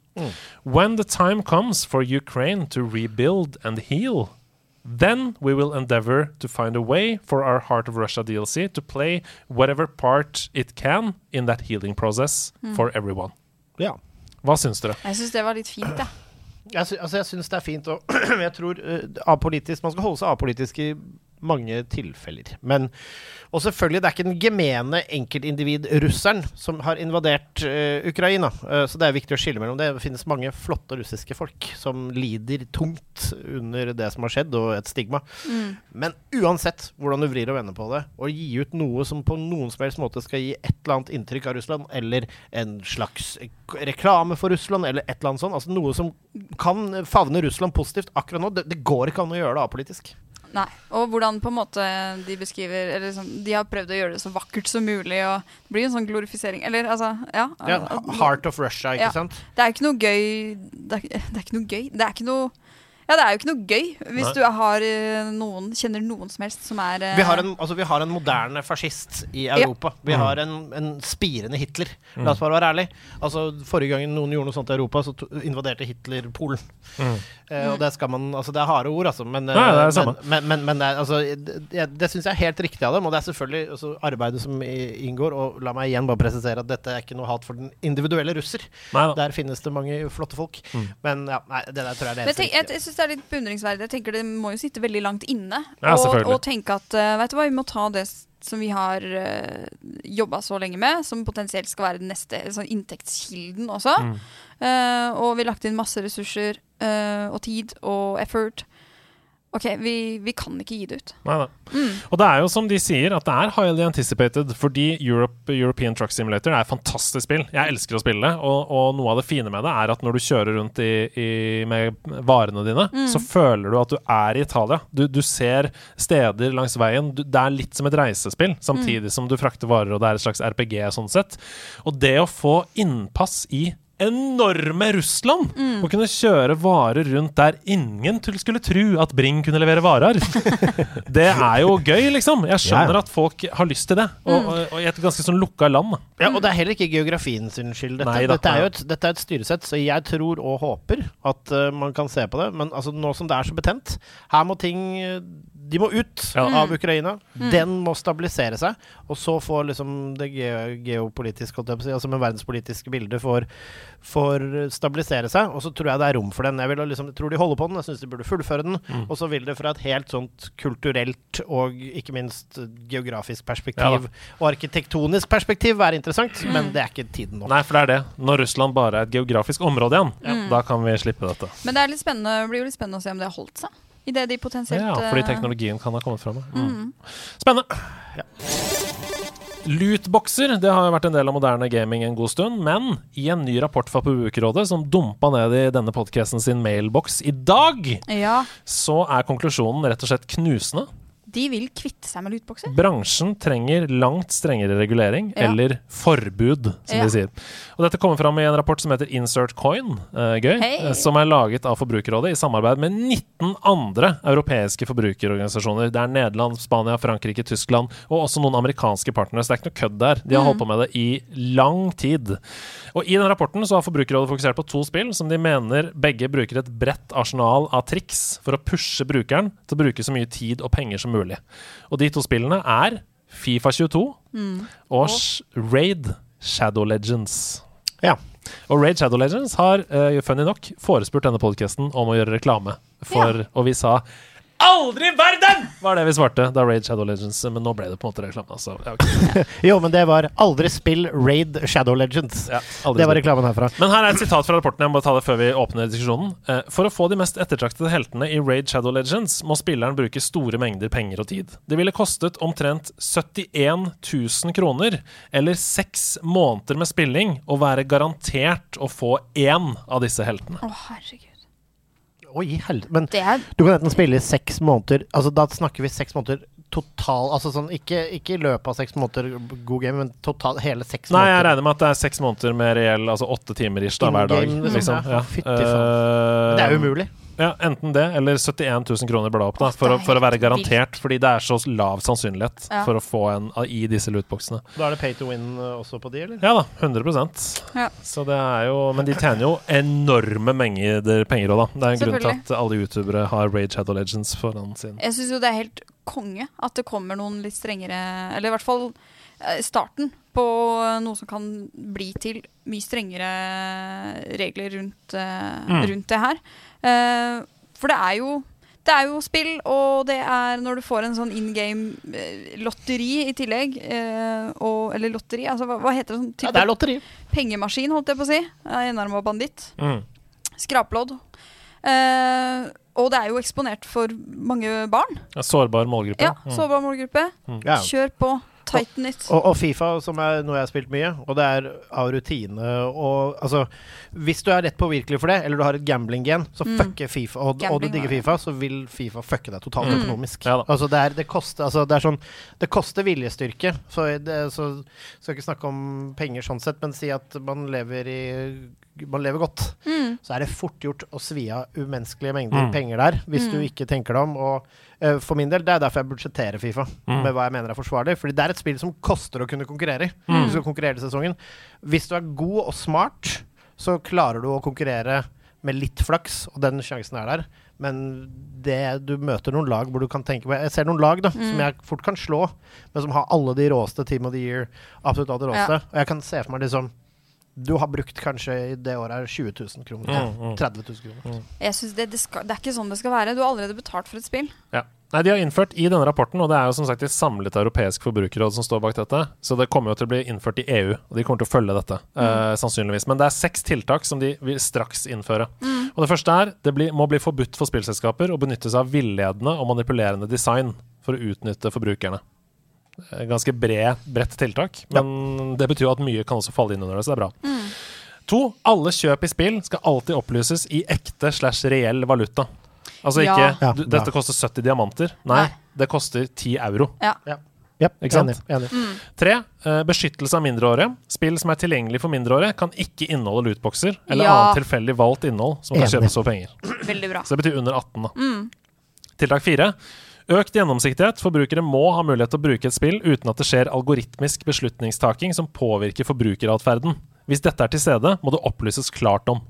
Speaker 1: When the time comes for Ukraine to rebuild and heal, then we will endeavor to find a way for our Heart of Russia DLC to play whatever part it can in that healing process for everyone.
Speaker 5: Ja.
Speaker 1: Hva syns dere?
Speaker 6: Jeg syns det var litt fint, jeg.
Speaker 5: Jeg, sy altså, jeg syns det er fint å Jeg tror eh, apolitisk Man skal holde seg apolitisk i mange tilfeller. Men Og selvfølgelig, det er ikke den gemene enkeltindivid-russeren som har invadert eh, Ukraina. Eh, så det er viktig å skille mellom det. Det finnes mange flotte russiske folk som lider tungt under det som har skjedd, og et stigma. Men uansett hvordan du vrir og vender på det, å gi ut noe som på noen som helst måte skal gi et eller annet inntrykk av Russland, eller en slags k- reklame for Russland, eller et eller annet sånt, altså noe som kan favne Russland positivt akkurat nå, det, det går ikke an å gjøre det apolitisk.
Speaker 6: Nei. Og hvordan på en måte de beskriver eller liksom, De har prøvd å gjøre det så vakkert som mulig, og det blir en sånn glorifisering Eller altså, ja.
Speaker 5: Ja,
Speaker 6: at-
Speaker 5: h- heart of Russia, ikke
Speaker 6: Ja.
Speaker 5: sant?
Speaker 6: Det er ikke noe gøy Det er, det er ikke noe gøy. Det er ikke noe ja, det er jo ikke noe gøy hvis
Speaker 1: Nei.
Speaker 6: du har eh, noen, kjenner noen som helst som er eh,
Speaker 5: Vi har, en, altså, vi har en moderne fascist i Europa.
Speaker 1: Mm.
Speaker 5: Vi har en, en spirende Hitler. La oss bare være ærlig. Altså, forrige gang noen gjorde noe sånt i Europa, så to- invaderte Hitler Polen.
Speaker 1: Mm.
Speaker 5: Eh, og
Speaker 6: Mm.
Speaker 5: det skal man Altså, det er harde ord, altså. Men, eh,
Speaker 1: Ja, det er det samme.
Speaker 5: men, men, men det er altså Det, det syns jeg er helt riktig av dem. Og det er selvfølgelig altså, arbeidet som i- inngår. Og la meg igjen bare presisere at dette er ikke noe hat for den individuelle russer.
Speaker 1: Nei da.
Speaker 5: Der finnes det mange flotte folk. Men ja, nei, det der tror jeg er det
Speaker 6: Men
Speaker 5: eneste
Speaker 6: tenk, jeg,
Speaker 5: riktige.
Speaker 6: jeg synes det er litt beundringsverdig. Jeg tenker Det må jo sitte veldig langt inne.
Speaker 1: Ja,
Speaker 6: og,
Speaker 1: selvfølgelig.
Speaker 6: og tenke at eh, vet du hva, vi må ta det s- som vi har uh, jobba så lenge med, som potensielt skal være den neste sånn inntektskilden også.
Speaker 1: Mm.
Speaker 6: Eh, og vi har lagt inn masse ressurser eh, og tid og effort. OK, vi, vi kan ikke gi det ut. Mm.
Speaker 1: Nei, nei. Og det er jo som de sier, at det er highly anticipated, fordi Europe, European Truck Simulator er et fantastisk spill. Jeg elsker å spille det, og, og noe av det fine med det er at når du kjører rundt i, i, med varene dine, så føler du at du er i Italia. Du, du ser steder langs veien. Du, det er litt som et reisespill, samtidig som du frakter varer, og det er et slags RPG sånn sett. Og det å få innpass i enorme Russland!
Speaker 5: Mm.
Speaker 1: Å kunne kjøre varer rundt der ingen til- skulle tro at Bring kunne levere varer. Det er jo gøy, liksom. Jeg skjønner
Speaker 5: Ja. Mm.
Speaker 1: at folk har lyst til det. Og, og, og i et ganske sånn lukka land. da.
Speaker 5: Ja, og det er heller ikke geografien sin skyld. Dette,
Speaker 1: Nei da,
Speaker 5: dette,
Speaker 1: nei
Speaker 5: er jo
Speaker 1: da.
Speaker 5: et, dette er et styresett, så jeg tror og håper at eh, man kan se på det. Men altså, nå som det er så betent, her må ting eh, De må ut
Speaker 1: Ja.
Speaker 5: av Ukraina. Den må stabilisere seg. Og så får liksom det ge geopolitiske, holdt jeg på å si, altså med verdenspolitiske bildet, får, får stabilisere seg. Og så tror jeg det er rom for den. Jeg vil, ha liksom, jeg tror de holder på den, jeg syns de burde fullføre den.
Speaker 1: Mm.
Speaker 5: Og så vil det fra et helt sånt kulturelt og ikke minst eh, geografisk
Speaker 1: Ja
Speaker 5: perspektiv
Speaker 1: da.
Speaker 5: og arkitektonisk perspektiv være interessant, men det er ikke tiden nå.
Speaker 1: Nei, for det er det. Når Russland bare er et geografisk område igjen, da kan vi slippe dette.
Speaker 6: Men det er litt spennende, det blir jo litt spennende å se om det har holdt seg. I det de potensielt
Speaker 1: Ja, fordi
Speaker 6: eh,
Speaker 1: teknologien kan ha kommet fram. ja. Mm. Spennende. Lootboxer det har jo vært en del av moderne gaming en god stund, men i en ny rapport fra Forbrukerrådet som dumpa ned i denne podkasten sin mailboks i dag,
Speaker 6: Ja,
Speaker 1: så er konklusjonen rett og slett knusende.
Speaker 6: de vil kvitte seg med lootbokser.
Speaker 1: Bransjen trenger langt strengere regulering,
Speaker 6: Ja.
Speaker 1: eller forbud, som
Speaker 6: Ja.
Speaker 1: de sier. Og dette kommer fram i en rapport som heter Insert Coin, eh, gøy,
Speaker 6: Hei.
Speaker 1: eh, som er laget av Forbrukerrådet i samarbeid med 19 andre europeiske forbrukerorganisasjoner. Det er Nederland, Spania, Frankrike, Tyskland og også noen amerikanske partnere, så det er ikke noe kødd der. De har holdt på med det i lang tid. Og I den rapporten så har Forbrukerrådet fokusert på to spill som de mener begge bruker et bredt arsenal av triks for å pushe brukeren til å bruke så mye tid og penger som mulig. Og de to spillene er Fifa 22 og Sh- Raid Shadow Legends.
Speaker 5: Ja.
Speaker 1: Og Raid Shadow Legends har, eh, funny nok, forespurt denne podkasten om å gjøre reklame for Og vi sa Aldri i verden! var det vi svarte da Raid Shadow Legends Men nå ble det på en måte reklame. Altså. Ja, ok.
Speaker 5: Jo, men det var 'Aldri spill Raid Shadow Legends'.
Speaker 1: ja, aldri
Speaker 5: Det var
Speaker 1: spilt.
Speaker 5: reklamen herfra.
Speaker 1: Men her er et sitat fra rapporten. Jeg må bare ta det før vi åpner diskusjonen. Eh, For å få de mest ettertraktede heltene i Raid Shadow Legends må spilleren bruke store mengder penger og tid. Det ville kostet omtrent 71 000 kroner, eller seks måneder med spilling, å være garantert å få én av disse heltene.
Speaker 6: Å, herregud.
Speaker 5: Oi, hel- men
Speaker 6: Det er
Speaker 5: du kan enten spille i seks måneder Altså, da snakker vi seks måneder total Altså sånn, ikke, ikke i løpet av seks måneder god game, men total, hele seks
Speaker 1: Nei, jeg
Speaker 5: måneder.
Speaker 1: regner med at det er seks måneder med reell, altså åtte timer ish da, hver dag.
Speaker 5: In-game, liksom.
Speaker 1: Liksom.
Speaker 5: Ja,
Speaker 1: Ja. Eh,
Speaker 5: fytti det er jo umulig.
Speaker 1: Ja, enten det, eller 71 000 kroner bladet opp, da, for, å, for å være garantert. Fordi det er så lav sannsynlighet
Speaker 6: Ja.
Speaker 1: for å få en av- i disse lootboxene.
Speaker 5: Da er det pay to win eh, også på de, eller?
Speaker 1: Ja da, 100
Speaker 6: Ja.
Speaker 1: Så det er jo Men de tjener jo enorme mengder penger òg, da. Det er en grunn til
Speaker 6: Selvfølgelig.
Speaker 1: at alle youtubere har Raid Shadow Legends foran sin.
Speaker 6: Jeg syns jo det er helt konge at det kommer noen litt strengere Eller i hvert fall eh, starten på noe som kan bli til mye strengere regler rundt, eh,
Speaker 1: Mm.
Speaker 6: rundt det her. Eh, For det er jo det er jo spill, og det er når du får en sånn in game-lotteri i tillegg eh, og, Eller lotteri, altså hva, hva heter det? Sånn
Speaker 5: Ja,
Speaker 6: type
Speaker 5: det er lotteri.
Speaker 6: pengemaskin, holdt jeg på å si. Eh, Enarma banditt.
Speaker 1: Mm.
Speaker 6: Skraplodd. Eh, og det er jo eksponert for mange barn.
Speaker 1: En Sårbar målgruppe.
Speaker 6: Ja,
Speaker 1: Mm.
Speaker 6: sårbar målgruppe.
Speaker 5: Ja.
Speaker 6: Kjør på. Tighten it.
Speaker 5: Og, og Fifa, som er noe jeg har spilt mye, og det er av rutine og Altså, hvis du er rett påvirkelig for det, eller du har et gambling-gen, så
Speaker 6: Mm.
Speaker 5: fucker Fifa, og, og du
Speaker 6: Gambling,
Speaker 5: digger
Speaker 6: ja.
Speaker 5: Fifa, så vil Fifa fucke deg totalt
Speaker 6: Mm.
Speaker 5: økonomisk.
Speaker 1: Ja da.
Speaker 5: altså, det, er, det, koster, altså, det er sånn Det koster viljestyrke, så det, så skal ikke snakke om penger sånn sett, men si at man lever i man lever godt,
Speaker 6: Mm.
Speaker 5: så er det fort gjort å svi av umenneskelige mengder
Speaker 1: Mm.
Speaker 5: penger der, hvis du
Speaker 6: Mm.
Speaker 5: ikke tenker deg om. Og eh, for min del, det er derfor jeg budsjetterer Fifa
Speaker 1: Mm.
Speaker 5: med hva jeg mener er forsvarlig. Fordi det er et spill som koster å kunne konkurrere i.
Speaker 1: Mm.
Speaker 5: Du skal konkurrere i sesongen. Hvis du er god og smart, så klarer du å konkurrere med litt flaks, og den sjansen er der. Men det, du møter noen lag hvor du kan tenke på Jeg ser noen lag da,
Speaker 1: Mm.
Speaker 5: som jeg fort kan slå, men som har alle de råeste Team of the Year. Absolutt alle de råeste. Og jeg kan se for meg liksom Du har brukt kanskje i det året her 20 000 kroner.
Speaker 1: Mm, mm.
Speaker 5: 30 000 kroner.
Speaker 6: Jeg synes det, det, skal, det er ikke sånn det skal være. Du har allerede betalt for et spill.
Speaker 1: Ja. Nei, De har innført i denne rapporten, og det er jo som sagt et samlet europeisk forbrukerråd som står bak dette, så det kommer jo til å bli innført i EU, og de kommer til å følge dette, eh, sannsynligvis. Men det er seks tiltak som de vil straks innføre. Og det første er det blir, må bli forbudt for spillselskaper å benytte seg av villedende og manipulerende design for å utnytte forbrukerne. Eh, Ganske bred, bredt tiltak, men det betyr jo at mye kan også falle inn under det, så det er bra.
Speaker 6: Mm.
Speaker 1: To, alle kjøp i spill skal alltid opplyses i ekte slash reell valuta. Altså
Speaker 6: Ja.
Speaker 1: ikke
Speaker 5: Ja,
Speaker 1: du,
Speaker 5: bra.
Speaker 1: Dette koster 70 diamanter. Nei,
Speaker 6: Nei.
Speaker 1: det koster 10 euro.
Speaker 5: Ja,
Speaker 1: Ikke sant?
Speaker 5: Enig. enig.
Speaker 1: Tre, eh, beskyttelse av mindreårige. Spill som er tilgjengelig for mindreårige, kan ikke inneholde lootboxer eller
Speaker 6: Ja.
Speaker 1: annet tilfeldig valgt innhold som kan
Speaker 5: Enig.
Speaker 1: kjøpes for penger.
Speaker 6: Veldig bra.
Speaker 1: Så det betyr under 18, da. Tiltak fire. Økt gjennomsiktighet. Forbrukere må ha mulighet til å bruke et spill uten at det skjer algoritmisk beslutningstaking som påvirker forbrukeratferden. Hvis dette er til stede, må det opplyses klart om.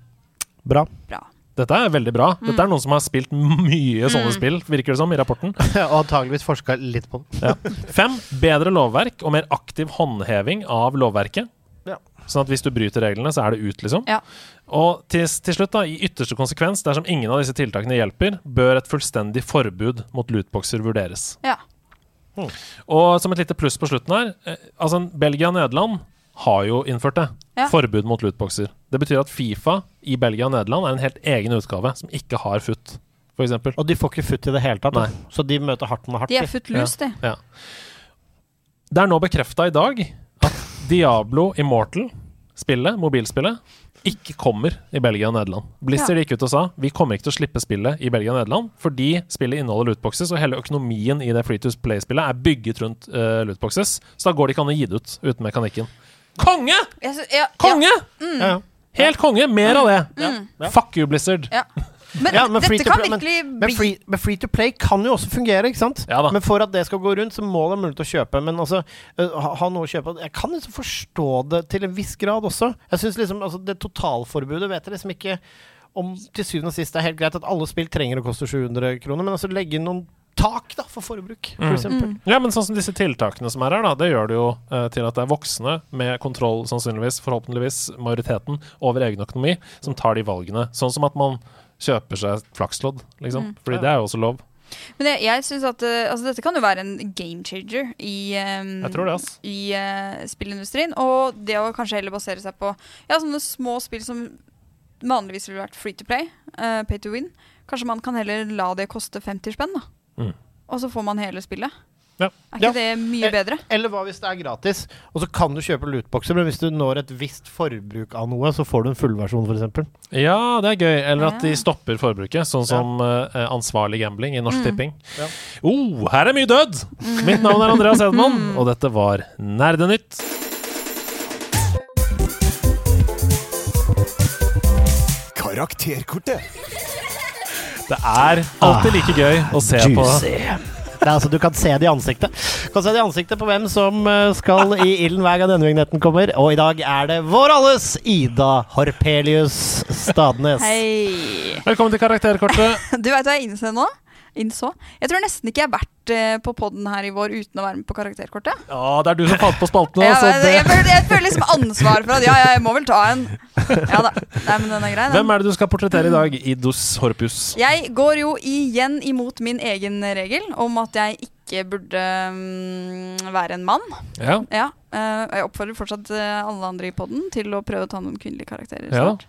Speaker 5: Bra.
Speaker 6: bra.
Speaker 1: Dette er veldig bra. Dette er noen som har spilt mye sånne spill, virker det som, i rapporten.
Speaker 5: og antageligvis forska litt på det.
Speaker 1: Fem, bedre lovverk og mer aktiv håndheving av lovverket.
Speaker 5: Ja.
Speaker 1: Sånn at hvis du bryter reglene, så er det ut, liksom.
Speaker 6: Ja.
Speaker 1: Og til, til slutt, da, i ytterste konsekvens, dersom ingen av disse tiltakene hjelper, bør et fullstendig forbud mot lootboxer vurderes.
Speaker 6: Ja.
Speaker 1: Og som et lite pluss på slutten her, eh, altså Belgia og Nederland har jo innført det.
Speaker 6: Ja.
Speaker 1: Forbud mot lootboxer. Det betyr at Fifa i Belgia og Nederland er en helt egen utgave som ikke har FUT, for eksempel.
Speaker 5: Og de får ikke futt i det hele tatt, da.
Speaker 1: Nei.
Speaker 5: så de møter hardt med hardt.
Speaker 6: De er
Speaker 5: de.
Speaker 6: footloose, de.
Speaker 1: Ja. Det er nå bekrefta i dag at Diablo Immortal, spillet, mobilspillet, ikke kommer i Belgia og Nederland. Blizzard gikk ut og sa vi kommer ikke til å slippe spillet i Belgia og Nederland fordi spillet inneholder lootboxes, og hele økonomien i det Free to Play-spillet er bygget rundt eh, lootboxes. Så da går det ikke an å gi det ut uten mekanikken. Konge!
Speaker 6: Jeg synes- ja,
Speaker 1: Konge!
Speaker 5: Ja, ja.
Speaker 1: Helt konge! Mer av det!
Speaker 5: Ja.
Speaker 1: Fuck you, Blizzard.
Speaker 6: Ja. Ja. Men,
Speaker 5: Ja, men free
Speaker 6: dette
Speaker 5: to
Speaker 6: kan
Speaker 5: play- men-
Speaker 6: virkelig
Speaker 5: Men
Speaker 6: bli
Speaker 5: free, men free to play kan jo også fungere, ikke sant?
Speaker 1: Ja da.
Speaker 5: Men for at det skal gå rundt, så må det være mulig til å kjøpe. Men altså, eh, ha, ha noe å kjøpe Jeg kan liksom forstå det til en viss grad også. Jeg synes liksom, altså Det totalforbudet vet jeg liksom ikke om til syvende og sist det er helt greit at alle spill trenger å koste 700 kroner, men altså legge inn noen tak da, for forbruk, for
Speaker 1: Mm.
Speaker 5: eksempel.
Speaker 1: Ja, men sånn som disse tiltakene som er her, da, det gjør det jo eh, til at det er voksne med kontroll, sannsynligvis, forhåpentligvis, majoriteten, over egen økonomi, som tar de valgene. Sånn som at man kjøper seg flakslodd, liksom. Fordi det er jo også lov.
Speaker 6: Men jeg, jeg synes at eh, altså, dette kan jo være en game changer i, eh,
Speaker 1: Jeg tror det, ass.
Speaker 6: i eh, spillindustrien. Og det å kanskje heller basere seg på ja, sånne små spill som vanligvis ville vært free to play, eh, pay to win. Kanskje man kan heller la det koste 50 spenn, da.
Speaker 1: Mm.
Speaker 6: Og så får man hele spillet.
Speaker 1: Ja. Eh,
Speaker 6: Er
Speaker 5: Ja.
Speaker 6: ikke det mye bedre?
Speaker 5: Eller hva hvis det er gratis? Og så kan du kjøpe lootboxer, men hvis du når et visst forbruk av noe, så får du en fullversjon, f.eks.
Speaker 1: ja, det er gøy. Eller at de
Speaker 6: Ja. Mm.
Speaker 1: stopper forbruket, sånn som eh, ansvarlig gambling i Norsk Tipping.
Speaker 5: Ja.
Speaker 1: Oh, her er mye død! Mitt navn er Andreas Hedman,
Speaker 6: Mm.
Speaker 1: og dette var Nerdenytt.
Speaker 7: Karakterkortet.
Speaker 1: Det er alltid like gøy å se på
Speaker 5: Ah, Det er altså, du kan se det i ansiktet. Du kan se det i ansiktet på hvem som eh, skal i ilden hver gang denne vignetten kommer. Og i dag er det vår alles Ida Horpelius Stadnes.
Speaker 6: Hei.
Speaker 1: Velkommen til Karakterkortet.
Speaker 6: Du veit hva jeg innså nå? Innså? Jeg tror nesten ikke jeg har vært eh, på poden her i vår uten å være med på karakterkortet.
Speaker 1: Ja, det er du eh, som falt på altså. spaltene.
Speaker 6: Jeg,
Speaker 1: så
Speaker 6: jeg,
Speaker 1: det...
Speaker 6: føler, jeg føler liksom ansvar for at ja, jeg må vel ta en. Ja da. Nei, men den er grei, den.
Speaker 1: Hvem er det du skal portrettere i dag, Idus Horpius?
Speaker 6: Jeg går jo igjen imot min egen regel om at jeg ikke burde mm, være en mann.
Speaker 1: Ja.
Speaker 6: Ja, eh, og jeg oppfordrer fortsatt eh, alle andre i podden til å prøve å ta noen kvinnelige karakterer.
Speaker 1: ja.
Speaker 6: snart.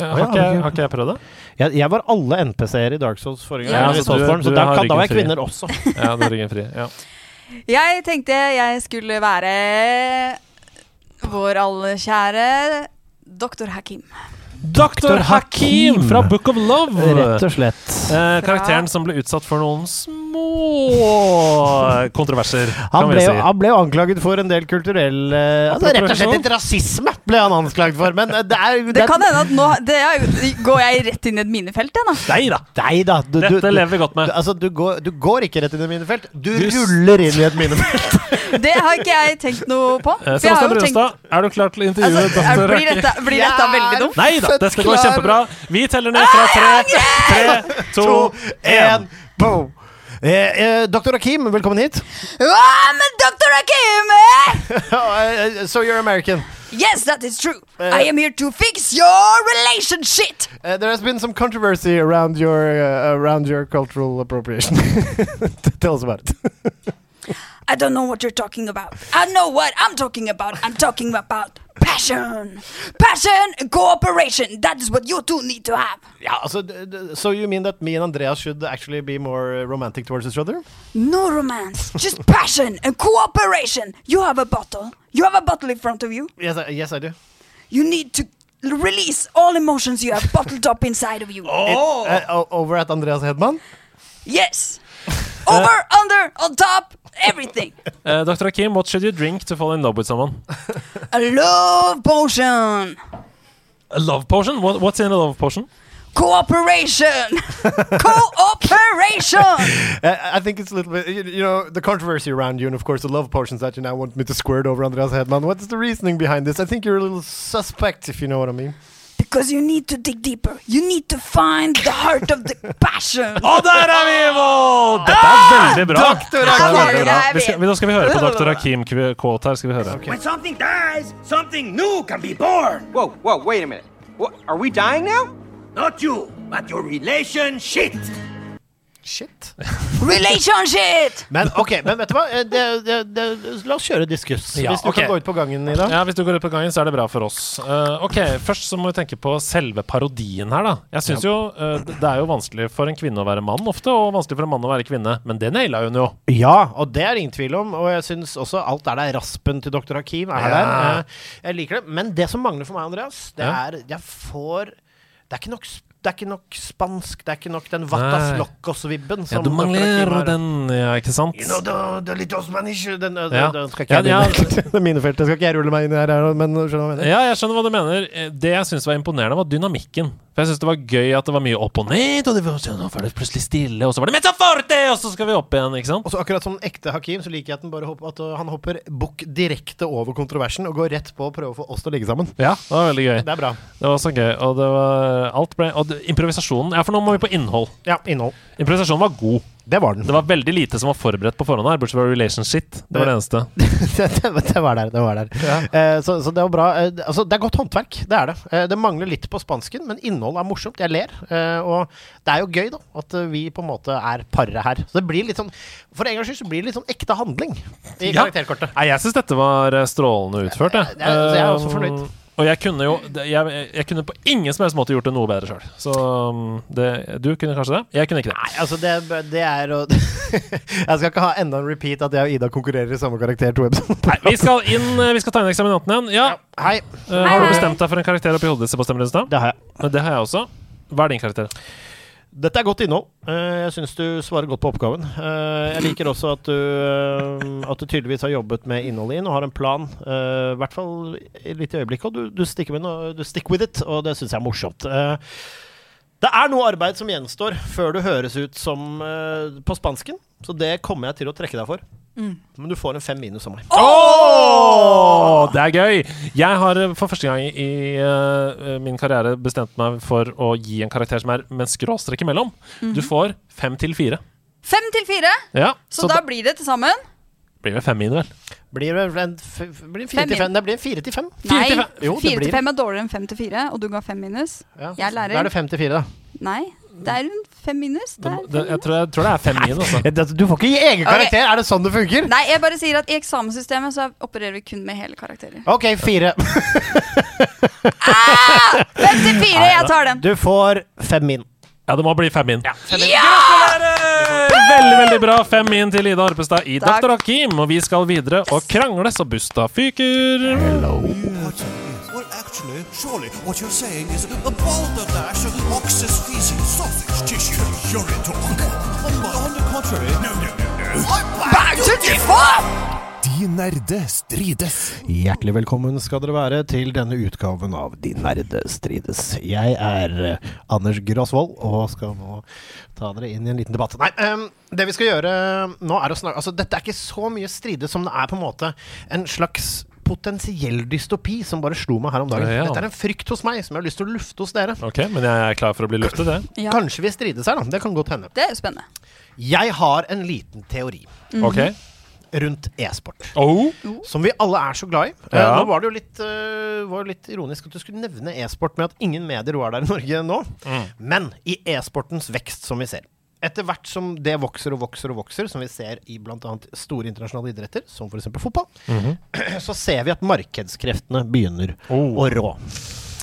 Speaker 1: Eh, Har ikke, jeg- har ikke jeg prøvd det?
Speaker 5: Jeg, jeg var alle NPC-er i Dark Souls forrige gang,
Speaker 6: Ja,
Speaker 5: eller
Speaker 1: så
Speaker 5: i
Speaker 1: altså,
Speaker 5: Soulstorm,
Speaker 1: du-
Speaker 5: så
Speaker 1: du
Speaker 5: da,
Speaker 1: har
Speaker 5: kan, da var jeg
Speaker 1: ryggen fri.
Speaker 5: kvinner også.
Speaker 1: Ja, du er ryggenfri. Ja.
Speaker 6: Jeg tenkte jeg skulle være vår alle kjære Dr. Hakim.
Speaker 1: Doktor Hakim fra Book of Love.
Speaker 5: Rett og slett.
Speaker 1: Eh, karakteren som ble utsatt for noen små kontroverser, kan
Speaker 5: Han
Speaker 1: vi
Speaker 5: ble, jo,
Speaker 1: si.
Speaker 5: han ble jo anklaget for en del kulturell eh, altså, Rett og slett litt rasisme ble han anklaget for, men eh, det er
Speaker 6: Det kan hende at nå det er, jo- går jeg rett inn i et minefelt, jeg, da.
Speaker 1: Nei da!
Speaker 5: Nei da. Du, du,
Speaker 1: Dette
Speaker 5: du,
Speaker 1: lever vi godt
Speaker 5: du,
Speaker 1: med.
Speaker 5: altså, du, går, du går ikke rett inn i et minefelt. Du,
Speaker 1: Du s-
Speaker 5: ruller inn i et minefelt.
Speaker 6: Det har ikke jeg tenkt noe på.
Speaker 1: Eh,
Speaker 6: for jeg har
Speaker 1: Sebastian
Speaker 6: jo tenkt-
Speaker 1: Brunstad, er du klar til å intervjue
Speaker 6: altså, er-
Speaker 1: doktor
Speaker 6: blir,
Speaker 1: Hakim?
Speaker 6: dette, blir dette veldig dumt?
Speaker 1: Nei da,
Speaker 5: Født
Speaker 1: det skal gå
Speaker 5: klar.
Speaker 1: kjempebra. Vi teller ned fra tre, tre, to, én.
Speaker 5: boom. Eh, eh, Dr. Hakim, velkommen hit.
Speaker 6: Ah, men Dr. Hakim! eh?
Speaker 5: Eh, eh, so you're American.
Speaker 6: Yes, that is true. I am here to fix your relationship.
Speaker 5: Eh, there has been some controversy around your, eh, around your cultural appropriation. Tell us about it.
Speaker 6: I don't know what you're talking about. I know what I'm talking about. I'm talking about passion. Passion and cooperation. That is what you two need to have.
Speaker 5: Ja, altså, d- d- so you mean that me and Andreas should actually be more eh, romantic towards each other?
Speaker 6: No romance, just passion and cooperation. You have a bottle. You have a bottle in front of you.
Speaker 5: Yes, I, yes, I do.
Speaker 6: You need to release all emotions you have bottled up inside of you. Uh,
Speaker 5: Eh, o- over at Andreas Hedman.
Speaker 6: Yes. Over, under, on top, everything.
Speaker 1: Eh, Dr. Hakim, what should you drink to fall in love with someone?
Speaker 6: A love potion.
Speaker 1: A love potion? What, what's in a love potion?
Speaker 6: Cooperation. cooperation.
Speaker 5: Eh, I think it's a little bit, you, you know, the controversy around you and, of course, the love potions that you now want me to squirt over Andreas Hedman. What's the reasoning behind this? I think you're a little suspect, if you know what I mean.
Speaker 6: Because you need to dig deeper. You need to find the heart of the passion.
Speaker 1: Og der er vi i mål! Dette er veldig bra.
Speaker 5: Dr.
Speaker 1: Dette er veldig
Speaker 6: Hakim.
Speaker 1: bra. Vi skal, vi- nå skal vi høre på Dr. Hakim kv- Kåt her. skal vi høre.
Speaker 8: When something dies, something new can be born.
Speaker 9: Whoa, whoa, wait a minute. What, are we dying now?
Speaker 8: Not you, but your relationship.
Speaker 5: Shit.
Speaker 6: Relationship!
Speaker 5: Men ok, men vet du hva? Eh, Det, det, det, la oss kjøre diskus.
Speaker 1: Ja,
Speaker 5: hvis du
Speaker 1: ok.
Speaker 5: kan gå ut på gangen i dag.
Speaker 1: Ja, Hvis du går ut på gangen, så er det bra for oss. Eh, ok, Først så må vi tenke på selve parodien her, da. Jeg synes jo eh, Det er jo vanskelig for en kvinne å være mann ofte, og vanskelig for en mann å være kvinne, men det naila hun jo.
Speaker 5: Ja, og det er det ingen tvil om. Og jeg syns også alt er der. Raspen til Dr. Hakim er
Speaker 1: Ja.
Speaker 5: der. Eh, Jeg liker det. Men det som mangler for meg, Andreas, det
Speaker 1: Ja.
Speaker 5: er Jeg får Det er ikke nok sp- det er ikke nok spansk, det er ikke nok den Vatas
Speaker 1: Nei.
Speaker 5: Locos-vibben.
Speaker 1: Ja,
Speaker 5: som
Speaker 1: du
Speaker 5: Dr.
Speaker 1: mangler
Speaker 5: Hakim har.
Speaker 1: den, ja, ikke sant?
Speaker 5: You know, the, the little Spanish Den, eh, den,
Speaker 1: Ja.
Speaker 5: den skal ikke jeg
Speaker 1: Ja,
Speaker 5: begynne. Det er mine felt. Det skal ikke jeg rulle meg inn i her, her, men skjønner du hva jeg mener?
Speaker 1: Ja, jeg skjønner hva du mener. Eh, Det jeg syns var imponerende, var dynamikken. For jeg syns det var gøy at det var mye opp og ned, og det var, så var det plutselig stille, og så var det mezzo forte, og så skal vi opp igjen, ikke sant?
Speaker 5: Og så Altså, akkurat som en ekte Hakim, så liker jeg at, den bare hopper, at uh, han hopper bukk direkte over kontroversen og går rett på å prøve å få oss til å ligge sammen.
Speaker 1: Ja, det var veldig gøy.
Speaker 5: Det er bra.
Speaker 1: Det var så gøy, og det var Alt ble Og det- improvisasjonen Ja, for nå må vi på innhold.
Speaker 5: Ja, innhold.
Speaker 1: Improvisasjonen var god.
Speaker 5: Det var den.
Speaker 1: Det var veldig lite som var forberedt på forhånd her, bortsett fra relationship. Det var det eneste.
Speaker 5: det, det, det var der, det var der. Eh, så, så det var bra. Eh, det- altså, det er godt håndverk, det er det. Eh, det mangler litt på spansken, men innholdet er morsomt. Jeg ler. Eh, og det er jo gøy, da, at eh, vi på en måte er paret her. Så det blir litt sånn For en gangs skyld så blir det litt sånn ekte handling i
Speaker 1: Ja.
Speaker 5: karakterkortet.
Speaker 1: Nei, jeg syns dette var eh, strålende utført, jeg.
Speaker 5: Ja, ja, så jeg er også fornøyd.
Speaker 1: Um, Og jeg kunne jo det- jeg, jeg kunne på ingen som helst måte gjort det noe bedre sjøl. Så um, det, du kunne kanskje det? Jeg kunne ikke det.
Speaker 5: Altså, det, det er å Jeg skal ikke ha enda en repeat at jeg og Ida konkurrerer i samme karakter to episoder.
Speaker 1: Nei, vi skal inn, eh, vi skal ta inn eksaminanten igjen. Ja,
Speaker 5: Hei.
Speaker 1: eh, Har du bestemt deg for en karakter oppi hodet ditt? Sebastian Brunstad?
Speaker 5: Det har jeg.
Speaker 1: Det har jeg også. Hva er din karakter?
Speaker 5: Dette er godt innhold. Eh, Jeg syns du svarer godt på oppgaven. Eh, Jeg liker også at du, eh, at du tydeligvis har jobbet med innholdet inn og har en plan, eh, i hvert fall i- litt i øyeblikket. Og du, du, stikker med noe, du stick with it, og det syns jeg er morsomt. Eh, Det er noe arbeid som gjenstår før du høres ut som eh, på spansken, så det kommer jeg til å trekke deg for.
Speaker 6: Mm.
Speaker 5: Men du får en fem minus av meg.
Speaker 1: Åh, det er gøy! Jeg har eh, for første gang i eh, min karriere bestemt meg for å gi en karakter som er med en skråstrek imellom. Du får fem til fire.
Speaker 6: Fem til fire,
Speaker 1: Ja,
Speaker 6: så, da blir det til sammen
Speaker 1: blir det fem min, vel.
Speaker 5: Blir det en, f- blir en fire
Speaker 6: Fem
Speaker 5: til fem?
Speaker 6: min.
Speaker 5: Det blir en fire til fem.
Speaker 1: Fire til
Speaker 6: Nei,
Speaker 1: fem.
Speaker 5: Jo, det
Speaker 6: fire
Speaker 5: blir-
Speaker 6: til fem er dårligere enn fem til fire, og du ga fem minus.
Speaker 5: Ja.
Speaker 6: Jeg lærer.
Speaker 5: Da er det fem til fire, da.
Speaker 6: Nei, det er en fem minus. Det
Speaker 1: Det,
Speaker 6: er
Speaker 1: det,
Speaker 6: fem
Speaker 1: jeg, tror, jeg tror det er fem min, altså.
Speaker 5: Du får ikke gi egen
Speaker 6: karakter.
Speaker 5: karakter! Er det sånn det funker?
Speaker 6: Nei, jeg bare sier at i eksamenssystemet så opererer vi kun med hele karakterer.
Speaker 5: OK, fire.
Speaker 6: Fem til fire, jeg tar den!
Speaker 5: Du får fem min.
Speaker 1: Ja, det må bli fem min. Gratulerer! Veldig, veldig bra. Fem min til Ida Arpestad i
Speaker 6: Takk.
Speaker 1: Dr. Hakim. Og vi skal videre og krangle så busta fyker.
Speaker 7: Well, actually, surely what you're saying is a balderdash of ox's feces, sausage tissue, urine talk. On, on the contrary, no, no, no, no. De nerde strides.
Speaker 5: Hjertelig velkommen skal dere være til denne utgaven av De nerde strides. Jeg er eh, Anders Grosvold og skal nå ta dere inn i en liten debatt. Nei, ehm, det vi skal gjøre nå er å snakke Altså, dette er ikke så mye strides som det er på en måte en slags potensiell dystopi som bare slo meg her om dagen.
Speaker 1: Ja, ja.
Speaker 5: Dette er en frykt hos meg som jeg har lyst til å lufte hos dere.
Speaker 1: Ok, men jeg er klar for å bli luftet, jeg.
Speaker 6: Ja,
Speaker 5: Kanskje vi strides her, da. Det kan godt hende.
Speaker 6: det er jo spennende.
Speaker 5: Jeg har en liten teori
Speaker 6: Mhm.
Speaker 1: Ok.
Speaker 5: rundt e-sport.
Speaker 1: Oh.
Speaker 5: Som vi alle er så glad i. Eh,
Speaker 1: Ja.
Speaker 5: Nå var det jo litt, eh, var jo litt ironisk at du skulle nevne e-sport med at ingen medier var der i Norge nå. Men i e-sportens vekst, som vi ser. Etter hvert som det vokser og vokser og vokser, som vi ser i bl.a. store internasjonale idretter, som f.eks. fotball, så ser vi at markedskreftene begynner
Speaker 1: Oh.
Speaker 5: å rå.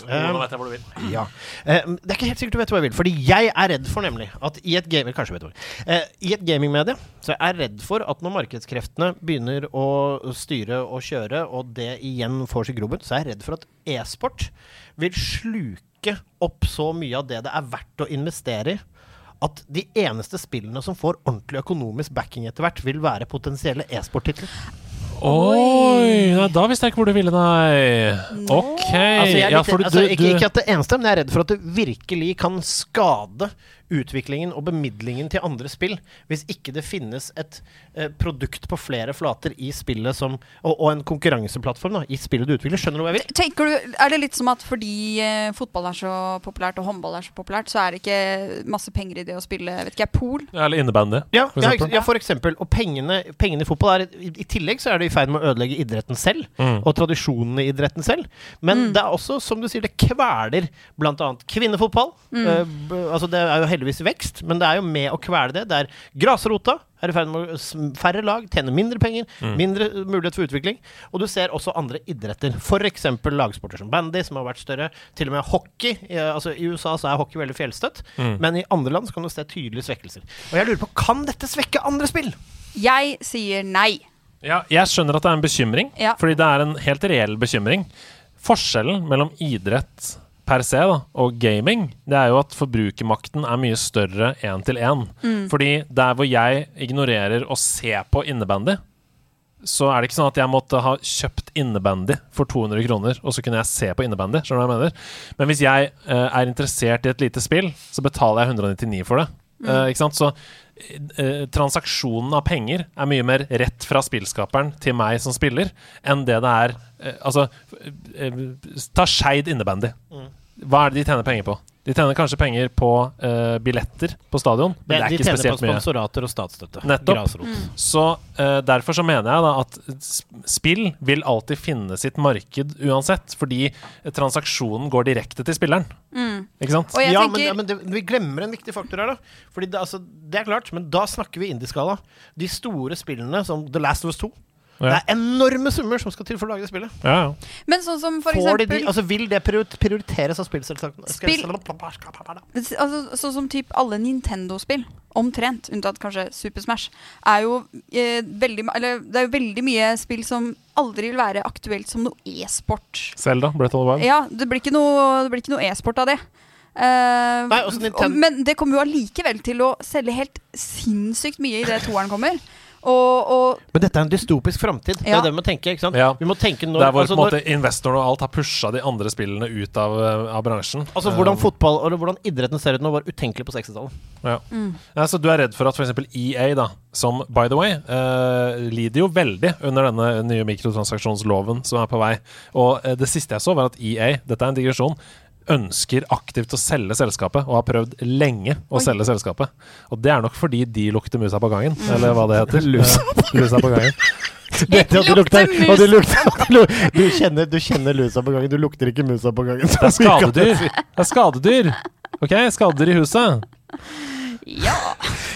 Speaker 5: Ehm,
Speaker 1: Nå vet jeg hvor du vil.
Speaker 5: Ja. Eh, det er ikke helt sikkert du vet hva jeg vil, fordi jeg er redd for nemlig at i et, game, kanskje du vet hva. Eh, i et gamingmedie så er jeg redd for at når markedskreftene begynner å styre og kjøre, og det igjen får sin grobunn, så er jeg redd for at e-sport vil sluke opp så mye av det det er verdt å investere i. At de eneste spillene som får ordentlig økonomisk backing etter hvert, vil være potensielle e-sport-titler.
Speaker 1: Oi! Nei, da visste jeg ikke hvor du ville, nei. Ok.
Speaker 5: Altså, jeg er
Speaker 1: ja,
Speaker 5: litt-
Speaker 1: for du,
Speaker 5: altså, ikke,
Speaker 1: du,
Speaker 5: ikke at det eneste, men jeg er redd for at det virkelig kan skade utviklingen og bemidlingen til andre spill hvis ikke det finnes et eh, produkt på flere flater i spillet som Og, og en konkurranseplattform da, i spillet du utvikler. Skjønner du hva jeg vil?
Speaker 6: Tenker du, Er det litt som at fordi eh, fotball er så populært og håndball er så populært, så er det ikke masse penger i det å spille vet ikke jeg, pool?
Speaker 1: Ja, Eller innebandy.
Speaker 5: Ja,
Speaker 1: for
Speaker 5: ja,
Speaker 1: eksempel.
Speaker 5: ja, for eksempel. Og pengene, pengene i fotball er i, I tillegg så er det i ferd med å ødelegge idretten selv,
Speaker 1: Mm.
Speaker 5: og tradisjonene i idretten selv. Men det er også, som du sier, det kveler bl.a. kvinnefotball. Eh, b- altså Det er jo heldigvis vekst, men det er jo med å kvele det. Det er grasrota. Er i ferd med å s- Færre lag tjener mindre penger,
Speaker 1: Mm.
Speaker 5: mindre eh, mulighet for utvikling. Og du ser også andre idretter, f.eks. lagsporter som bandy, som har vært større. Til og med hockey. eh, Altså I USA så er hockey veldig fjellstøtt,
Speaker 1: Mm.
Speaker 5: men i andre land så kan du se tydelige svekkelser. Og jeg lurer på, kan dette svekke andre spill?
Speaker 6: Jeg sier nei.
Speaker 1: Ja, jeg skjønner at det er en bekymring,
Speaker 6: Ja.
Speaker 1: fordi det er en helt reell bekymring. Forskjellen mellom idrett per se da, og gaming, det er jo at forbrukermakten er mye større én til én. Fordi der hvor jeg ignorerer å se på innebandy, så er det ikke sånn at jeg måtte ha kjøpt innebandy for 200 kroner, og så kunne jeg se på innebandy. Skjønner du hva jeg mener? Men hvis jeg eh, er interessert i et lite spill, så betaler jeg 199 for det. Eh, ikke sant? Så eh, transaksjonen av penger er mye mer rett fra spillskaperen til meg som spiller, enn det det er eh, Altså, eh, ta Skeid innebandy.
Speaker 5: Mm.
Speaker 1: Hva er det de tjener penger på? De tjener kanskje penger på eh, billetter på stadion, men det,
Speaker 5: de
Speaker 1: er ikke
Speaker 5: tjener på
Speaker 1: spesielt mye.
Speaker 5: sponsorater og statsstøtte.
Speaker 1: Nettopp.
Speaker 5: Grasrot.
Speaker 6: Mm.
Speaker 1: Så eh, derfor så mener jeg da at s- spill vil alltid finne sitt marked uansett, fordi transaksjonen går direkte til spilleren. Ikke sant?
Speaker 6: Og jeg
Speaker 5: ja, men,
Speaker 6: tenker
Speaker 5: ja, men det, vi glemmer en viktig faktor her, da. Fordi det, altså, det er klart, men da snakker vi indieskala. De store spillene som The Last of Us 2.
Speaker 1: Ja.
Speaker 5: Det er enorme summer som skal til for å lage det spillet.
Speaker 1: Ja, ja.
Speaker 6: Men sånn som for
Speaker 5: Får de
Speaker 6: eksempel
Speaker 5: de, altså Vil det prior- prioriteres av spillselskapene? Skal-
Speaker 6: altså, Sånn som typ alle Nintendo-spill, omtrent, unntatt kanskje Super Smash, er jo eh, veldig ma- Eller det er jo veldig mye spill som aldri vil være aktuelt som noe e-sport.
Speaker 1: Zelda, Breath of the Wild.
Speaker 6: Ja, det blir ikke noe, det blir ikke noe e-sport av det. Eh,
Speaker 5: Nei, også Ninten-
Speaker 6: og- men det kommer jo allikevel til å selge helt sinnssykt mye idet toeren kommer. Og, og
Speaker 5: Men dette er en dystopisk framtid. Det
Speaker 6: Ja.
Speaker 5: er det vi må tenke. ikke sant?
Speaker 1: Ja.
Speaker 5: Vi må tenke
Speaker 1: Det
Speaker 5: når,
Speaker 1: er hvor
Speaker 5: altså,
Speaker 1: på en
Speaker 5: når
Speaker 1: måte investorene og alt har pusha de andre spillene ut av, eh, av bransjen.
Speaker 5: Altså Hvordan
Speaker 1: Eh,
Speaker 5: fotball eller hvordan idretten ser ut nå, var utenkelig på 60-tallet.
Speaker 1: Ja. Eh, Ja, så du er redd for at f.eks. EA, da, som by the way eh, lider jo veldig under denne nye mikrotransaksjonsloven som er på vei. Og eh, det siste jeg så, var at EA, dette er en digresjon, ønsker aktivt å selge selskapet, og har prøvd lenge å selge selskapet. Og det er nok fordi de lukter musa på gangen, eller hva det heter. Lusa, lusa på gangen.
Speaker 5: Vet du at du
Speaker 6: lukter
Speaker 5: lukter- og du lukter- du lu- Du kjenner, du kjenner lusa på gangen. Du lukter ikke musa på gangen.
Speaker 1: Det er skadedyr! Det er skadedyr! OK, skadedyr i huset.
Speaker 6: ja.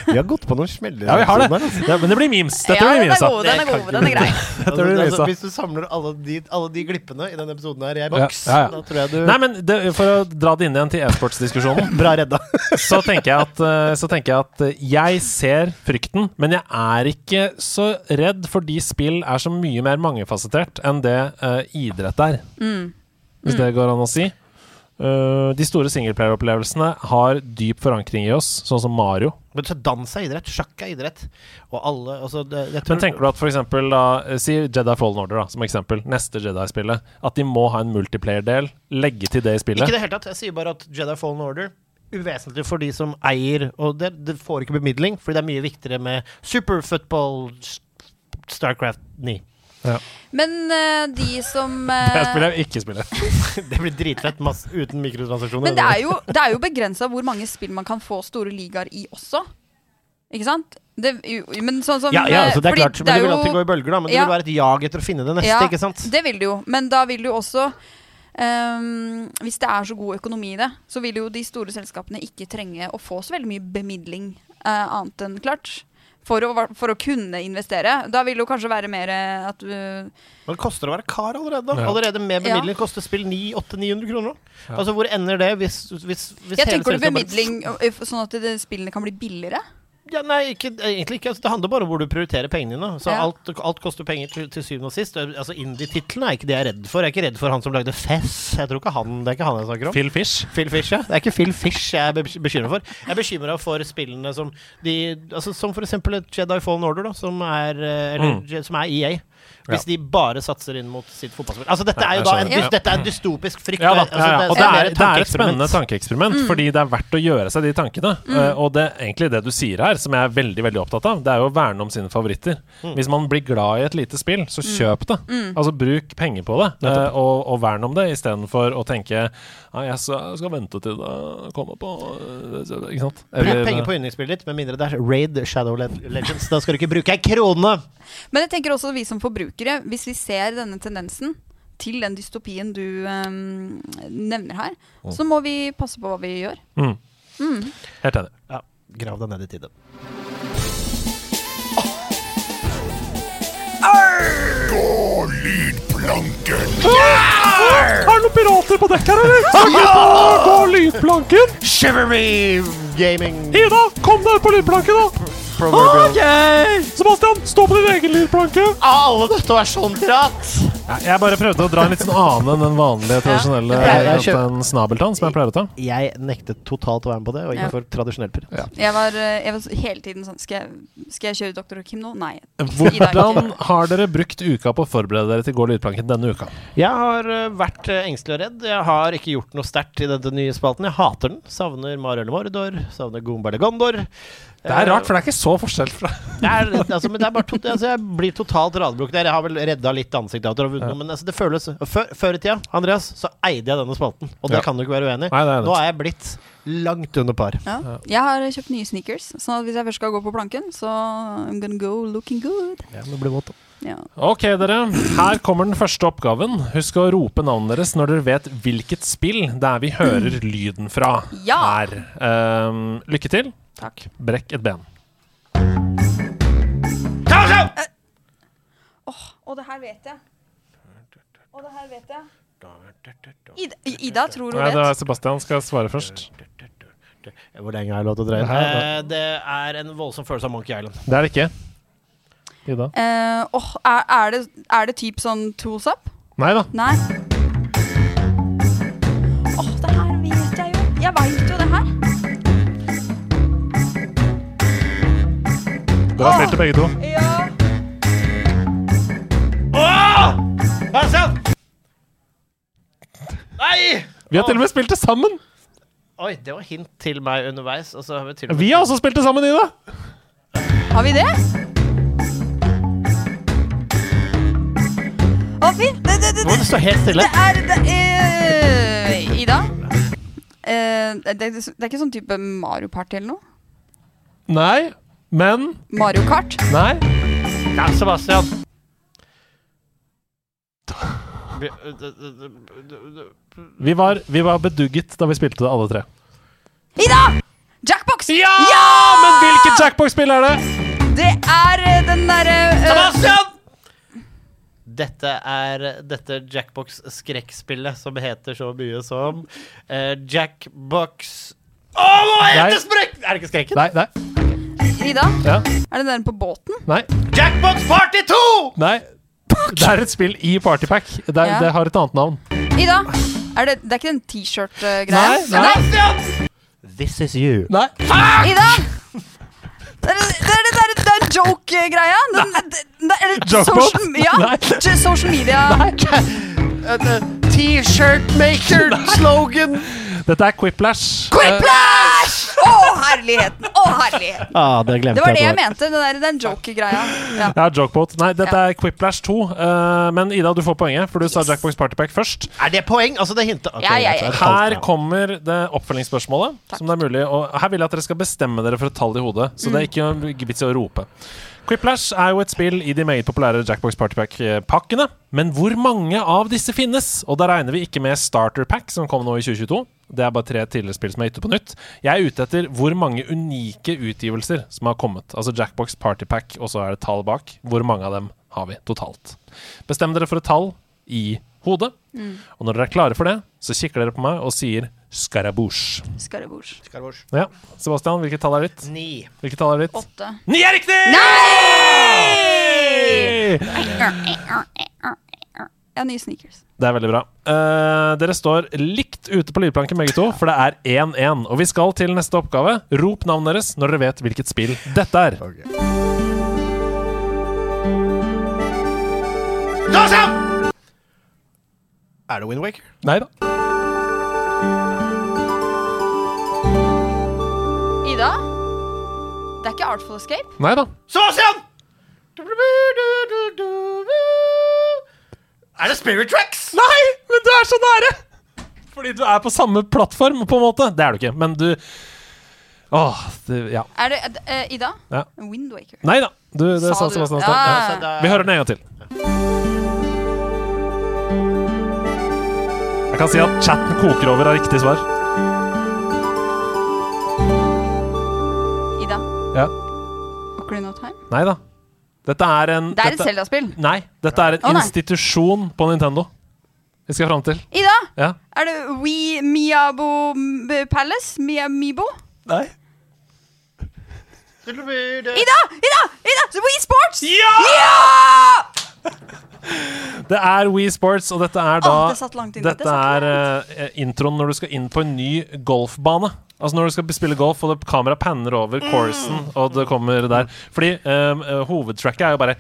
Speaker 5: Vi har gått på noen smeller.
Speaker 1: Ja, vi har det.
Speaker 5: her, altså.
Speaker 1: Ja, men det blir memes. Dette
Speaker 6: ja,
Speaker 1: blir
Speaker 6: den er
Speaker 1: memes, da.
Speaker 6: god, den er
Speaker 5: Det kan
Speaker 6: god, den er
Speaker 5: ikke-
Speaker 6: grei.
Speaker 1: Dette blir memes,
Speaker 5: Altså,
Speaker 1: da.
Speaker 5: hvis du samler alle de, alle de glippene i denne episoden her i ei
Speaker 1: Ja,
Speaker 5: boks,
Speaker 1: ja, ja.
Speaker 5: da tror jeg du
Speaker 1: Nei, men det, For å dra det inn igjen til e-sportsdiskusjonen.
Speaker 5: Bra redda.
Speaker 1: så tenker jeg at, eh, så tenker jeg, at eh, jeg ser frykten, men jeg er ikke så redd, fordi spill er så mye mer mangefasettert enn det eh, idrett er.
Speaker 5: Mm.
Speaker 1: Hvis det går an å si. Eh, de store singleplayer-opplevelsene har dyp forankring i oss, sånn som Mario.
Speaker 5: Men så dans er idrett. Sjakk er idrett. Og alle altså, det, jeg tror,
Speaker 1: Men tenker du at for eksempel da, eh, si Jedi Fallen Order da, som eksempel, neste Jedi-spillet, at de må ha en multiplayer-del, legge til det i
Speaker 5: Ikke i
Speaker 1: spillet?
Speaker 5: det hele tatt. Jeg sier bare at Jedi Fallen Order Uvesentlig for de som eier, og det, det får ikke bemidling, fordi det er mye viktigere med superfootball Starcraft 9.
Speaker 6: Men eh, de som
Speaker 1: Det
Speaker 6: eh,
Speaker 1: spiller jeg ikke spiller.
Speaker 5: Det blir dritfett masse, uten mikrotransaksjoner.
Speaker 6: Men det er jo, det er jo begrensa hvor mange spill man kan få store ligaer i også. Ikke sant? Det, jo, men sånn som
Speaker 5: ja, ja, altså, det er
Speaker 6: fordi
Speaker 5: klart. Men det vil alltid gå i bølger, da. Men det
Speaker 6: Ja.
Speaker 5: vil være et jag etter å finne det neste,
Speaker 6: Ja,
Speaker 5: ikke sant?
Speaker 6: Det vil det jo, men da vil det jo også ehm, Hvis det er så god økonomi i det, så vil jo de store selskapene ikke trenge å få så veldig mye bemidling eh, annet enn klart. For å, for å kunne investere. Da vil det jo kanskje være mer eh, at du
Speaker 5: Men det koster å være kar allerede, da.
Speaker 1: Ja.
Speaker 5: Allerede med
Speaker 6: Ja.
Speaker 5: bemidling koster spill 900-900 kroner. Altså, hvor ender det hvis, hvis, hvis
Speaker 6: Jeg
Speaker 5: hele
Speaker 6: tenker
Speaker 5: selskapet
Speaker 6: på
Speaker 5: bare-
Speaker 6: bemidling eh, sånn at det, spillene kan bli billigere.
Speaker 5: Ja, nei, ikke, egentlig ikke. Altså, det handler bare om hvor du prioriterer pengene dine. Så
Speaker 6: Ja.
Speaker 5: alt, alt koster penger til, til syvende og sist. Altså, Indie-titlene er ikke det jeg er redd for. Jeg er ikke redd for han som lagde Fess. Jeg tror ikke han, Det er ikke han jeg snakker om.
Speaker 1: Phil Fish.
Speaker 5: Phil Fish, ja. Det er ikke Phil Fish jeg er be- bekymra for. Jeg er bekymra for spillene som de altså, Som for eksempel et Jedi Fallen Order, da, som er, eh, eller,
Speaker 1: Mm.
Speaker 5: Je- som er EA. Hvis de bare satser inn mot sitt fotballspill. Altså, dette
Speaker 1: Ja,
Speaker 5: er
Speaker 1: jeg
Speaker 5: jo da en,
Speaker 1: skjønner.
Speaker 5: dys- dette er en dystopisk frykt.
Speaker 1: Ja, da,
Speaker 5: Altså,
Speaker 1: ja, ja. Og
Speaker 5: det
Speaker 1: det
Speaker 5: mer
Speaker 1: er, det er
Speaker 5: et
Speaker 1: et
Speaker 5: tankeeksperiment. Mm.
Speaker 1: spennende tankeeksperiment, fordi det er verdt å gjøre seg de tankene. Eh, og det er egentlig det du sier her, som jeg er veldig veldig opptatt av, det er jo å verne om sine favoritter. Hvis man blir glad i et lite spill, så
Speaker 5: Mm.
Speaker 1: kjøp det. Altså bruk penger på det, eh, og, og vern om det, istedenfor å tenke ja, jeg skal jeg skal vente til det kommer på eh, Ikke sant?
Speaker 5: Bruk penger på yndlingsspillet ditt, med mindre det er Raid Shadow Le- Legends. Da skal du ikke bruke ei krone!
Speaker 6: Men jeg tenker også vi som forbrukere, hvis vi ser denne tendensen til den dystopien du ehm, nevner her,
Speaker 5: Mm.
Speaker 6: så må vi passe på hva vi gjør.
Speaker 1: Mm. Helt enig.
Speaker 5: Ja, grav deg ned i tide.
Speaker 1: Er det noen pirater på dekk her, eller? Skal vi gå lydplanken?
Speaker 5: Shiver me, gaming
Speaker 1: Ida, kom deg på lydplanken, da!
Speaker 5: proverbial.
Speaker 1: Sebastian, stå på din egen lydplanke!
Speaker 5: Alle nødt til å være sånn prat!
Speaker 1: Jeg bare prøvde å dra en litt sånn annen enn den vanlige tradisjonelle
Speaker 5: Ja. Jeg
Speaker 1: at en snabeltann som jeg pleier å ta.
Speaker 5: Jeg nektet totalt å være med på det, og
Speaker 6: Ja.
Speaker 5: gikk for tradisjonell prat.
Speaker 6: Jeg var, eh, jeg var så- hele tiden sånn Skal jeg, skal jeg kjøre Doktor og Kim nå? Nei. I dag
Speaker 1: Eh, Hvordan
Speaker 6: ikke.
Speaker 1: har dere brukt uka på å forberede dere til Gå lydplanken denne uka?
Speaker 5: Jeg har eh, vært eh, engstelig og redd. Jeg har ikke gjort noe sterkt i denne nye spalten. Jeg hater den. Savner Mario eller Mordor. Savner Goomba eller Gondor.
Speaker 1: Det er rart, for det er ikke så forskjell fra
Speaker 5: Det er, altså, men det er bare tot, altså, jeg blir totalt radbrukt der. Jeg har vel redda litt ansikt av at du har vunnet, noe, men altså, det føles før, før i tida, Andreas, så eide jeg denne spalten, og det
Speaker 1: Ja.
Speaker 5: kan du ikke være uenig i.
Speaker 1: Nei, det er det.
Speaker 5: Nå er jeg blitt langt under par.
Speaker 6: Ja. Jeg har eh, kjøpt nye sneakers, sånn at hvis jeg først skal gå på planken, så I'm gonna go looking good. Ja.
Speaker 1: Ok, dere. Her kommer den første oppgaven. Husk å rope navnet deres når dere vet hvilket spill det er vi hører lyden fra
Speaker 6: Ja.
Speaker 1: her. Ehm, lykke til.
Speaker 5: Takk.
Speaker 1: Brekk et ben.
Speaker 6: Og det her vet jeg. Og det her vet jeg. Ida, Ida tror hun
Speaker 1: Nei, det
Speaker 6: vet.
Speaker 1: er Sebastian skal svare først.
Speaker 5: Hvor lenge har jeg lov til å dreie
Speaker 1: Det her,
Speaker 5: den? Eh, Det er en voldsom følelse av Monkey Island.
Speaker 1: Det er det ikke. Ida.
Speaker 6: Eh, åh, er, er, det, er det typ sånn tools up?
Speaker 1: Nei da.
Speaker 6: Nei. Åh, det her vet jeg jo. Jeg veit jo det her.
Speaker 1: Dere har spilt det begge to.
Speaker 6: Ja.
Speaker 5: Bastian! Nei!
Speaker 1: Vi har til og med spilt det sammen!
Speaker 5: Oi, det var hint til meg underveis. Og så har vi til og med
Speaker 1: Vi har også spilt det sammen, Ida!
Speaker 6: Har vi det? Å, fint. Det, det, det,
Speaker 5: Nå må du
Speaker 6: det,
Speaker 5: stå helt stille.
Speaker 6: det er det, eh, Ida? Eh, det, det, det er ikke sånn type Mario Party eller noe?
Speaker 1: Nei, men
Speaker 6: Mario Kart?
Speaker 1: Nei.
Speaker 5: Ja, Sebastian.
Speaker 1: Vi var, vi var bedugget da vi spilte det, alle tre.
Speaker 6: Ida! Jackbox!
Speaker 1: Ja! Men hvilket Jackbox-spill er det?
Speaker 6: Det er eh, den derre eh,
Speaker 5: Sebastian! Dette er dette Jackbox-skrekkspillet som heter så mye som eh, Jackbox Å, hva
Speaker 1: Nei.
Speaker 5: heter sprekk? Er det ikke skrekken?
Speaker 1: Nei, nei.
Speaker 6: Ida?
Speaker 1: Ja.
Speaker 6: Er det den på båten?
Speaker 1: Nei.
Speaker 5: Jackbox Party 2!
Speaker 1: nei. Det er et spill i Partypack. Det, er-
Speaker 6: Ja.
Speaker 1: det har et annet navn.
Speaker 6: Ida? Er det, det er ikke den T-shirt-greia?
Speaker 1: Nei, nei.
Speaker 5: This is you.
Speaker 1: Nei.
Speaker 6: Ida! Det er det, er det, det, er, det er joke-greia. Den- den- det- eller
Speaker 1: Joke
Speaker 6: Social,
Speaker 1: bot?
Speaker 6: ja,
Speaker 1: Nei.
Speaker 6: j- social media.
Speaker 5: T-shirt maker slogan.
Speaker 1: Dette er Quiplash.
Speaker 6: Quiplash! Å, herligheten! Å, herligheten!
Speaker 5: Ah, det glemte
Speaker 6: Eh. Det var det jeg
Speaker 5: jeg.
Speaker 6: mente. Den, der, den joke-greia. Ja.
Speaker 1: Ja, Jokeboat. Nei, dette er Quiplash 2. eh, men Ida, du får poenget, for du sa Jackbox Partypack først.
Speaker 5: Er det poeng? Altså, det hintet. Ok,
Speaker 6: Ja, ja, ja.
Speaker 5: greit, så er
Speaker 1: Her
Speaker 5: det tolv.
Speaker 1: kommer det oppfølgingsspørsmålet. Som det er mulig å, Her vil jeg at dere skal bestemme dere for et tall i hodet. Så det er ikke vits i å rope. Quiplash er jo et spill i de meget populære Jackbox Partypack-pakkene. Men hvor mange av disse finnes? Og da regner vi ikke med Starter Pack, som kom nå i 2022. Det er bare tre tidligere spill som er gitt ut på nytt. Jeg er ute etter hvor mange unike utgivelser som har kommet. Altså Jackbox Partypack, og så er det tall bak. Hvor mange av dem har vi totalt? Bestem dere for et tall i hodet. Og når dere er klare for det, så kikker dere på meg og sier skarabouche.
Speaker 6: Skal det bords.
Speaker 1: Ja. Sebastian, hvilket tall er ditt?
Speaker 5: Ni.
Speaker 1: Hvilket tall er ditt?
Speaker 6: Åtte.
Speaker 1: Ni er riktig!
Speaker 6: Ja, nye sneakers.
Speaker 1: Det er veldig bra. Eh, dere står likt ute på lydplanken begge to, for det er 1-1. Og vi skal til neste oppgave. Rop navnet deres når dere vet hvilket spill dette er.
Speaker 5: Er det Wind Waker?
Speaker 1: Nei da.
Speaker 6: Ida? Det er ikke Artful Escape?
Speaker 1: Nei da.
Speaker 5: Sebastian! Er det Spirit Tracks?
Speaker 1: Nei, men du er så nære! Fordi du er på samme plattform, på en måte. Det er du ikke, men du Åh, det, ja.
Speaker 6: Er det eh, Ida?
Speaker 1: Ja.
Speaker 6: Wind Waker.
Speaker 1: Nei da. Du, det sa
Speaker 6: du?
Speaker 1: Sebastian i
Speaker 6: Ja,
Speaker 1: stad.
Speaker 6: ja,
Speaker 1: Ja.
Speaker 6: ja.
Speaker 5: Altså, da-
Speaker 1: Vi hører den en gang til. Jeg kan si at chatten koker over av riktig svar.
Speaker 6: Ida.
Speaker 1: Ja.
Speaker 6: Ocarina of Time?
Speaker 1: Nei da. Dette er en
Speaker 6: Det er et
Speaker 1: dette,
Speaker 6: Zelda-spill.
Speaker 1: Nei, dette er en
Speaker 6: Å, nei.
Speaker 1: institusjon på Nintendo. Vi skal fram til.
Speaker 6: Ida!
Speaker 1: Ja.
Speaker 6: Er det We Miabo M- Palace? Miamibo?
Speaker 1: Nei.
Speaker 6: Ida! Ida! Ida! We Sports!
Speaker 1: Ja! Det er We Sports, og dette er da
Speaker 6: Åh, det satt langt inne. Det
Speaker 1: Dette
Speaker 6: satt
Speaker 1: er eh, introen når du skal inn på en ny golfbane. Altså når du skal spille golf, og det kamera panner over coursen,
Speaker 6: Mm.
Speaker 1: og det kommer der. Fordi um, eh, hovedtracket er jo bare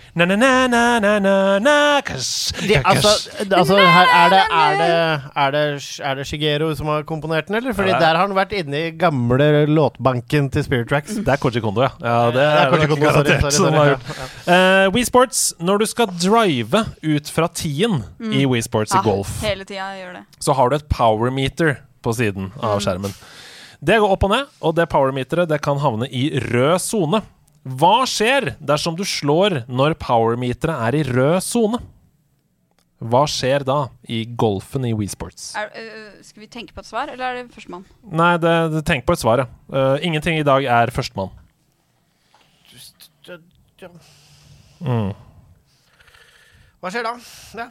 Speaker 1: na-na-na-na-na-na kash,
Speaker 5: De,
Speaker 1: kash.
Speaker 5: altså, altså her er det, er, det, er, det, er det Shigeru som har komponert den, eller? Fordi
Speaker 1: Ja, det er-
Speaker 5: der har han vært inne i gamle låtbanken til Spirit Tracks.
Speaker 1: Det er Koji Kondo, ja. ja det er,
Speaker 5: Koji
Speaker 1: det nok
Speaker 5: Kondo, sorry,
Speaker 1: garantert
Speaker 5: sorry,
Speaker 1: som
Speaker 5: sorry,
Speaker 1: har
Speaker 5: ja,
Speaker 1: gjort. Eh, Wii Sports, når du skal drive ut fra tien i
Speaker 6: Mm.
Speaker 1: Wii Sports i golf,
Speaker 6: Ah, Hele tida gjør det.
Speaker 1: så har du et power meter på siden av skjermen. Det går opp og ned, og det power meteret det kan havne i rød sone. Hva skjer dersom du slår når power meteret er i rød sone? Hva skjer da i golfen i Wii Sports?
Speaker 6: Er, øh, skal vi tenke på et svar, eller er det førstemann?
Speaker 1: Nei, det, det, tenk på et svar, ja. Eh, ingenting i dag er førstemann.
Speaker 5: Mm. Hva skjer da? Ja.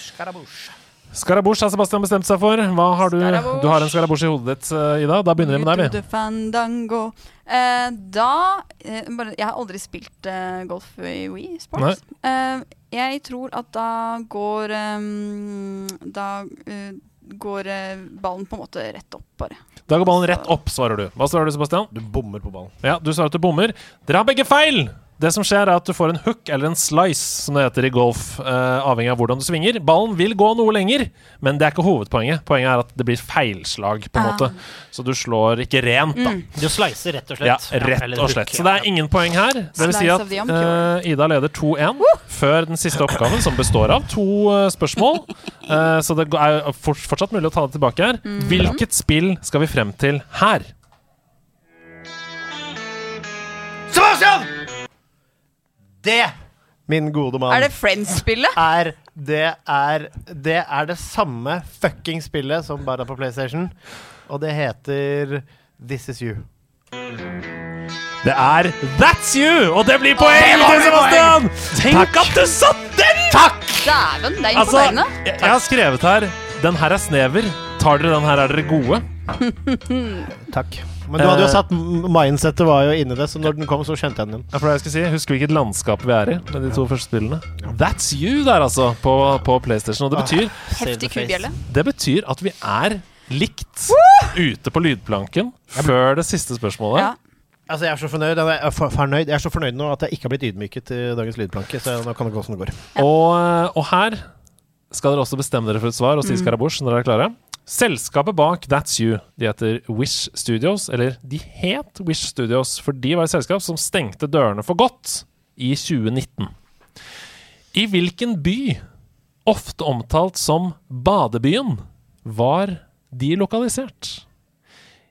Speaker 5: Skarabouche.
Speaker 1: Skarabosj har Sebastian bestemt seg for. Hva har Du
Speaker 6: Skarabosj.
Speaker 1: Du har en skarabosj i hodet ditt, eh, Ida. Da begynner vi med deg. vi.
Speaker 6: Ute fandango. Eh, da eh, bare, Jeg har aldri spilt eh, golf i Wii Sports. Eh, jeg tror at da går eh, Da eh, går eh, ballen på en måte rett opp, bare.
Speaker 1: Da går ballen rett opp, svarer du. Hva svarer du, Sebastian?
Speaker 5: Du bommer på ballen.
Speaker 1: Ja, du svarer at du bommer. Dere har begge feil! Det som skjer, er at du får en hook eller en slice, som det heter i golf, eh, avhengig av hvordan du svinger. Ballen vil gå noe lenger, men det er ikke hovedpoenget. Poenget er at det blir feilslag,
Speaker 6: Ah.
Speaker 1: på en måte. Så du slår ikke rent,
Speaker 6: Mm.
Speaker 1: da.
Speaker 5: Du slicer, rett og
Speaker 1: Ja,
Speaker 5: slett.
Speaker 1: rett
Speaker 5: eller
Speaker 1: og
Speaker 5: hook,
Speaker 1: slett. Så
Speaker 5: ja.
Speaker 1: det er ingen poeng her. Det vil si
Speaker 6: Slice
Speaker 1: at
Speaker 6: of the Amcure.
Speaker 1: eh, Ida leder 2-1 før den siste oppgaven, som består av to eh, spørsmål. Eh, så det er jo fort- fortsatt mulig å ta det tilbake her. Hvilket spill skal vi frem til her?
Speaker 5: Sebastian! Det, min gode mann,
Speaker 6: Er det Friends-spillet?
Speaker 5: er det er Det er det samme fucking spillet som bare er på PlayStation, og det heter This Is You.
Speaker 1: Det er That's You! Og det blir poeng til Sebastian! Tenk at du satt den! Takk!
Speaker 6: Dæven, det er
Speaker 1: Altså,
Speaker 6: imponerende.
Speaker 1: jeg, jeg har skrevet her Den her er snever. Tar dere den her, er dere gode?
Speaker 5: Takk. Men du hadde jo satt mindsettet var jo inni det, så når den kom, så skjønte jeg den.
Speaker 1: Ja, for det jeg skal si, Husker vi hvilket landskap vi er i med de to første spillene? That's You der, altså, på, på PlayStation. Og det
Speaker 5: Ah.
Speaker 1: betyr
Speaker 6: Heftig kubjelle.
Speaker 1: Det betyr at vi er likt ute på lydplanken før det siste spørsmålet.
Speaker 6: Ja.
Speaker 5: Altså, jeg er så fornøyd, jeg er, for, fornøyd. Jeg er så fornøyd nå at jeg ikke har blitt ydmyket i dagens lydplanke, så nå kan det gå som det går.
Speaker 1: Og, eh, og her skal dere også bestemme dere for et svar og si Skarabosj når dere er klare. Selskapet bak That's You, de heter Wish Studios, eller de het Wish Studios, for de var et selskap som stengte dørene for godt i 2019. I hvilken by, ofte omtalt som Badebyen, var de lokalisert?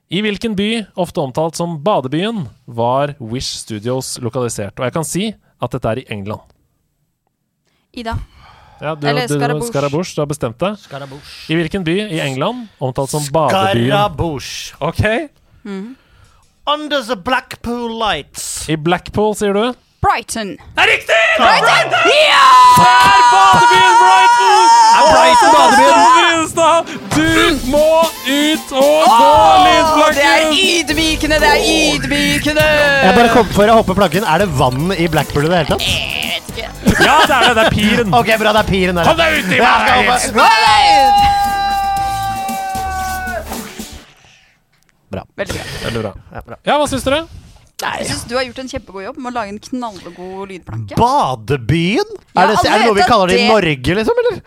Speaker 1: I hvilken by, ofte omtalt som Badebyen, var Wish Studios lokalisert? Og jeg kan si at dette er i England.
Speaker 6: Ida.
Speaker 1: Ja, du,
Speaker 6: Eller
Speaker 1: du,
Speaker 6: Skarabosj.
Speaker 1: Skarabosj, du har bestemt deg.
Speaker 5: Skarabouche.
Speaker 1: I hvilken by i England omtalt som badebyen?
Speaker 5: Skarabouche.
Speaker 1: Ok,
Speaker 5: Under the Blackpool Lights.
Speaker 1: I Blackpool, sier du?
Speaker 6: Brighton.
Speaker 1: Det er riktig!
Speaker 6: Brighton!
Speaker 1: Det
Speaker 6: Ja!
Speaker 1: er badebyen Brighton! Er
Speaker 5: Brighton badebyen?
Speaker 1: Du må ut og gå
Speaker 6: Å, det er
Speaker 1: lydplanken!
Speaker 6: ydmykende, det er ydmykende!
Speaker 5: Jeg bare kom før jeg hopper planken. Er det vann i Blackpool i det hele tatt?
Speaker 1: Ja, det er det. Det er piren.
Speaker 5: Ok, bra, det er piren der.
Speaker 1: Kom deg ut i
Speaker 5: Ja, jeg
Speaker 1: verden!
Speaker 5: skal hoppe.
Speaker 6: Veldig bra.
Speaker 1: Veldig bra.
Speaker 5: Ja, bra.
Speaker 1: Ja, hva syns dere?
Speaker 6: Jeg syns du har gjort en kjempegod jobb med å lage en knallgod lydplanke.
Speaker 5: Badebyen?
Speaker 6: Ja,
Speaker 5: Er det, er
Speaker 6: alle
Speaker 5: det noe vi
Speaker 6: vet at
Speaker 5: kaller det i
Speaker 6: det-
Speaker 5: Norge, liksom? Eller,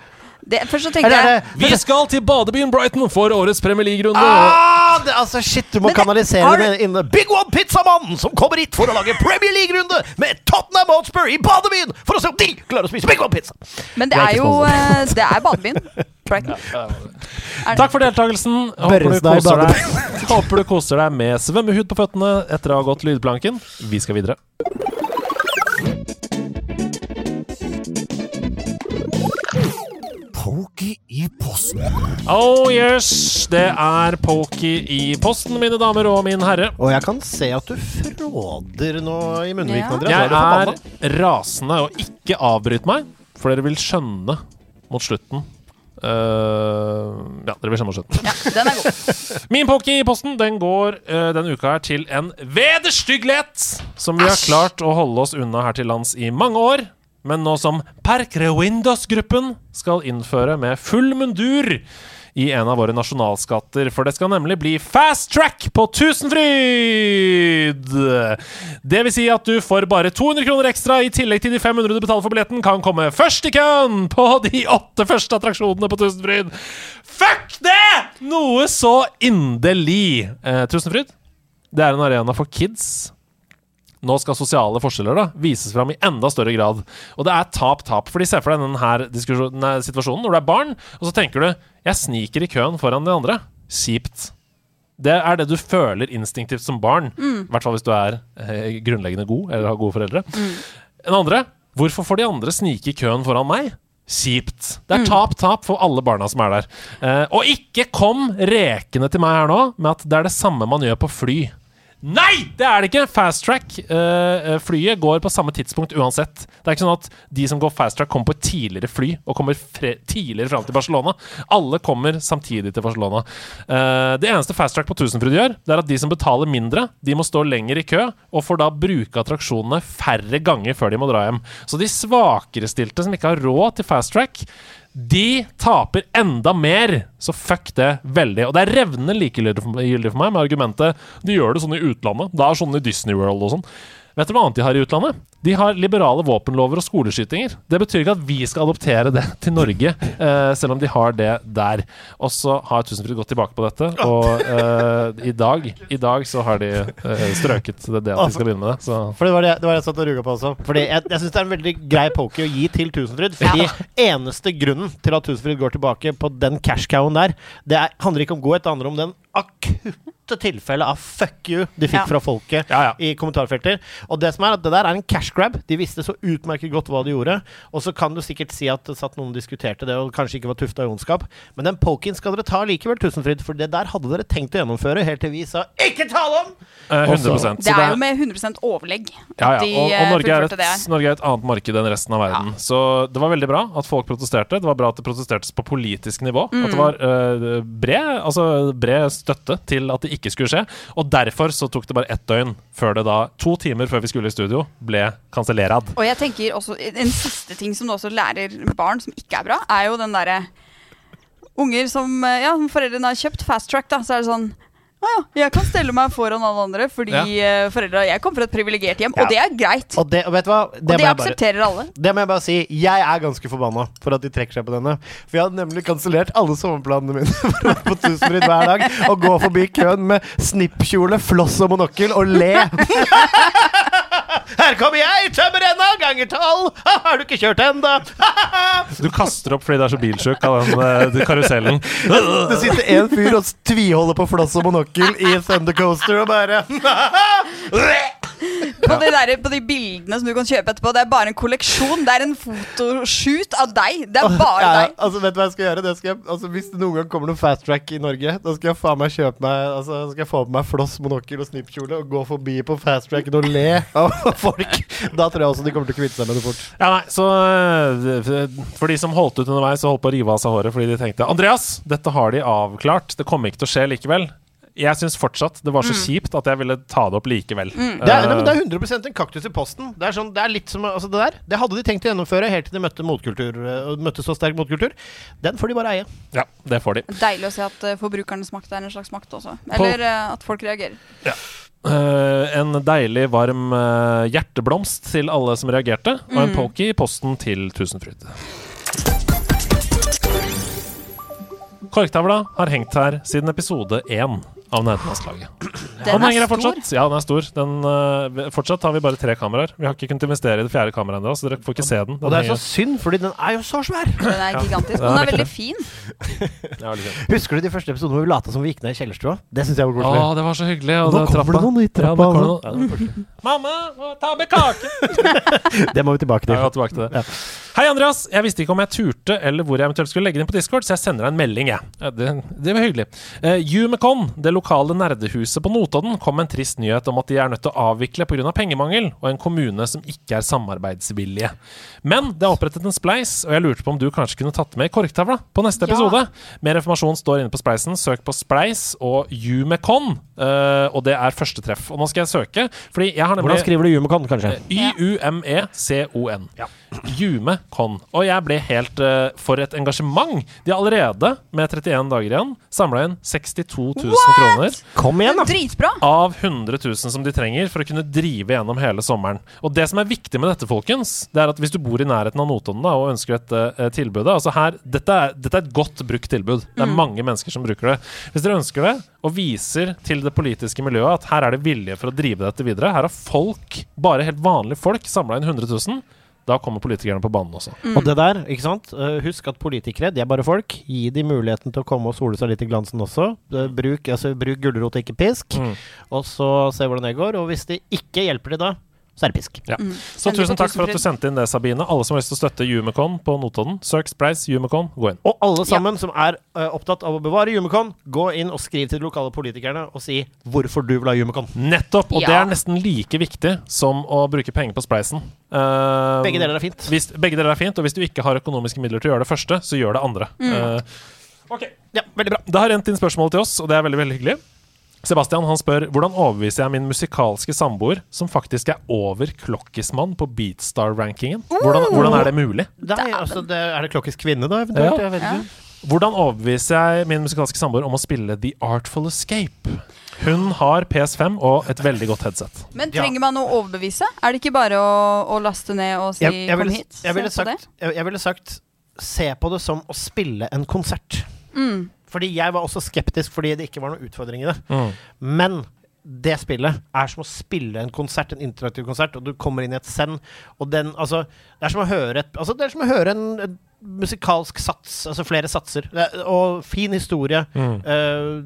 Speaker 6: Det, først så
Speaker 5: eller
Speaker 6: tenkte
Speaker 5: er det,
Speaker 6: jeg
Speaker 1: Vi skal til badebyen Brighton for årets Premier League-runde.
Speaker 5: ah, det, altså, shit, du må
Speaker 6: Men det-
Speaker 5: kanalisere
Speaker 6: har
Speaker 5: det inn Big One Pizzamannen som kommer hit for å lage Premier League-runde med Tottenham Hotspur i badebyen for å se om de klarer å spise Big One Pizza!
Speaker 6: Men det
Speaker 5: Jeg er
Speaker 6: er
Speaker 5: ikke
Speaker 6: jo eh, Det er badebyen. Brighton.
Speaker 1: Takk for deltakelsen. Håper du,
Speaker 5: Børrestad i
Speaker 1: koser deg. Håper du koser deg med svømmehud på føttene etter å ha gått lydplanken. Vi skal videre.
Speaker 7: Pokey i posten.
Speaker 1: Oh yes! Det er Polky i posten, mine damer og min herre.
Speaker 5: Og jeg kan se at du fråder nå i munnvikene,
Speaker 6: Ja.
Speaker 1: Jeg
Speaker 5: Andreas. Nå
Speaker 1: er
Speaker 5: du forbanna.
Speaker 1: rasende, og ikke avbryt meg, for dere vil skjønne mot slutten. eh, ja, dere vil skjønne mot slutten.
Speaker 6: Ja, den er god.
Speaker 1: Min pokke i posten den går eh, denne uka her til en vederstyggelighet som vi har klart å holde oss unna her til lands i mange år. Men nå som Perkrewindos-gruppen skal innføre med full mundur i en av våre nasjonalskatter, for det skal nemlig bli fast track på Tusenfryd! Det vil si at du for bare 200 kroner ekstra, i tillegg til de 500 du betaler for billetten, kan komme først i køen på de åtte første attraksjonene på Tusenfryd. Fuck det! Noe så inderlig. Eh, Tusenfryd, det er en arena for kids. Nå skal sosiale forskjeller da vises fram i enda større grad. Og det er tap-tap. For de ser for deg denne situasjonen når du er barn, og så tenker du 'jeg sniker i køen foran de andre'. Kjipt. Det er det du føler instinktivt som barn. I hvert fall hvis du er eh, grunnleggende god eller har gode foreldre. En andre Hvorfor får de andre snike i køen foran meg? Kjipt. Det er tap-tap for alle barna som er der. Eh, og ikke kom rekende til meg her nå med at det er det samme man gjør på fly. Nei, det er det ikke! Fast track. eh, flyet går på samme tidspunkt uansett. Det er ikke sånn at de som går fast track, kommer på et tidligere fly og kommer fre tidligere fram til Barcelona. Alle kommer samtidig til Barcelona. Eh, det eneste fast track på Tusenfryd gjør, det er at de som betaler mindre, de må stå lenger i kø og får da bruke attraksjonene færre ganger før de må dra hjem. Så de svakere stilte som ikke har råd til fast track, de taper enda mer, så fuck det veldig. Og det er revnende likegyldig for gyldig for meg med argumentet de gjør det sånn i utlandet. Det er sånn i Disney World og sånn. Vet dere hva annet de har i utlandet? De har liberale våpenlover og skoleskytinger. Det betyr ikke at vi skal adoptere det til Norge, eh, selv om de har det der. Og så har Tusenfryd gått tilbake på dette, og eh, i, dag, i dag så har de eh, strøket det, det at de skal begynne med det. Så
Speaker 5: For det var det, det var det jeg satt og ruga på også. Fordi jeg, jeg syns det er en veldig grei poker å gi til Tusenfryd. Fordi eneste grunnen til at Tusenfryd går tilbake på den cashcowen der, det er, handler ikke om godhet, det handler om den akutte tilfellet av fuck you de fikk
Speaker 6: Ja.
Speaker 5: fra folket
Speaker 1: Ja, ja.
Speaker 5: i kommentarfelter. Og det som er at det der er en cash grab. De visste så utmerket godt hva de gjorde. Og så kan du sikkert si at det satt noen og diskuterte det, og kanskje ikke var tufta i ondskap. Men den poken skal dere ta likevel, Tusenfryd, for det der hadde dere tenkt å gjennomføre helt til vi sa ikke tale om!
Speaker 1: eh, 100
Speaker 5: Også-
Speaker 1: så
Speaker 6: Det er jo med 100 overlegg at
Speaker 1: Ja, ja.
Speaker 6: de
Speaker 1: Og, og Norge,
Speaker 6: eh,
Speaker 1: er
Speaker 6: fullførte
Speaker 1: et,
Speaker 6: det her.
Speaker 1: Norge er et annet marked enn resten av verden. Så det var veldig bra at folk protesterte. Det var bra at det protesтерtes på politisk nivå.
Speaker 6: Mm.
Speaker 1: At det var eh, bred, altså, bred støtte til at det ikke skulle skje. Og derfor så tok det bare ett døgn før det da, to timer før vi skulle i studio, ble kansellerad.
Speaker 6: Og jeg tenker også En siste ting som du også lærer barn som ikke er bra, er jo den derre Unger som eh, ja, som foreldrene har kjøpt fast track, da, så er det sånn Å ja, jeg kan stelle meg foran alle andre fordi eh, foreldre Jeg kommer fra et privilegert hjem,
Speaker 5: Ja.
Speaker 6: og det er greit. Og
Speaker 5: Og det, og vet du hva? Det,
Speaker 6: det,
Speaker 5: må jeg bare-
Speaker 6: aksepterer alle.
Speaker 5: Det må jeg bare si. Jeg er ganske forbanna for at de trekker seg på denne. For jeg hadde nemlig kansellert alle sommerplanene mine for å være på Tusenfryd hver dag og gå forbi køen med snippkjole, floss og monokkel og le. Her kommer jeg, tømmerrenna, ganger tolv! Har du ikke kjørt ennå?
Speaker 1: Du kaster opp fordi du er så bilsjuk av den eh, karusellen.
Speaker 5: Det sitter en fyr og tviholder på floss og monokkel i Thunder Coaster og bare
Speaker 6: På, de der, på de bildene som du kan kjøpe etterpå, det er bare en kolleksjon. Det er en fotoshoot av deg. Det er bare
Speaker 5: Ja, ja.
Speaker 6: deg.
Speaker 5: Altså, vet du hva jeg skal gjøre? Det skal jeg, altså, hvis det noen gang kommer noen fast track i Norge, da skal jeg faen meg kjøpe meg Altså, da skal jeg få på meg floss, monokkel og snippkjole og gå forbi på fast tracken og le av folk. Da tror jeg også de kommer til å kvitte seg med det fort.
Speaker 1: Ja, nei, så øh, For de som holdt ut underveis og holdt på å rive av seg håret fordi de tenkte Andreas, dette har de avklart, det kommer ikke til å skje likevel. Jeg syns fortsatt det var så kjipt at jeg ville ta det opp likevel.
Speaker 5: Mm. Det er,
Speaker 1: Eh,
Speaker 5: nei, men det er 100 en kaktus i posten. Det er, sånn, det er litt som altså, det der. Det hadde de tenkt å gjennomføre helt til de møtte motkultur øh, og møtte så sterk motkultur. Den får de bare eie.
Speaker 1: ja, det får de.
Speaker 6: Deilig å se at eh, forbrukernes makt er en slags makt også. Eller eh, at folk reagerer.
Speaker 1: Eh, en deilig, varm eh, hjerteblomst til alle som reagerte, og
Speaker 5: Mm.
Speaker 1: en pokey i posten til Tusenfryd. Korktavla har hengt her siden episode én av Nerdelandslaget. Den, henger her fortsatt. Ja, den er stor. Den, eh, fortsatt har vi bare tre kameraer. Vi har ikke kunnet investere i det fjerde kameraet ennå, så dere får ikke se den.
Speaker 5: Og
Speaker 1: den
Speaker 5: det er så
Speaker 1: henger-
Speaker 5: synd, fordi den er jo så svær.
Speaker 6: Den er gigantisk. Og den er veldig fin.
Speaker 1: Ja, veldig fint.
Speaker 5: Husker du de første episodene hvor vi lata som vi gikk ned i kjellerstua? Det syns jeg var
Speaker 1: Å,
Speaker 5: koselig.
Speaker 1: det var så hyggelig. Og
Speaker 5: Nå
Speaker 1: det
Speaker 5: kommer det
Speaker 1: trappa.
Speaker 5: noen i
Speaker 1: Ja, nå
Speaker 5: trappa.
Speaker 1: kommer
Speaker 5: altså.
Speaker 1: det noen. Ja, det var koselig. Mamma, må ta med kake!
Speaker 5: det må vi tilbake til.
Speaker 1: Ja, vi går tilbake til det. Hei, Andreas. Jeg visste ikke om jeg turte eller hvor jeg eventuelt skulle legge den på Discord, så jeg sender deg en melding, jeg. Ja, det, det var hyggelig. Uh, Umecon, det lokale nerdehuset på Notodden, kom med en trist nyhet om at de er nødt til å avvikle pga. pengemangel og en kommune som ikke er samarbeidsvillige. Men det er opprettet en spleis, og jeg lurte på om du kanskje kunne tatt med i korktavla på neste episode. Mer informasjon står inne på spleisen. Søk på Spleis og Umecon, eh, og det er første treff. Og nå skal jeg søke, fordi jeg har nemlig
Speaker 5: Hvordan skriver du Humorcon, kanskje?
Speaker 1: E Y-U-M-E-C-O-N. Jumecon. Og jeg ble helt eh, for et engasjement. De har allerede, med 31 dager igjen, samla inn 62 000 kroner
Speaker 5: Kom igjen, da!
Speaker 6: Dritbra!
Speaker 1: av 100 000 som de trenger for å kunne drive gjennom hele sommeren. Og det som er viktig med dette, folkens, det er at hvis du bor i nærheten av Notodden da, og ønsker dette eh, tilbudet altså her, dette, er, dette er et godt brukt tilbud. Det er mange mennesker som bruker det. Hvis dere ønsker det, og viser til det politiske miljøet at her er det vilje for å drive dette videre, her har folk, bare helt vanlige folk, samla inn 100 000, da kommer politikerne på banen også.
Speaker 5: Og det der, ikke sant? Eh, Husk at politikere, de er bare folk. Gi de muligheten til å komme og sole seg litt i glansen også. Eh, Bruk, Mm.
Speaker 1: Mm,
Speaker 5: altså, bruk gulrot, ikke pisk. Og så se hvordan det går. Og hvis det ikke hjelper de da, så er det pisk.
Speaker 1: Ja. Så
Speaker 6: Veldig
Speaker 1: tusen
Speaker 6: på
Speaker 1: takk for at du
Speaker 6: tusenfryd.
Speaker 1: sendte inn det, Sabine. Alle som har lyst til å støtte Humicon på Notodden, søk Spreis, Humicon, gå inn.
Speaker 5: Og alle sammen som er eh, opptatt av å bevare Jumekon, gå inn og skriv til de lokale politikerne og si hvorfor du vil ha Jumekon.
Speaker 1: Nettopp! Og det
Speaker 6: Ja.
Speaker 1: er nesten like viktig som å bruke penger på Spleisen. Eh,
Speaker 5: Begge deler er fint.
Speaker 1: Hvis, begge deler er fint, og hvis du ikke har økonomiske midler til å gjøre det første, så gjør det andre. Eh, ok.
Speaker 5: Ja, veldig bra.
Speaker 1: Det har rent inn spørsmål til oss, og det er veldig veldig hyggelig. Sebastian han spør hvordan overbeviser jeg min musikalske samboer, som faktisk er over Klokkismann på Beatstar-rankingen? Hvordan, hvordan er det mulig?
Speaker 5: Det er, altså, det, er det klokkes kvinne, da, eventuelt?
Speaker 1: Ja.
Speaker 5: Jeg vet ikke.
Speaker 1: Hvordan overbeviser jeg min musikalske samboer om å spille The Artful Escape? Hun har PS5 og et veldig godt headset.
Speaker 6: Men
Speaker 5: Ja.
Speaker 6: trenger man å overbevise? Er det ikke bare å, å laste ned og si
Speaker 5: Jeg, jeg,
Speaker 6: 'kom
Speaker 5: ville,
Speaker 6: hit'?
Speaker 5: jeg, ville
Speaker 6: se på det?
Speaker 5: sagt, jeg, jeg ville sagt se på det som å spille en konsert.
Speaker 6: Mm.
Speaker 5: Fordi jeg var også skeptisk fordi det ikke var noen utfordring i det. Men det spillet er som å spille en konsert, en interaktiv konsert, og du kommer inn i et send, og den Altså, det er som å høre et Altså, det er som å høre en, en musikalsk sats, altså flere satser, det er, og fin historie. Eh,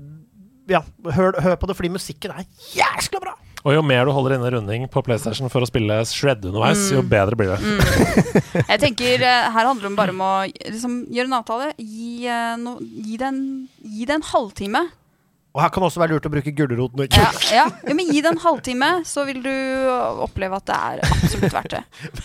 Speaker 5: ja, hør, hør på det, fordi musikken er jæskla bra!
Speaker 1: Og jo mer du holder inne runding på PlayStation for å spille Shred underveis, jo bedre blir det.
Speaker 6: Jeg tenker eh, Her handler det bare om å liksom, gjøre en avtale. Gi, eh, no, gi, det en, gi det en halvtime.
Speaker 5: Og her kan det også være lurt å bruke gulroten.
Speaker 6: Ja, ja. ja, men Gi det en halvtime, så vil du oppleve at det er absolutt verdt det.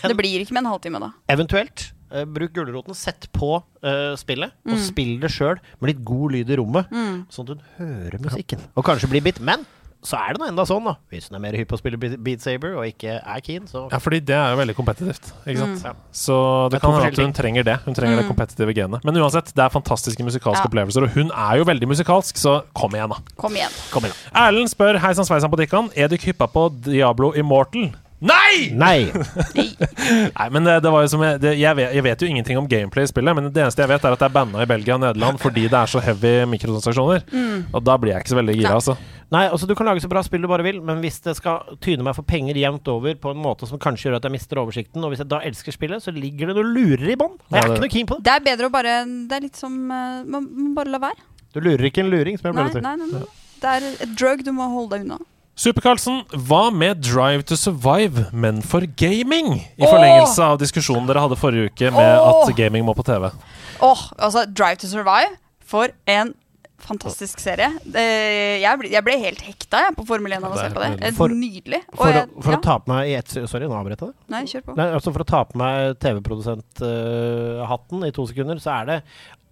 Speaker 6: Det blir ikke med en halvtime, da.
Speaker 5: Eventuelt eh, bruk gulroten, sett på eh, spillet,
Speaker 6: Mm.
Speaker 5: og spill det sjøl med litt god lyd i rommet, sånn at hun hører musikken. Og kanskje blir bitt. Men så er det nå enda sånn, da. Hvis hun er mer hypp på å spille Be- Beat Saber og ikke er keen, så
Speaker 1: Ja, fordi det er jo veldig kompetitivt. Ikke sant?
Speaker 5: Ja.
Speaker 1: Så det kan hende
Speaker 5: Det er to
Speaker 1: at
Speaker 5: forskjellige
Speaker 1: hun trenger det. Hun trenger det kompetitive genet. Men uansett, det er fantastiske musikalske
Speaker 6: Ja.
Speaker 1: opplevelser, og hun er jo veldig musikalsk, så kom igjen, da.
Speaker 6: Kom igjen.
Speaker 5: kom igjen.
Speaker 1: Erlend spør Hei sann sveisann på dikkan, er dere hyppa på Diablo Immortal? Nei!
Speaker 5: Nei!
Speaker 1: Nei, men eh, det, det var jo som jeg, det, jeg, vet, jeg vet jo ingenting om gameplay i spillet, men det eneste jeg vet, er at det er banna i Belgia og Nederland fordi det er så heavy mikrotransaksjoner. Og da blir jeg ikke så veldig gira, altså.
Speaker 5: Nei, altså Du kan lage så bra spill du bare vil, men hvis det skal tyne meg for penger jevnt over på en måte som kanskje gjør at jeg mister oversikten, og hvis jeg da elsker spillet, så ligger det noe lurer i bånn. Og
Speaker 1: Ja,
Speaker 5: Jeg er
Speaker 1: det-
Speaker 5: ikke noe keen på det.
Speaker 6: Det er bedre å bare Det er litt som eh, Man må bare la være.
Speaker 5: Du lurer ikke en luring, som jeg
Speaker 6: Nei,
Speaker 5: pleier å si.
Speaker 6: nei, nei, nei. Det er et drug du må holde deg unna.
Speaker 1: Super-Karlsen, hva med Drive to Survive, men for gaming? I
Speaker 6: Åh!
Speaker 1: forlengelse av diskusjonen dere hadde forrige uke med
Speaker 6: Åh!
Speaker 1: at gaming må på TV.
Speaker 6: Åh, altså Drive to Survive For en fantastisk serie Eh, Jeg ble, jeg ble helt hekta jeg, på Formel 1
Speaker 1: Ja,
Speaker 6: av å
Speaker 1: det
Speaker 6: se
Speaker 1: er
Speaker 6: på det Eh,
Speaker 5: for-
Speaker 6: Nydelig Og
Speaker 5: For, å,
Speaker 6: jeg,
Speaker 5: for
Speaker 6: ja,
Speaker 5: å ta på meg i ett Sorry, nå avbrøt jeg det.
Speaker 6: Nei, kjør på
Speaker 5: Nei, altså For å ta på meg TV-produsent-hatten i to sekunder, så er det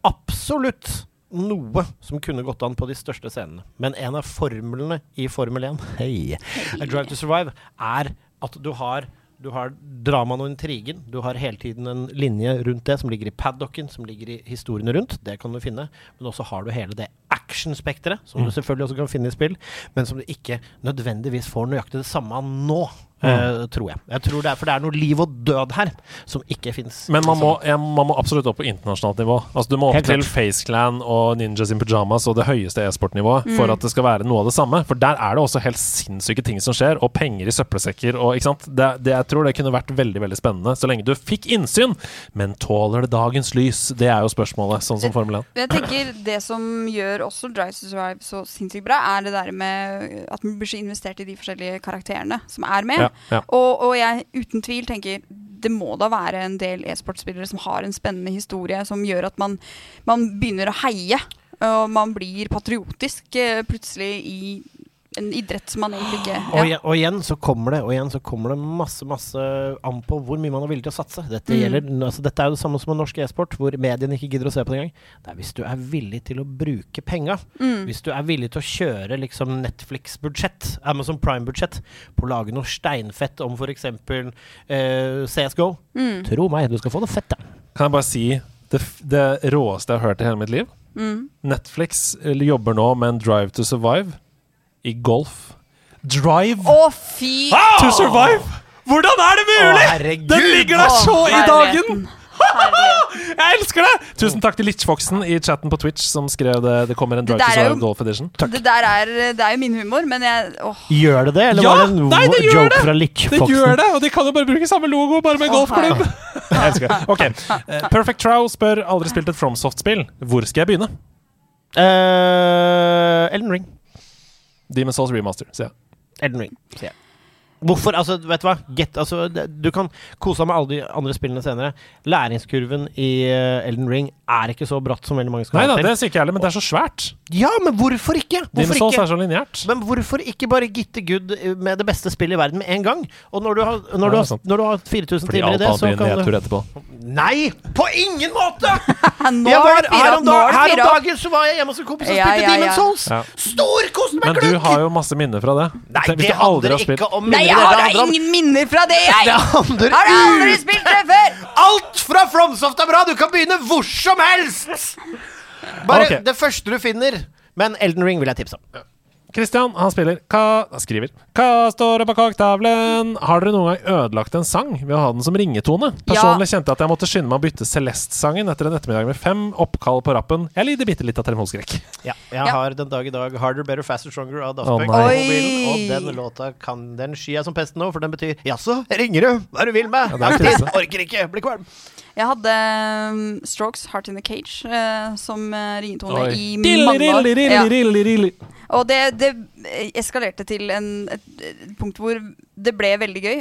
Speaker 5: absolutt noe som kunne gått an på de største scenene. Men en av formlene i Formel 1 hei, Drive to Survive er at du har du har dramaen og intrigen. Du har hele tiden en linje rundt det som ligger i paddocken, som ligger i historiene rundt. Det kan du finne. Men også har du hele det actionspekteret, som
Speaker 1: Mm.
Speaker 5: du selvfølgelig også kan finne i spill, men som du ikke nødvendigvis får nøyaktig det samme av nå,
Speaker 1: Mm.
Speaker 5: eh, tror jeg. jeg tror det er, for det er noe liv og død her som ikke fins.
Speaker 1: Men man må, ja, man må absolutt opp på internasjonalt nivå. Altså Du må opp
Speaker 5: Helt
Speaker 1: til
Speaker 5: klart.
Speaker 1: Face Clan og Ninjas in Pyjamas og det høyeste
Speaker 6: Mm.
Speaker 1: e-sportnivået for at det skal være noe av det samme. For der er det også helt sinnssyke ting som skjer, og penger i søppelsekker og ikke sant. Det, det, jeg tror det kunne vært veldig veldig spennende så lenge du fikk innsyn. Men tåler det dagens lys? Det er jo spørsmålet, sånn
Speaker 6: Eh,
Speaker 1: som Formel 1.
Speaker 6: jeg tenker det som gjør også Drive to Survive så sinnssykt bra, er det der med at man blir så investert i de forskjellige karakterene som er med.
Speaker 1: Ja, ja.
Speaker 6: Og, og jeg uten tvil tenker det må da være en del e-sportspillere som har en spennende historie som gjør at man, man begynner å heie. Og man blir patriotisk eh, plutselig i en idrett som man egentlig ikke
Speaker 5: Og,
Speaker 6: ja.
Speaker 5: igjen, og igjen så kommer det Og igjen så kommer det masse masse an på hvor mye man er villig til å satse. Dette,
Speaker 1: Mm.
Speaker 5: gjelder, altså, dette er jo det samme som en norsk e-sport, hvor mediene ikke gidder å se på det engang. Det er hvis du er villig til å bruke penga.
Speaker 6: mm.
Speaker 1: Mm.
Speaker 5: Hvis du er villig til å kjøre liksom Netflix-budsjett, Amazon Prime-budsjett, på å lage noe steinfett om f.eks. Eh, CSGO.
Speaker 1: Mm.
Speaker 5: Tro meg, du skal få noe fett, da.
Speaker 1: Kan jeg bare si det, f- det råeste jeg har hørt i hele mitt liv?
Speaker 6: Mm.
Speaker 1: Netflix eller, jobber nå med en Drive to Survive i golf. Drive
Speaker 6: Å, fy!
Speaker 5: Ah,
Speaker 1: to survive! Hvordan er det mulig?!
Speaker 5: Å, herregud!
Speaker 1: Den ligger der så i dagen!
Speaker 6: Herligheten. Herligheten.
Speaker 1: Jeg elsker det! Tusen takk til Litchfoxen i chatten på Twitch som skrev det. Det kommer en Drive to
Speaker 6: Det der er
Speaker 1: Survive
Speaker 6: jo-
Speaker 1: Golf Edition.
Speaker 6: Det der er, det er jo min humor, men jeg åh.
Speaker 5: Gjør det det, eller
Speaker 1: Ja!
Speaker 5: var det en
Speaker 1: Nei, det gjør
Speaker 5: joke
Speaker 1: det!
Speaker 5: fra
Speaker 1: Det gjør
Speaker 5: Litchfoxen?
Speaker 1: det, og de kan jo bare bruke samme logo, bare med
Speaker 6: Å,
Speaker 1: golfklubb. Jeg elsker det. Ok. Eh, Perfect Trow spør aldri spilt et FromSoft-spill. Hvor skal jeg begynne?
Speaker 5: Eh, Elden Ring.
Speaker 1: Demon's Souls Remaster, sier jeg.
Speaker 5: Elden Ring, sier jeg. Hvorfor? Altså, vet du hva? Get, altså, du kan kose deg med alle de andre spillene senere. Læringskurven i eh, Elden Ring er ikke så bratt som veldig mange skal
Speaker 1: Nei da,
Speaker 5: ha
Speaker 1: det sier ikke jeg heller, men det er så svært.
Speaker 5: Ja, men hvorfor ikke?
Speaker 1: Demon's
Speaker 5: Hvorfor
Speaker 1: Souls er
Speaker 5: ikke?
Speaker 1: så lineært.
Speaker 5: Men hvorfor ikke bare gitte good med det beste spillet i verden med en gang? Og når du har,
Speaker 1: Ja,
Speaker 5: når du
Speaker 1: det er
Speaker 5: har,
Speaker 1: sant.
Speaker 5: når du har 4000
Speaker 1: Fordi
Speaker 5: timer i
Speaker 1: alt
Speaker 5: det,
Speaker 1: annet
Speaker 5: så
Speaker 1: blir en
Speaker 5: kan du
Speaker 1: nedtur etterpå.
Speaker 5: Nei! På ingen måte!
Speaker 6: Nå
Speaker 5: Jeg
Speaker 6: er
Speaker 5: var,
Speaker 6: det fire
Speaker 5: her, om
Speaker 6: opp, nå
Speaker 5: dag,
Speaker 6: er det
Speaker 5: her om
Speaker 6: fire opp.
Speaker 5: dagen så var jeg hjemme hos en kompis og
Speaker 6: Ja,
Speaker 5: spilte
Speaker 6: ja, ja.
Speaker 5: Demon's Souls!
Speaker 1: Ja.
Speaker 5: Storkoste meg
Speaker 1: Men du
Speaker 5: gløgg!
Speaker 1: har jo masse minner fra det.
Speaker 5: Nei,
Speaker 1: Tenk hvis
Speaker 5: det
Speaker 1: du aldri
Speaker 5: handler
Speaker 1: har
Speaker 5: ikke
Speaker 1: spilt
Speaker 5: om
Speaker 6: Nei,
Speaker 5: minner,
Speaker 6: jeg
Speaker 5: det
Speaker 6: har da
Speaker 5: handler om
Speaker 6: ingen minner fra det, jeg!
Speaker 5: Det
Speaker 6: Har
Speaker 5: handler
Speaker 6: aldri spilt det før!
Speaker 5: Alt fra Fromsoft er bra! Du kan begynne hvor som helst! Bare
Speaker 1: Ok.
Speaker 5: det første du finner. Men Elden Ring vil jeg tipse om.
Speaker 1: Christian, han spiller Hva han skriver Hva står det på kaketavlen? Har dere noen gang ødelagt en sang ved å ha den som ringetone? Personlig kjente jeg at jeg måtte skynde meg å bytte Celeste-sangen etter en ettermiddag med fem oppkall på rappen. Jeg lider bitte litt av telefonskrekk.
Speaker 5: Ja, jeg har den dag i dag Harder, Better, Faster, Stronger av Daft
Speaker 1: Å,
Speaker 5: Punk
Speaker 1: nei.
Speaker 5: på
Speaker 6: Oi.
Speaker 5: mobilen, og den låta kan den sky jeg som pesten nå, for den betyr jaså, ringer du? Hva er du vil med?
Speaker 1: Ja, det er
Speaker 5: Aktiv,
Speaker 1: krise.
Speaker 5: orker ikke, blir kvalm.
Speaker 6: Jeg hadde um, Strokes Heart in the Cage eh, som eh, ringetone
Speaker 1: Oi.
Speaker 6: i
Speaker 1: Dilly,
Speaker 6: mange år.
Speaker 1: dilly, dilly,
Speaker 6: Ja.
Speaker 1: dilly, dilly.
Speaker 6: Og det, det eskalerte til en, et, et punkt hvor det ble veldig gøy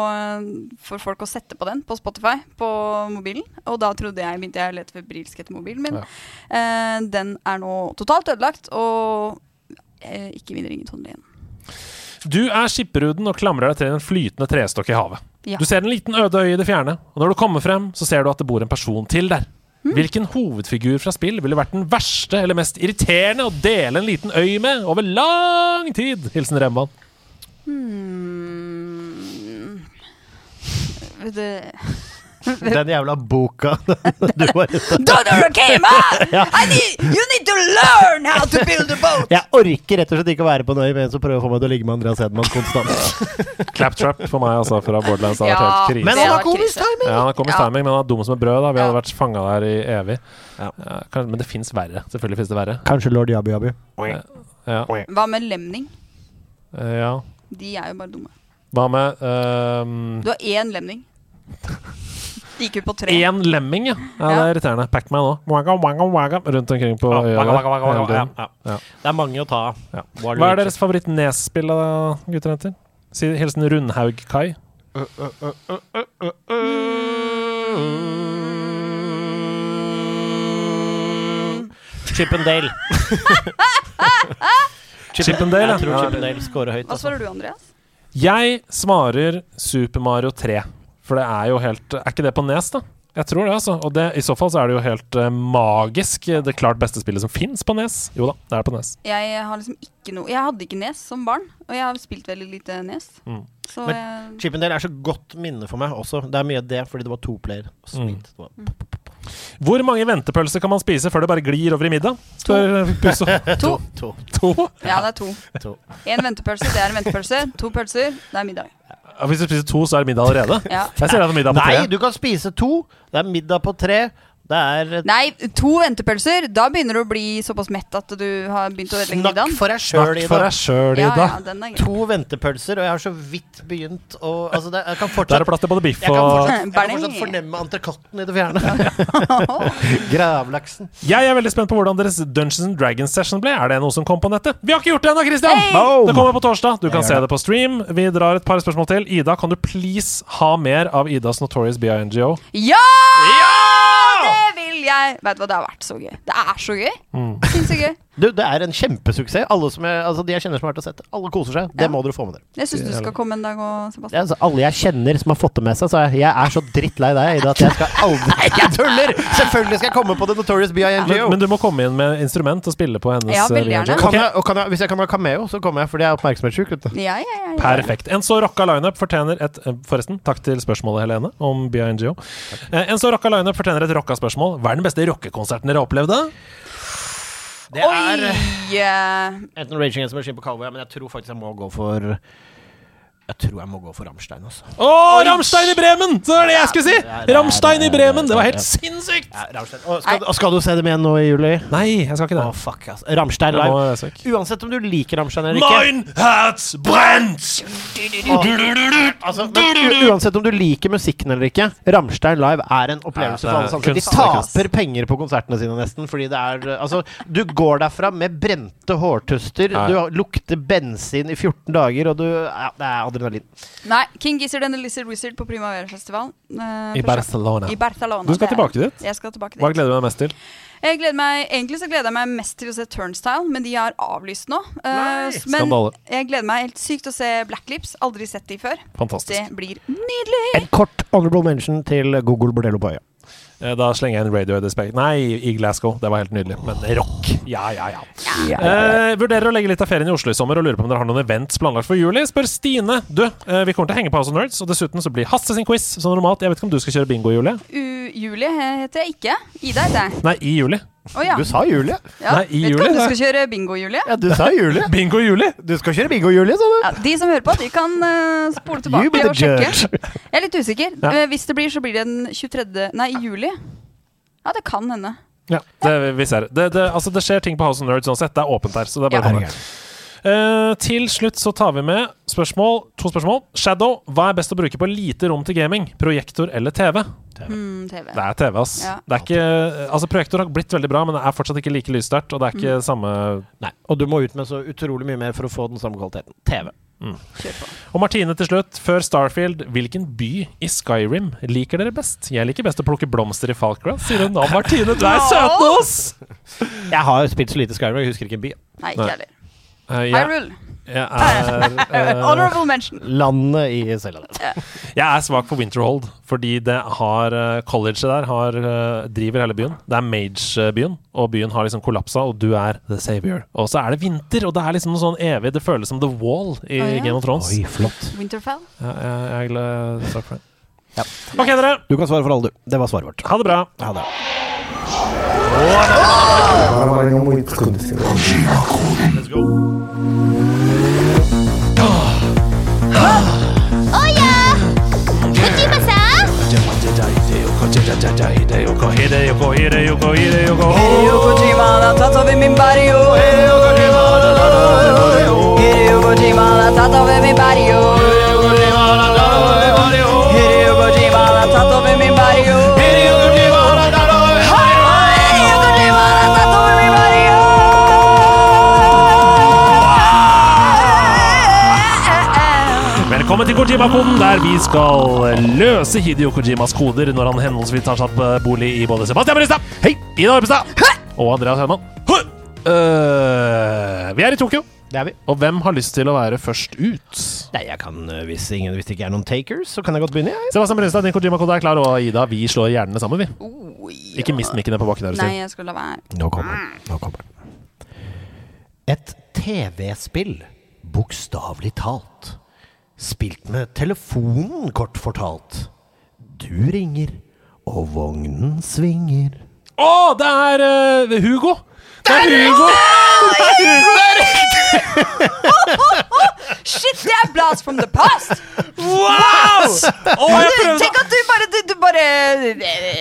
Speaker 6: og, for folk å sette på den på Spotify på mobilen. Og da trodde jeg begynte jeg å lete febrilsk etter mobilen min.
Speaker 1: Ja.
Speaker 6: Eh, den er nå totalt ødelagt og eh, ikke min ringetone igjen.
Speaker 1: Du er skipperuden og klamrer deg til en flytende trestokk i havet.
Speaker 6: Ja.
Speaker 1: Du ser en liten øde øy i det fjerne, og når du kommer frem, så ser du at det bor en person til der.
Speaker 6: Hmm.
Speaker 1: Hvilken hovedfigur fra spill ville vært den verste eller mest irriterende å dele en liten øy med over lang tid? Hilsen Remvan.
Speaker 6: Hmm. Det
Speaker 5: Den jævla boka du var ute
Speaker 6: Donald came out! I need, you need to learn how to build a boat!
Speaker 5: Jeg orker rett og slett ikke å være på Norge med en som prøver å få meg til å ligge med Andreas Hedman konstant.
Speaker 1: Claptrap for meg, altså, fra Borderlands. Det har
Speaker 6: Ja.
Speaker 1: vært helt krise.
Speaker 5: Men
Speaker 6: Det
Speaker 5: han
Speaker 6: var
Speaker 5: har komisk
Speaker 6: krise.
Speaker 5: timing!
Speaker 1: Ja, han har kommet
Speaker 6: Ja.
Speaker 1: timing, men han er dum som et brød. da Vi hadde
Speaker 6: Ja.
Speaker 1: vært fanga der i evig.
Speaker 5: Ja.
Speaker 1: Ja, kanskje- men det fins verre. Selvfølgelig fins det verre. Eh,
Speaker 5: Kanskje lord Yabu Yabu.
Speaker 1: Ja.
Speaker 6: Hva med lemning?
Speaker 1: Eh, ja.
Speaker 6: De er jo bare dumme.
Speaker 1: Hva med ehm,
Speaker 6: Du har én lemning. De gikk ut på tre.
Speaker 1: Én lemming, ja. ja. Det er
Speaker 6: Ja.
Speaker 1: irriterende. Pac-Man òg. Wagga, wagga, wagga, Rundt omkring på øya.
Speaker 5: wagga, wagga, wagga,
Speaker 1: der, hele
Speaker 5: wagga,
Speaker 1: tiden. Ja.
Speaker 5: Det er mange å ta av.
Speaker 1: Ja.
Speaker 5: Var
Speaker 1: Hva er
Speaker 5: Luigi?
Speaker 1: deres favoritt-nes-spill, da, gutter og jenter? Si Hilsen Rundhaug-Kai.
Speaker 5: Chip and Dale.
Speaker 1: Chip and Dale,
Speaker 5: Jeg tror
Speaker 1: ja.
Speaker 5: Chip and Dale scorer høyt.
Speaker 6: Hva
Speaker 5: Altså.
Speaker 6: svarer du, Andreas?
Speaker 1: Jeg svarer Super Mario 3. For det er jo helt Er ikke det på nes, da? Jeg tror det, altså. Og det, i så fall så er det jo helt eh, magisk. Det klart beste spillet som fins på nes. Jo da, det er på E nes.
Speaker 6: Jeg har liksom ikke noe Jeg hadde ikke nes som barn, og jeg har spilt veldig lite nes.
Speaker 1: Mm.
Speaker 6: Så
Speaker 5: Men-
Speaker 6: jeg,
Speaker 5: Chip and Dale er så godt minne for meg også. Det er mye av det fordi det var to player.
Speaker 1: Mm.
Speaker 5: Sweet. Det var-
Speaker 1: Hvor mange ventepølser kan man spise før det bare glir over i middag? Spør Pusso.
Speaker 6: Mm. to.
Speaker 5: To.
Speaker 1: To?
Speaker 6: eh, Ja, det er to.
Speaker 5: to.
Speaker 6: Én ventepølse, det er en ventepølse. To pølser, det er middag.
Speaker 1: Ja, Hvis du spiser to, så er det middag allerede?
Speaker 6: Ja.
Speaker 1: Jeg sier det er middag på
Speaker 5: Nei,
Speaker 1: tre.
Speaker 5: du kan spise to. Det er middag på tre. Det er
Speaker 6: Nei, to ventepølser! Da begynner du å bli såpass mett at du har begynt å ødelegge
Speaker 5: Snakk
Speaker 6: middagen.
Speaker 5: for deg sjøl,
Speaker 1: Snakk for
Speaker 5: Ida.
Speaker 1: deg sjøl,
Speaker 6: Ja,
Speaker 1: Ida.
Speaker 6: ja, den er grei.
Speaker 5: To ventepølser, og jeg har så vidt begynt å altså det, Jeg
Speaker 1: Da
Speaker 5: kan
Speaker 1: er
Speaker 5: fortsatt
Speaker 1: det plass til både biff
Speaker 5: jeg kan
Speaker 1: og
Speaker 5: fortsatt, jeg kan fortsatt fornemme entrecôten i det fjerne. Gravlaksen.
Speaker 1: Jeg er veldig spent på hvordan deres Dungeons and Dragons session ble. Er det noe som kom på nettet? Vi har ikke gjort det ennå, Christian!
Speaker 6: Hey!
Speaker 5: Boom!
Speaker 1: Det kommer på torsdag. Du kan se det på stream. Vi drar et par spørsmål til. Ida, kan du please ha mer av Idas Notorious BINGO?
Speaker 6: Ja! Det vil jeg! Vet du hva, det har vært så gøy. Det er så gøy. Sinnssykt gøy.
Speaker 5: Du, det er en kjempesuksess. Alle som jeg, altså, de jeg kjenner som har vært og sett det, alle koser seg. Det
Speaker 6: Ja.
Speaker 5: må dere få med dere.
Speaker 6: Jeg syns du skal komme en dag og Sebastian.
Speaker 5: Det er altså alle jeg kjenner som har fått det med seg, sa jeg. Jeg er så drittlei deg, Ida, at jeg skal aldri Nei, jeg tuller! Selvfølgelig skal jeg komme på The Notorious
Speaker 1: Men,
Speaker 5: B.I.N.G.O.
Speaker 1: men du må komme inn med instrument og spille på hennes
Speaker 6: Ja,
Speaker 1: eh,
Speaker 6: veldig
Speaker 1: BINGO.
Speaker 6: gjerne.
Speaker 5: Kan
Speaker 1: Ok,
Speaker 5: jeg, og kan jeg, hvis jeg kan ha cameo, så kommer jeg, fordi jeg er oppmerksomhetssjuk. vet du.
Speaker 6: Ja, ja, ja, ja.
Speaker 1: Perfekt. En så rocka lineup fortjener et eh, Forresten, takk til spørsmålet, Helene, om BINGO. Eh, En så rocka lineup fortjener et rocka spørsmål. Hva er den beste rockekonserten dere har opplevd? da?
Speaker 5: Det er
Speaker 6: Oi! eh,
Speaker 5: enten Raging Against the Machine på Calvary, men jeg tror faktisk jeg må gå for Jeg tror jeg må gå for Rammstein, altså.
Speaker 1: Å, Rammstein i Bremen! Det var det jeg skulle
Speaker 5: Ja,
Speaker 1: si!
Speaker 5: det er-
Speaker 1: Rammstein i
Speaker 5: det er-
Speaker 1: Bremen! Det var helt
Speaker 5: ja.
Speaker 1: sinnssykt!
Speaker 5: Ja, Rammstein. Og skal, og skal du se dem igjen nå i juli?
Speaker 1: Nei, jeg skal ikke
Speaker 5: Å,
Speaker 1: det.
Speaker 5: fuck, ass. Rammstein
Speaker 1: Jeg
Speaker 5: live.
Speaker 1: må- jeg skal ikke.
Speaker 5: Uansett om du liker Rammstein eller ikke.
Speaker 1: hertz brent!
Speaker 5: Altså, men u- uansett om du liker musikken eller ikke, Rammstein live er en
Speaker 1: Ja, det
Speaker 5: opplevelse
Speaker 1: er
Speaker 5: for alle sammen. De
Speaker 1: kunst, det er kunst.
Speaker 5: taper penger på konsertene sine nesten, fordi det er uh, Altså, du går derfra med brente hårtuster,
Speaker 1: Ja.
Speaker 5: du har- lukter bensin i 14 dager, og du Ja, det er Berlin.
Speaker 6: Nei. King Gizzard and the Lizard Wizard på Primavera-festival. eh,
Speaker 1: I
Speaker 6: først-
Speaker 1: Barcelona.
Speaker 6: I Barcelona.
Speaker 1: Du skal
Speaker 6: det er-
Speaker 1: tilbake dit?
Speaker 6: Jeg skal tilbake dit.
Speaker 1: Hva gleder du deg mest til?
Speaker 6: Jeg gleder meg, egentlig så gleder jeg meg mest til å se Turnstyle, men de er avlyst nå. Eh, s- men
Speaker 1: Skandale.
Speaker 6: jeg gleder meg helt sykt å se Black Lips. Aldri sett de før.
Speaker 1: Fantastisk.
Speaker 6: Det blir nydelig!
Speaker 5: En kort honorable mention til Google Bordello på øya.
Speaker 1: Eh, Da slenger jeg en Radiohead i spek... Nei, i Glasgow. Det var helt nydelig. Men rock! Ja, ja, ja. Eh, vurderer å legge litt av ferien i Oslo i sommer og lurer på om dere har noen events planlagt for juli? Spør Stine. Du, eh, vi kommer til å henge på House of Nerds, og dessuten så blir Hasse sin quiz som normalt. Jeg vet ikke om du skal kjøre bingo i juli?
Speaker 6: U Julie eh, heter jeg ikke. Ida heter jeg.
Speaker 1: Nei, i juli.
Speaker 6: Å ja.
Speaker 5: Du sa Julie.
Speaker 6: ja.
Speaker 1: Nei, i Julie,
Speaker 6: Vet ikke om du
Speaker 1: det.
Speaker 6: skal kjøre bingo, Julie.
Speaker 5: Ja, du sa Julie.
Speaker 1: Bingo i juli!
Speaker 5: Du skal kjøre bingo, Julie, sa du.
Speaker 6: Ja, de som hører på, de kan eh, spole
Speaker 5: You be
Speaker 6: tilbake
Speaker 5: the
Speaker 6: og sjekke.
Speaker 5: judge.
Speaker 6: Jeg er litt usikker.
Speaker 1: Ja.
Speaker 6: Eh, hvis det blir, så blir det den 23. Nei, i juli. Ja, det kan hende.
Speaker 1: Ja, det, vi ser det. det. Det, altså, det skjer ting på House of Nerds uansett. Det er åpent der. Så det er bare å komme. Eh, til slutt så tar vi med spørsmål, to spørsmål. Shadow, hva er best å bruke på lite rom til gaming? Projektor eller TV?
Speaker 6: Mm, TV.
Speaker 1: Det er TV, ass.
Speaker 6: Ja.
Speaker 1: Det er ikke, altså, projektor har blitt veldig bra, men det er fortsatt ikke like lyssterkt. Og det er ikke samme
Speaker 5: Nei, og du må ut med så utrolig mye mer for å få den samme kvaliteten. TV.
Speaker 6: Kjør på.
Speaker 1: Og Martine til slutt, før Starfield, hvilken by i Skyrim liker dere best? Jeg liker best å plukke blomster i Falkgrath, sier hun. Å, Martine, du er søten oss!
Speaker 5: Jeg har spilt så lite Skyrim, jeg husker ikke en by.
Speaker 1: Nei.
Speaker 6: Nei, ikke heller.
Speaker 1: Eh, jeg,
Speaker 6: Hyrule.
Speaker 1: jeg, er,
Speaker 6: Eh, honorable mention.
Speaker 5: Landet i Selda.
Speaker 1: jeg er svak for Winterhold, fordi det har eh, colleget der har, eh, driver hele byen. Det er Mage-byen, og byen har liksom kollapsa, og du er the savior. Og så er det vinter, og det er liksom noe sånn evig Det føles som The Wall i
Speaker 6: Å, ja.
Speaker 1: Game of Thrones.
Speaker 5: flott.
Speaker 6: Winterfell.
Speaker 1: Ja, jeg, jeg er glad Takk for det.
Speaker 5: Ja.
Speaker 1: OK, dere.
Speaker 5: Du kan svare for alle, du. Det var svaret vårt.
Speaker 1: Ha det bra.
Speaker 5: Ha det.
Speaker 3: Å ja! Kojima-sa!
Speaker 2: Hideo Kojima han har tatt over min barrio. Hideo Kojima han har tatt over min barrio. Hideo Kojima han har tatt over min barrio. Hideo Kojima han har tatt over min barrio. Hideo Kojima han har tatt over min barrio.
Speaker 1: Velkommen til Kojima-koden, der vi skal løse Hidio Kojimas koder når han henholdsvis tar satt bolig i både Sebastian Brystad, Hei, Ida Øypestad og Andreas Hedman. Hei. Øh, vi er i Tokyo,
Speaker 5: Det er vi.
Speaker 1: og hvem har lyst til å være først ut?
Speaker 5: Nei, jeg kan, øh, hvis, ingen, hvis det ikke er noen takers, så kan jeg godt begynne, jeg.
Speaker 1: Sebastian Brynstad, din Kojima-kode er klar, og Ida, vi slår hjernene sammen, vi.
Speaker 6: Oh, ja.
Speaker 1: Ikke mist mikkene på bakken der.
Speaker 6: Nei,
Speaker 1: Nei.
Speaker 6: jeg skal la være.
Speaker 5: Nå kommer den. Nå kommer den. Et TV-spill, bokstavelig talt. Spilt med telefonen, kort fortalt. Du ringer, og vognen svinger.
Speaker 1: Å, det er øh, Hugo! Det er Hugo!
Speaker 6: Shit, det er blast from the past!
Speaker 1: Wow! Å, jeg
Speaker 6: Du,
Speaker 1: prøvde
Speaker 6: tenk at du bare, du, du bare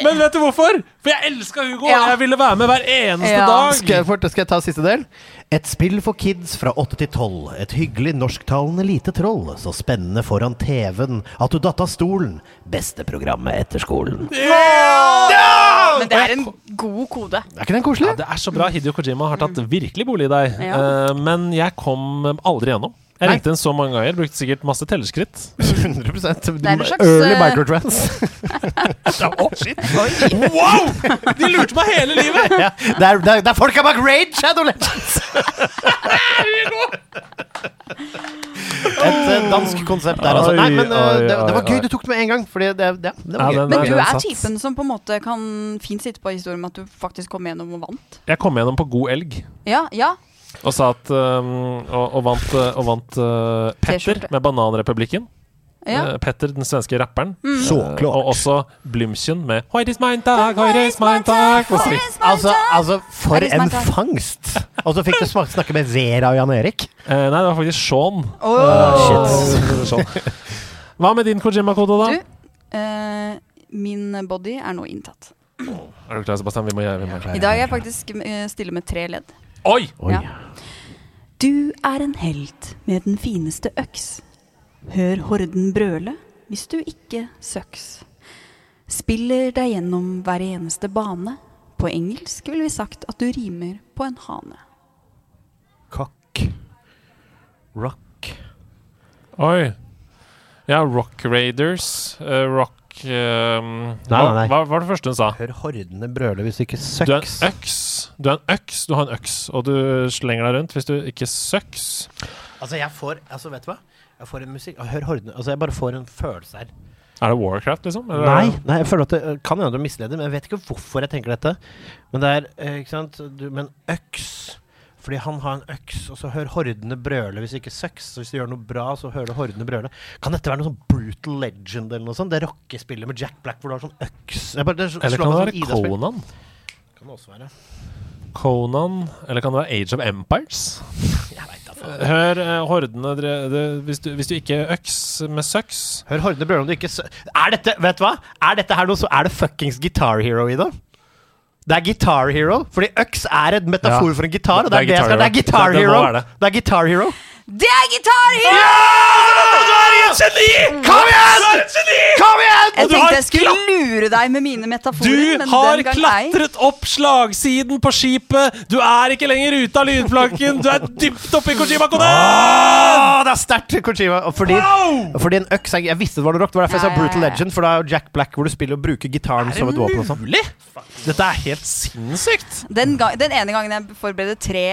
Speaker 1: Men vet du hvorfor? For jeg elska Hugo,
Speaker 6: Ja.
Speaker 1: og jeg ville være med hver eneste
Speaker 6: Ja.
Speaker 1: dag.
Speaker 5: Skal jeg, fort, skal jeg ta siste del? Et spill for kids fra 8 til 12. Et hyggelig norsktalende lite troll. Så spennende foran TV-en at du datt av stolen. Beste programmet etter skolen.
Speaker 6: Men det er en god kode.
Speaker 5: Er ikke den koselig?
Speaker 1: Ja, det er så bra. Hidio Kojima har tatt virkelig bolig i deg.
Speaker 6: Ja.
Speaker 1: Eh, men jeg kom aldri gjennom. Jeg
Speaker 5: Nei.
Speaker 1: ringte den så mange ganger, brukte sikkert masse tellerskritt.
Speaker 5: 100
Speaker 6: er en slags,
Speaker 5: Early
Speaker 6: eh,
Speaker 5: microtrans.
Speaker 1: Oh, shit. Wow! De lurte meg hele livet!
Speaker 5: ja, det, er, det, er, det er folka bak Raid Shadow Legends! Et eh, dansk konsept der, altså.
Speaker 1: Oi,
Speaker 5: Nei, men eh,
Speaker 1: oi,
Speaker 5: det, det
Speaker 1: oi,
Speaker 5: var gøy
Speaker 1: oi.
Speaker 5: du tok med en gang. Fordi det, det, det
Speaker 1: Ja,
Speaker 5: var gøy.
Speaker 1: den
Speaker 6: Men
Speaker 1: er-
Speaker 6: du
Speaker 1: den
Speaker 6: er
Speaker 1: satt.
Speaker 6: typen som på en måte kan fint sitte på historien med at du faktisk kom gjennom og vant.
Speaker 1: Jeg kom gjennom på god elg
Speaker 6: Ja, ja.
Speaker 1: og sa at um, og, og vant, eh, og vant eh, Petter
Speaker 6: T-skjorte.
Speaker 1: med Bananrepublikken.
Speaker 6: ja. Mm.
Speaker 1: Eh, Petter, den svenske rapperen.
Speaker 5: Så
Speaker 1: Eh,
Speaker 5: klart.
Speaker 1: Og også Blümchen med Heute ist mein Tag, heute ist mein Tag. Og så-
Speaker 5: Altså, altså, for
Speaker 6: Er det
Speaker 5: en
Speaker 6: smart, da?
Speaker 5: fangst! Og så fikk du smak- snakke med Vera og Jan Erik.
Speaker 1: Eh, nei, det var faktisk Sean. Eh, Sean. Hva med din Kojima-kode, da?
Speaker 6: Du, eh, min body er nå inntatt.
Speaker 1: Er du klar, Sebastian? Vi må gjøre vi må.
Speaker 6: I dag er jeg faktisk eh, stille med tre ledd.
Speaker 1: Oi!
Speaker 6: Ja. Du er en helt med den fineste øks. Hør horden brøle hvis du ikke søks. Spiller deg gjennom hver eneste bane. På engelsk ville vi sagt at du rimer på en hane.
Speaker 5: Kokk. Rock.
Speaker 1: Oi. Ja, Rock Raiders. eh, rock ehm,
Speaker 5: Nei, nei, nei.
Speaker 1: Hva, hva var det første hun sa?
Speaker 5: Hør hordene brøle hvis du ikke
Speaker 1: Du er
Speaker 5: søks.
Speaker 1: en øks. Du er en øks, du har en øks, og du slenger deg rundt hvis du ikke søks.
Speaker 5: Altså, jeg får Altså, vet du hva? Jeg får en musikk Hør hordene Altså, jeg bare får en følelse her.
Speaker 1: Er det Warcraft, liksom? Eller-
Speaker 5: Nei, nei, jeg føler at det eh, kan hende du misleder, men jeg vet ikke hvorfor jeg tenker dette. Men det er eh, Ikke sant? Du, men øks fordi han har en øks, og så hør hordene brøle hvis du ikke søks. Så hvis du gjør noe bra, så hører du hordene brøle. Kan dette være noe sånn Brutal Legend eller noe sånt? Det rockespillet med Jack Black hvor du har sånn øks jeg bare, det,
Speaker 1: Eller
Speaker 5: slår
Speaker 1: kan det
Speaker 5: meg
Speaker 1: være
Speaker 5: som Ida-spill.
Speaker 1: Conan?
Speaker 5: Kan det også være.
Speaker 1: Conan, eller kan det være Age of Empires? Hør eh, hordene dre- det- hvis, du, hvis du ikke øks med søks
Speaker 5: Hør hordene brøle om du ikke sø... Er dette, vet du hva? Er dette her noe så Er det fuckings Guitar Hero i det? Det er Guitar Hero, fordi øks er en metafor
Speaker 1: Ja.
Speaker 5: for en gitar. Og det
Speaker 1: Det er
Speaker 5: er det jeg skal Det er Guitar
Speaker 1: Hero.
Speaker 5: Hero!
Speaker 1: Det- det må være det.
Speaker 5: Det er Guitar Hero.
Speaker 6: Det er gitar her!
Speaker 5: Kom igjen! Kom igjen!
Speaker 6: Jeg
Speaker 1: du har
Speaker 6: tenkte jeg skulle lure deg med mine metaforer,
Speaker 1: Du
Speaker 6: men
Speaker 1: har
Speaker 6: den gang ei.
Speaker 1: klatret opp slagsiden på skipet! Du er ikke lenger ute av lydplanken! Du er dypt oppi Kojima Kodan!
Speaker 5: Å, det er sterkt, Kojima. Og Fordi, fordi en øks er- Jeg visste det var noe rock. Det var derfor jeg
Speaker 6: Ja,
Speaker 5: sa
Speaker 6: ja,
Speaker 5: Brutal
Speaker 6: ja.
Speaker 5: Legend, for da er jo Jack Black hvor du spiller og bruker gitaren som et våpen. og sånn.
Speaker 1: Mulig? Dette er helt sinnssykt!
Speaker 6: Den, ga den ene gangen jeg forberedte tre,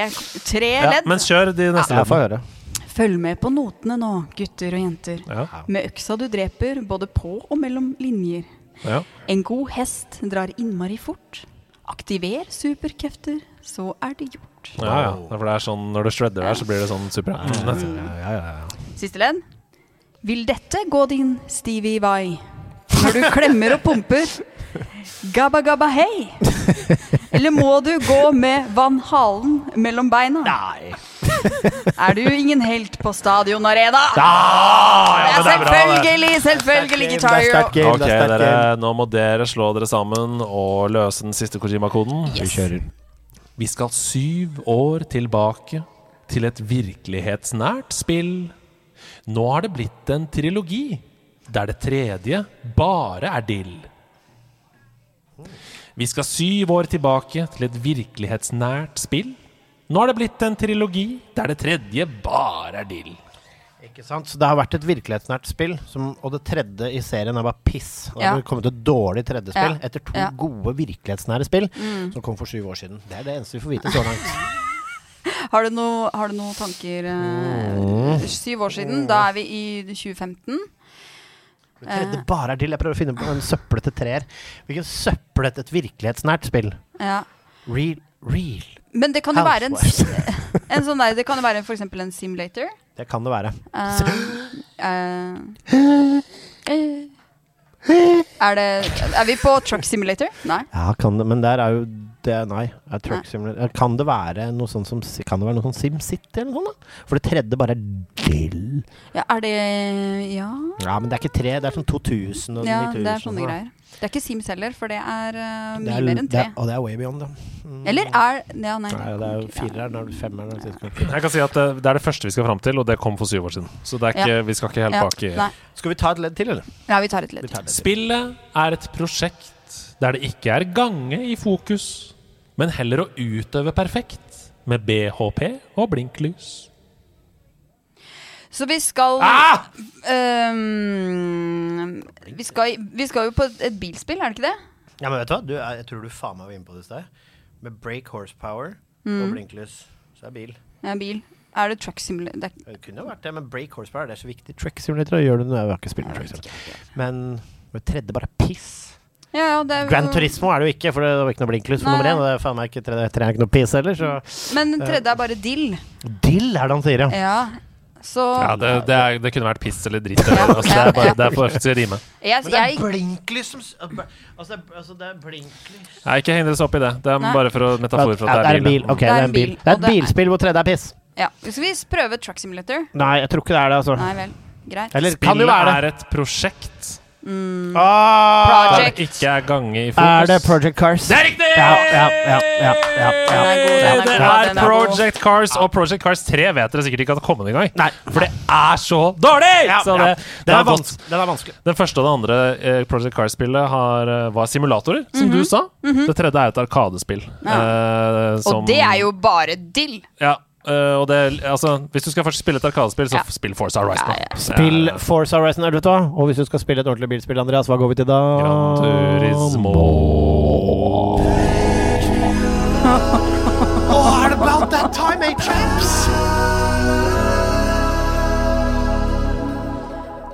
Speaker 6: tre ledd.
Speaker 1: Men kjør de neste
Speaker 5: Ja, få høre.
Speaker 6: Følg med på notene nå, gutter og jenter.
Speaker 1: Ja.
Speaker 6: Med øksa du dreper, både på og mellom linjer.
Speaker 1: Ja.
Speaker 6: En god hest drar innmari fort. Aktiver superkrefter, så er det gjort.
Speaker 1: Ja, ja. Det er For det er sånn, når du shredder der, så blir det sånn super
Speaker 6: Siste ledd. Vil dette gå din Stevie Vai? Når du klemmer og pumper? Gabba gabba hei? Eller må du gå med Van Halen mellom beina? Nei. Er du ingen helt på Stadion Arena? det er selvfølgelig, selvfølgelig Guitar
Speaker 5: Det er
Speaker 6: Hero.
Speaker 5: sterkt game.
Speaker 1: Ok,
Speaker 5: det er sterkt
Speaker 1: dere,
Speaker 5: game.
Speaker 1: nå må dere slå dere sammen og løse den siste Kojima-koden.
Speaker 5: Vi kjører.
Speaker 1: Vi skal syv år tilbake til et virkelighetsnært spill. Nå har det blitt en trilogi, der det tredje bare er dill. Vi skal syv år tilbake til et virkelighetsnært spill. Nå har det blitt en trilogi, der det tredje bare er dill.
Speaker 5: Ikke sant? Så det har vært et virkelighetsnært spill, som, og det tredje i serien er bare piss. Det
Speaker 6: Ja.
Speaker 5: har kommet et dårlig tredje spill
Speaker 6: Ja.
Speaker 5: etter to
Speaker 6: Ja. Mm.
Speaker 5: gode virkelighetsnære spill som kom for syv år siden. Det er det eneste vi får vite så langt.
Speaker 6: Har du, noe, har du noen tanker eh, Syv år siden, da er vi i 2015.
Speaker 5: Det tredje bare er til. Jeg prøver å finne på en søppelete treer. Hvilken søppelete et virkelighetsnært spill?
Speaker 6: Ja.
Speaker 5: Real, real.
Speaker 6: Men det kan jo være en,
Speaker 5: Housewives.
Speaker 6: en sånn der, det kan jo være for eksempel en simulator.
Speaker 5: Det kan det være.
Speaker 6: Eh, er det Er vi på truck simulator? Nei.
Speaker 5: Ja, kan det, men der er jo det, Nei. Er truck simulator. Kan det være noe sånn som Kan det være noe sånn SimCity eller noe sånt? da? For det tredje bare er dill.
Speaker 6: Ja, er det Ja.
Speaker 5: Ja, men det er ikke tre. Det er sånn 2000 og
Speaker 6: ja
Speaker 5: 9000.
Speaker 6: det er sånne
Speaker 5: og sånn, da.
Speaker 6: greier. Det er ikke Sims heller, for det er eh,
Speaker 5: Det
Speaker 6: mye
Speaker 5: er,
Speaker 6: mer enn
Speaker 5: det
Speaker 6: tre.
Speaker 5: er, og det er way beyond, da.
Speaker 6: Eller er Ja, nei.
Speaker 5: Nei, det er jo fireren, da er det femmeren. da.
Speaker 1: Jeg kan si at det, det er det første vi skal fram til, og det kom for syv år siden. Så det er ikke, vi skal ikke helt
Speaker 6: Ja,
Speaker 1: baki.
Speaker 6: nei.
Speaker 5: Skal vi ta et ledd til, eller?
Speaker 6: ja, vi tar et litt.
Speaker 5: Vi tar et ledd til.
Speaker 1: Spillet er et prosjekt der det ikke er gange i fokus, men heller å utøve perfekt med BHP og blinklys.
Speaker 6: Så vi skal
Speaker 5: Ah!
Speaker 6: Ehm, vi, skal, vi skal jo på et, et bilspill, er det ikke det?
Speaker 5: Ja, men vet du hva? Du, er- jeg tror du faen meg var inne på det i sted. Med break horsepower
Speaker 6: Mm.
Speaker 5: og blinklys, så er bil.
Speaker 6: Ja, Eh, bil. Er det truck simulator? Det er,
Speaker 5: Det kunne jo vært det, men break horsepower det er så viktig. Track simulator gjør du når jeg har ikke spilt track simulator. Men det tredje bare er piss.
Speaker 6: ja, ja, det er,
Speaker 5: Grand Turismo er det jo ikke, for det var ikke noe blinklys for
Speaker 6: Nei.
Speaker 5: nummer én. Og det er faen meg ikke tredje, tredje er ikke noe piss heller, så
Speaker 6: Men den tredje er bare dill.
Speaker 5: Dill er det han sier, ja.
Speaker 6: Ja. Så
Speaker 1: Ja, det, det, er, det kunne vært piss eller dritt. Eller, altså, det, er bare, det er for å rime.
Speaker 6: jeg,
Speaker 5: Men det
Speaker 6: jeg,
Speaker 5: er blinklys som s- Altså, det er, altså, det er blinklys
Speaker 1: Nei, ikke heng dere så opp i det. Det er
Speaker 6: Nei.
Speaker 1: bare for å metafor for at det er bil.
Speaker 5: Ok, det er en bil. Det er
Speaker 6: og
Speaker 5: et
Speaker 6: det er-
Speaker 5: bilspill hvor tredje er piss.
Speaker 6: ja. Skal vi prøve truck simulator?
Speaker 5: Nei, jeg tror ikke det er det, altså.
Speaker 6: Nei vel. Greit.
Speaker 5: Eller kan
Speaker 1: Spillet
Speaker 5: det være
Speaker 1: er
Speaker 5: det?
Speaker 1: et prosjekt
Speaker 5: Åh!
Speaker 1: der
Speaker 6: Project.
Speaker 1: det ikke er gange i fokus.
Speaker 5: Er det Project Cars?
Speaker 1: Det er riktig!
Speaker 5: Ja, ja, ja, ja, ja, ja.
Speaker 6: Den er god, den er
Speaker 1: Det
Speaker 6: god,
Speaker 1: er
Speaker 6: den er god.
Speaker 1: Project Cars, og Project Cars 3 vet dere sikkert ikke at det kommer engang.
Speaker 5: Nei.
Speaker 1: For det er så dårlig!
Speaker 5: Ja,
Speaker 1: så
Speaker 5: ja.
Speaker 1: det, det
Speaker 5: Den
Speaker 1: er
Speaker 5: er
Speaker 1: godt.
Speaker 5: vans- Den er vanskelig.
Speaker 1: Den første og det andre eh, Project Cars-spillet har, eh, var simulatorer, som
Speaker 6: Mhm.
Speaker 1: du sa. Det tredje er et arkadespill. eh, som-
Speaker 6: Og det er jo bare dill!
Speaker 1: ja, Eh, og det, altså, hvis du skal først spille et arkadespill, så
Speaker 6: Ja.
Speaker 1: f- spill Forza Horizon.
Speaker 6: Ja,
Speaker 1: da.
Speaker 6: ja.
Speaker 5: Spill Forza Horizon, er det vet du hva? Og hvis du skal spille et ordentlig bilspill, Andreas, hva går vi til da?
Speaker 1: Gran Turismo.
Speaker 7: What about that time, eh, chaps?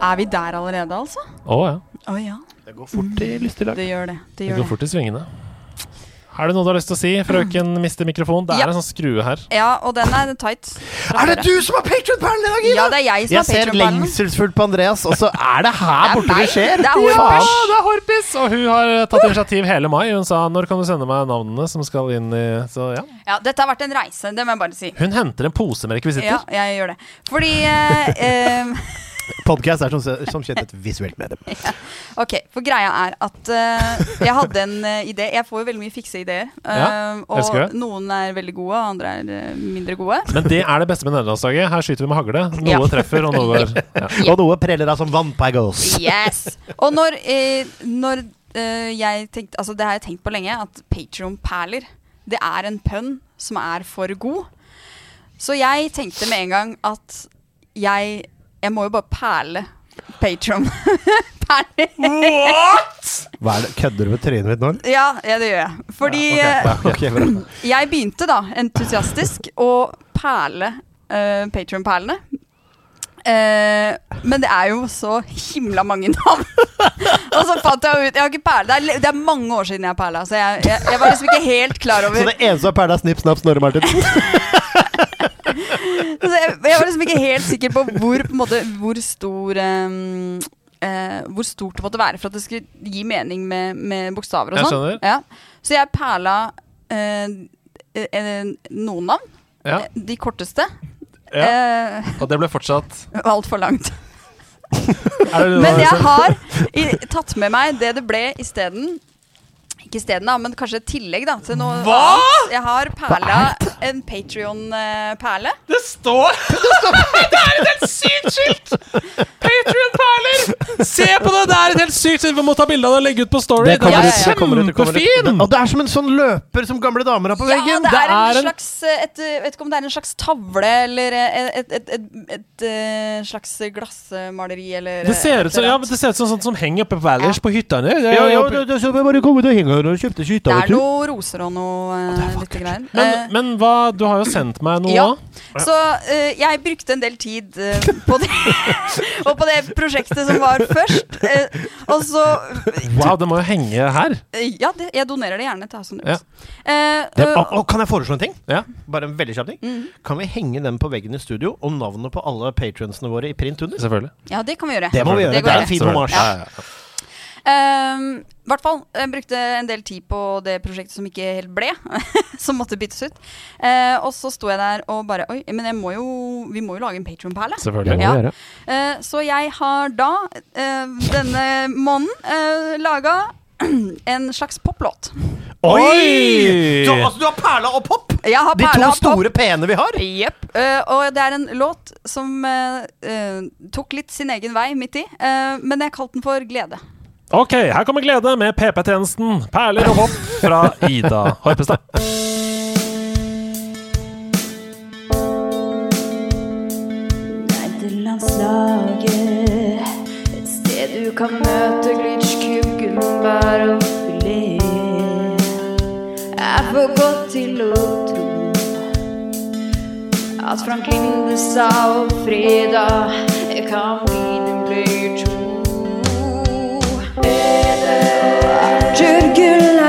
Speaker 6: Er vi der allerede, altså?
Speaker 1: Å ja.
Speaker 6: Å ja.
Speaker 5: Det går fort i lystig lag.
Speaker 6: Det gjør det. Det
Speaker 1: Det
Speaker 6: gjør
Speaker 1: går
Speaker 6: det.
Speaker 1: fort i svingene. Er det noe du har lyst til å si? Frøken mister mikrofon. Det er
Speaker 6: Mm. Ja.
Speaker 1: en sånn skrue her.
Speaker 6: Ja, og den er tight.
Speaker 5: Er det du som har Patreon-perlen i dag, Ida?
Speaker 6: Ja, det er jeg som
Speaker 5: Jeg
Speaker 6: har
Speaker 5: ser
Speaker 6: Patreon-ballen.
Speaker 5: lengselsfullt på Andreas, og så er det her
Speaker 6: er
Speaker 5: borte det
Speaker 6: meg.
Speaker 5: skjer!
Speaker 6: Det
Speaker 5: Faen.
Speaker 6: er Horpers.
Speaker 1: Ja, det er Horpis! Og hun har tatt initiativ hele mai. Hun sa 'når kan du sende meg navnene som skal inn i Så ja.
Speaker 6: Ja, dette har vært en reise, det må jeg bare si.
Speaker 1: Hun henter en pose med rekvisitter.
Speaker 6: Ja, jeg gjør det. Fordi eh, eh,
Speaker 5: Podcast er som, som kjent et visuelt medium.
Speaker 6: Ok, for greia er at eh, jeg hadde en eh, idé. Jeg får jo veldig mye fikse ideer. eh,
Speaker 1: Ja, elsker
Speaker 6: og
Speaker 1: det.
Speaker 6: noen er veldig gode, og andre er eh, mindre gode.
Speaker 1: Men det er det beste med nederlandslaget. Her skyter vi med hagle. Noe
Speaker 6: Ja.
Speaker 1: treffer, og noe går ja.
Speaker 5: Og noe preller av som vannpagos.
Speaker 6: Yes! Og når, eh, når eh, jeg tenkte Altså, det har jeg tenkt på lenge, at Patreon-perler, det er en pønn som er for god. Så jeg tenkte med en gang at jeg Jeg må jo bare perle Patreon-perler.
Speaker 5: Hva er det? Kødder du med trynet mitt nå? eller?
Speaker 6: ja, ja, det gjør jeg. Fordi eh,
Speaker 5: Ja, ok, bra.
Speaker 6: Jeg begynte da entusiastisk å perle uh, Patreon-perlene. Eh, men det er jo så himla mange navn. og så fant jeg ut Jeg har ikke perle Det er, le- det er mange år siden jeg perla, så jeg, jeg, jeg var liksom ikke helt klar over
Speaker 5: Så det eneste som er perla, er snipp, snapp, Snorre Martin.
Speaker 6: Så jeg, jeg var liksom ikke helt sikker på hvor, på en måte, hvor stor ehm, eh, Hvor stort det måtte være for at det skulle gi mening med, med bokstaver og
Speaker 1: Jeg
Speaker 6: sånn.
Speaker 1: skjønner.
Speaker 6: Ja. Så jeg perla eh, eh, noen navn.
Speaker 1: Ja.
Speaker 6: Eh, De korteste.
Speaker 1: Ja.
Speaker 6: Eh,
Speaker 1: Og det ble fortsatt
Speaker 6: Altfor langt.
Speaker 1: er det,
Speaker 6: Men jeg har i, tatt med meg det det ble isteden. Ikke isteden, da, men kanskje et tillegg da, til noe Hva? annet. Jeg har perla en eh, Patrion-perle.
Speaker 10: Det står Det er et helt sykt skilt! Patrion-perler!
Speaker 1: Se på det! Det er et helt sykt Vi må ta bilde av det og legge ut på Story.
Speaker 5: Det kommer
Speaker 6: Ja,
Speaker 5: ut, det kommer ut, det kommer ut.
Speaker 1: Kjempefin!
Speaker 5: Og det er som en sånn løper som gamle damer har på
Speaker 6: Ja,
Speaker 5: veggen.
Speaker 6: det er en
Speaker 1: er en-
Speaker 6: slags eh, et, eh, Vet ikke om det er en slags tavle eller eh, et, et, et, et, et eh, slags glassmaleri eller
Speaker 1: Det ser ut som, ja,
Speaker 6: et eller annet.
Speaker 1: det ser ut som sånt som henger oppe på Valers på hytta nede.
Speaker 5: Ja, ja, det, det, så vi bare kom ut og henge her og kjøpte
Speaker 6: Det
Speaker 5: skyta,
Speaker 6: er
Speaker 5: vet du.
Speaker 6: noe roser og noe eh, litt greier. Eh,
Speaker 1: Men, men hva, du har jo sendt meg noe
Speaker 6: Ja.
Speaker 1: nå.
Speaker 6: Så eh, jeg brukte en del tid eh, på det. og på det prosjektet som var først. eh, og så
Speaker 1: Wow, det må jo henge her.
Speaker 6: eh, Ja, det, jeg donerer det gjerne til Hasenrud.
Speaker 1: Ja.
Speaker 6: Eh, mm,
Speaker 5: Det,
Speaker 6: eh,
Speaker 5: å, å, kan jeg foreslå en ting?
Speaker 1: Ja.
Speaker 5: Bare en veldig kjapp ting. Kan vi henge den på veggen i studio, og navnet på alle patronsene våre i print under?
Speaker 1: Selvfølgelig.
Speaker 6: ja, det kan vi gjøre.
Speaker 5: Det må vi gjøre.
Speaker 6: Det
Speaker 5: Det,
Speaker 6: går
Speaker 5: er
Speaker 6: an.
Speaker 5: en fin
Speaker 1: Selvfølgelig.
Speaker 5: homasj.
Speaker 1: Ja, ja, ja.
Speaker 6: Ehm, I hvert fall. Jeg brukte en del tid på det prosjektet som ikke helt ble. som måtte byttes ut. Eh, og så sto jeg der og bare Oi, men jeg må jo, vi må jo lage en Patron-perle.
Speaker 1: Selvfølgelig.
Speaker 6: Ja. Eh, så jeg har da, eh, denne måneden, uh, laga en slags poplåt.
Speaker 5: Oi! Du, har- altså, du har perla og pop!
Speaker 6: Jeg har
Speaker 5: De
Speaker 6: perla
Speaker 5: to
Speaker 6: pop.
Speaker 5: store p-ene vi har.
Speaker 6: Jepp. Eh, og det er en låt som eh, eh, tok litt sin egen vei midt i, eh, men jeg kalte den for Glede.
Speaker 1: Ok, her kommer glede med PP-tjenesten. Perler og hopp fra Ida Horpestad.
Speaker 11: Nederlandslaget. Et sted du kan møte Glitchkub, Gunnberg og Filet. Er for godt til å tro at Frank Linde sa om fredag Jeg kan bli din player to. Arthur Gulla,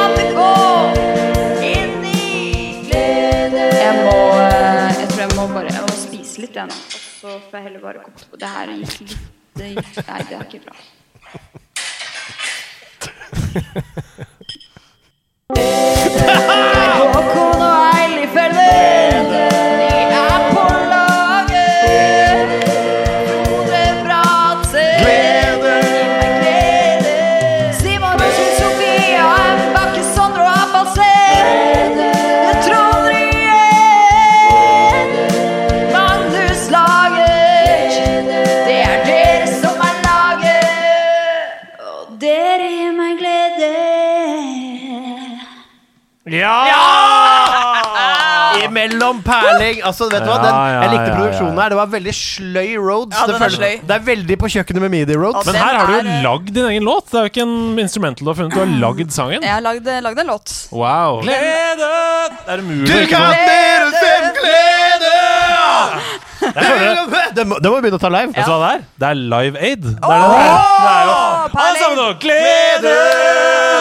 Speaker 12: eh, gjort det ennå. Og så får jeg heller bare komme på det her gikk litt det gikk, Nei, det er ikke bra.
Speaker 6: Håkon og Eilif Elven, de er på laget. Frode Bratseth, Gi meg glede. Simon Røsvik, Sofia M. Bakke, Sondre og Abbalsen. Trond Ryen, Magnus Lager. Det er dere som er laget.
Speaker 12: Og dere gir meg glede.
Speaker 8: Ja! Imellom perling. Altså, vet du hva? Den,
Speaker 1: Ja, ja,
Speaker 8: jeg likte
Speaker 1: ja,
Speaker 8: produksjonen her. Det var veldig sløy roads.
Speaker 1: Ja, den
Speaker 8: det,
Speaker 1: er
Speaker 8: føles-
Speaker 1: sløy.
Speaker 8: det er veldig på kjøkkenet med midi roads.
Speaker 1: Men her har du
Speaker 6: eh.
Speaker 1: jo lagd din egen låt. Det er jo ikke en instrumental du har funnet. Du har lagd sangen.
Speaker 13: Jeg har lagd, lagd en låt.
Speaker 1: Wow.
Speaker 13: Gleden!
Speaker 1: Det er umulig.
Speaker 8: Du
Speaker 1: å ikke
Speaker 8: kan
Speaker 1: få-
Speaker 8: dere se glede!
Speaker 1: Jeg føler-
Speaker 8: Det må, det må vi begynne å ta live.
Speaker 1: Vet du hva det er? Det er Live Aid. Det er det det er. Det er jo Alle sammen nå! Glede!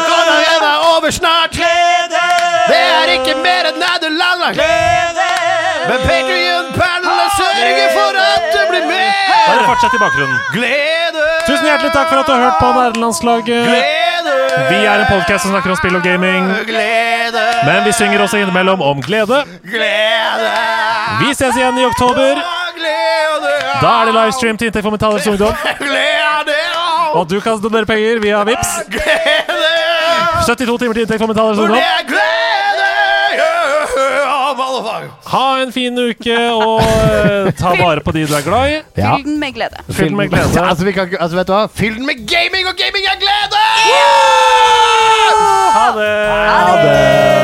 Speaker 8: Kongen er over snart! Glede! Det er ikke mer enn Nederland! Glede! Men Patrion-perlene sørger for at det blir mer!
Speaker 1: Bare fortsett i bakgrunnen.
Speaker 8: Glede!
Speaker 1: Tusen hjertelig takk for at du har hørt på Nerdelandslaget. Vi er en podkast som snakker om spill og gaming.
Speaker 8: Glede!
Speaker 1: Men vi synger også innimellom om glede.
Speaker 8: Glede!
Speaker 1: Vi ses igjen i oktober. Da er det livestream til inntekt for Metallers ungdom. Og du kan donere penger via Vips 72 timer til inntekt for Metallers ungdom. Ha en fin uke, og eh, ta vare på de du er glad i.
Speaker 8: Ja.
Speaker 13: Fyll den med glede.
Speaker 1: Fyll den med glede.
Speaker 8: Ja, altså, vi kan, ikke- altså, vet du hva? Fyll den med gaming, og gaming er glede!
Speaker 1: Ha det!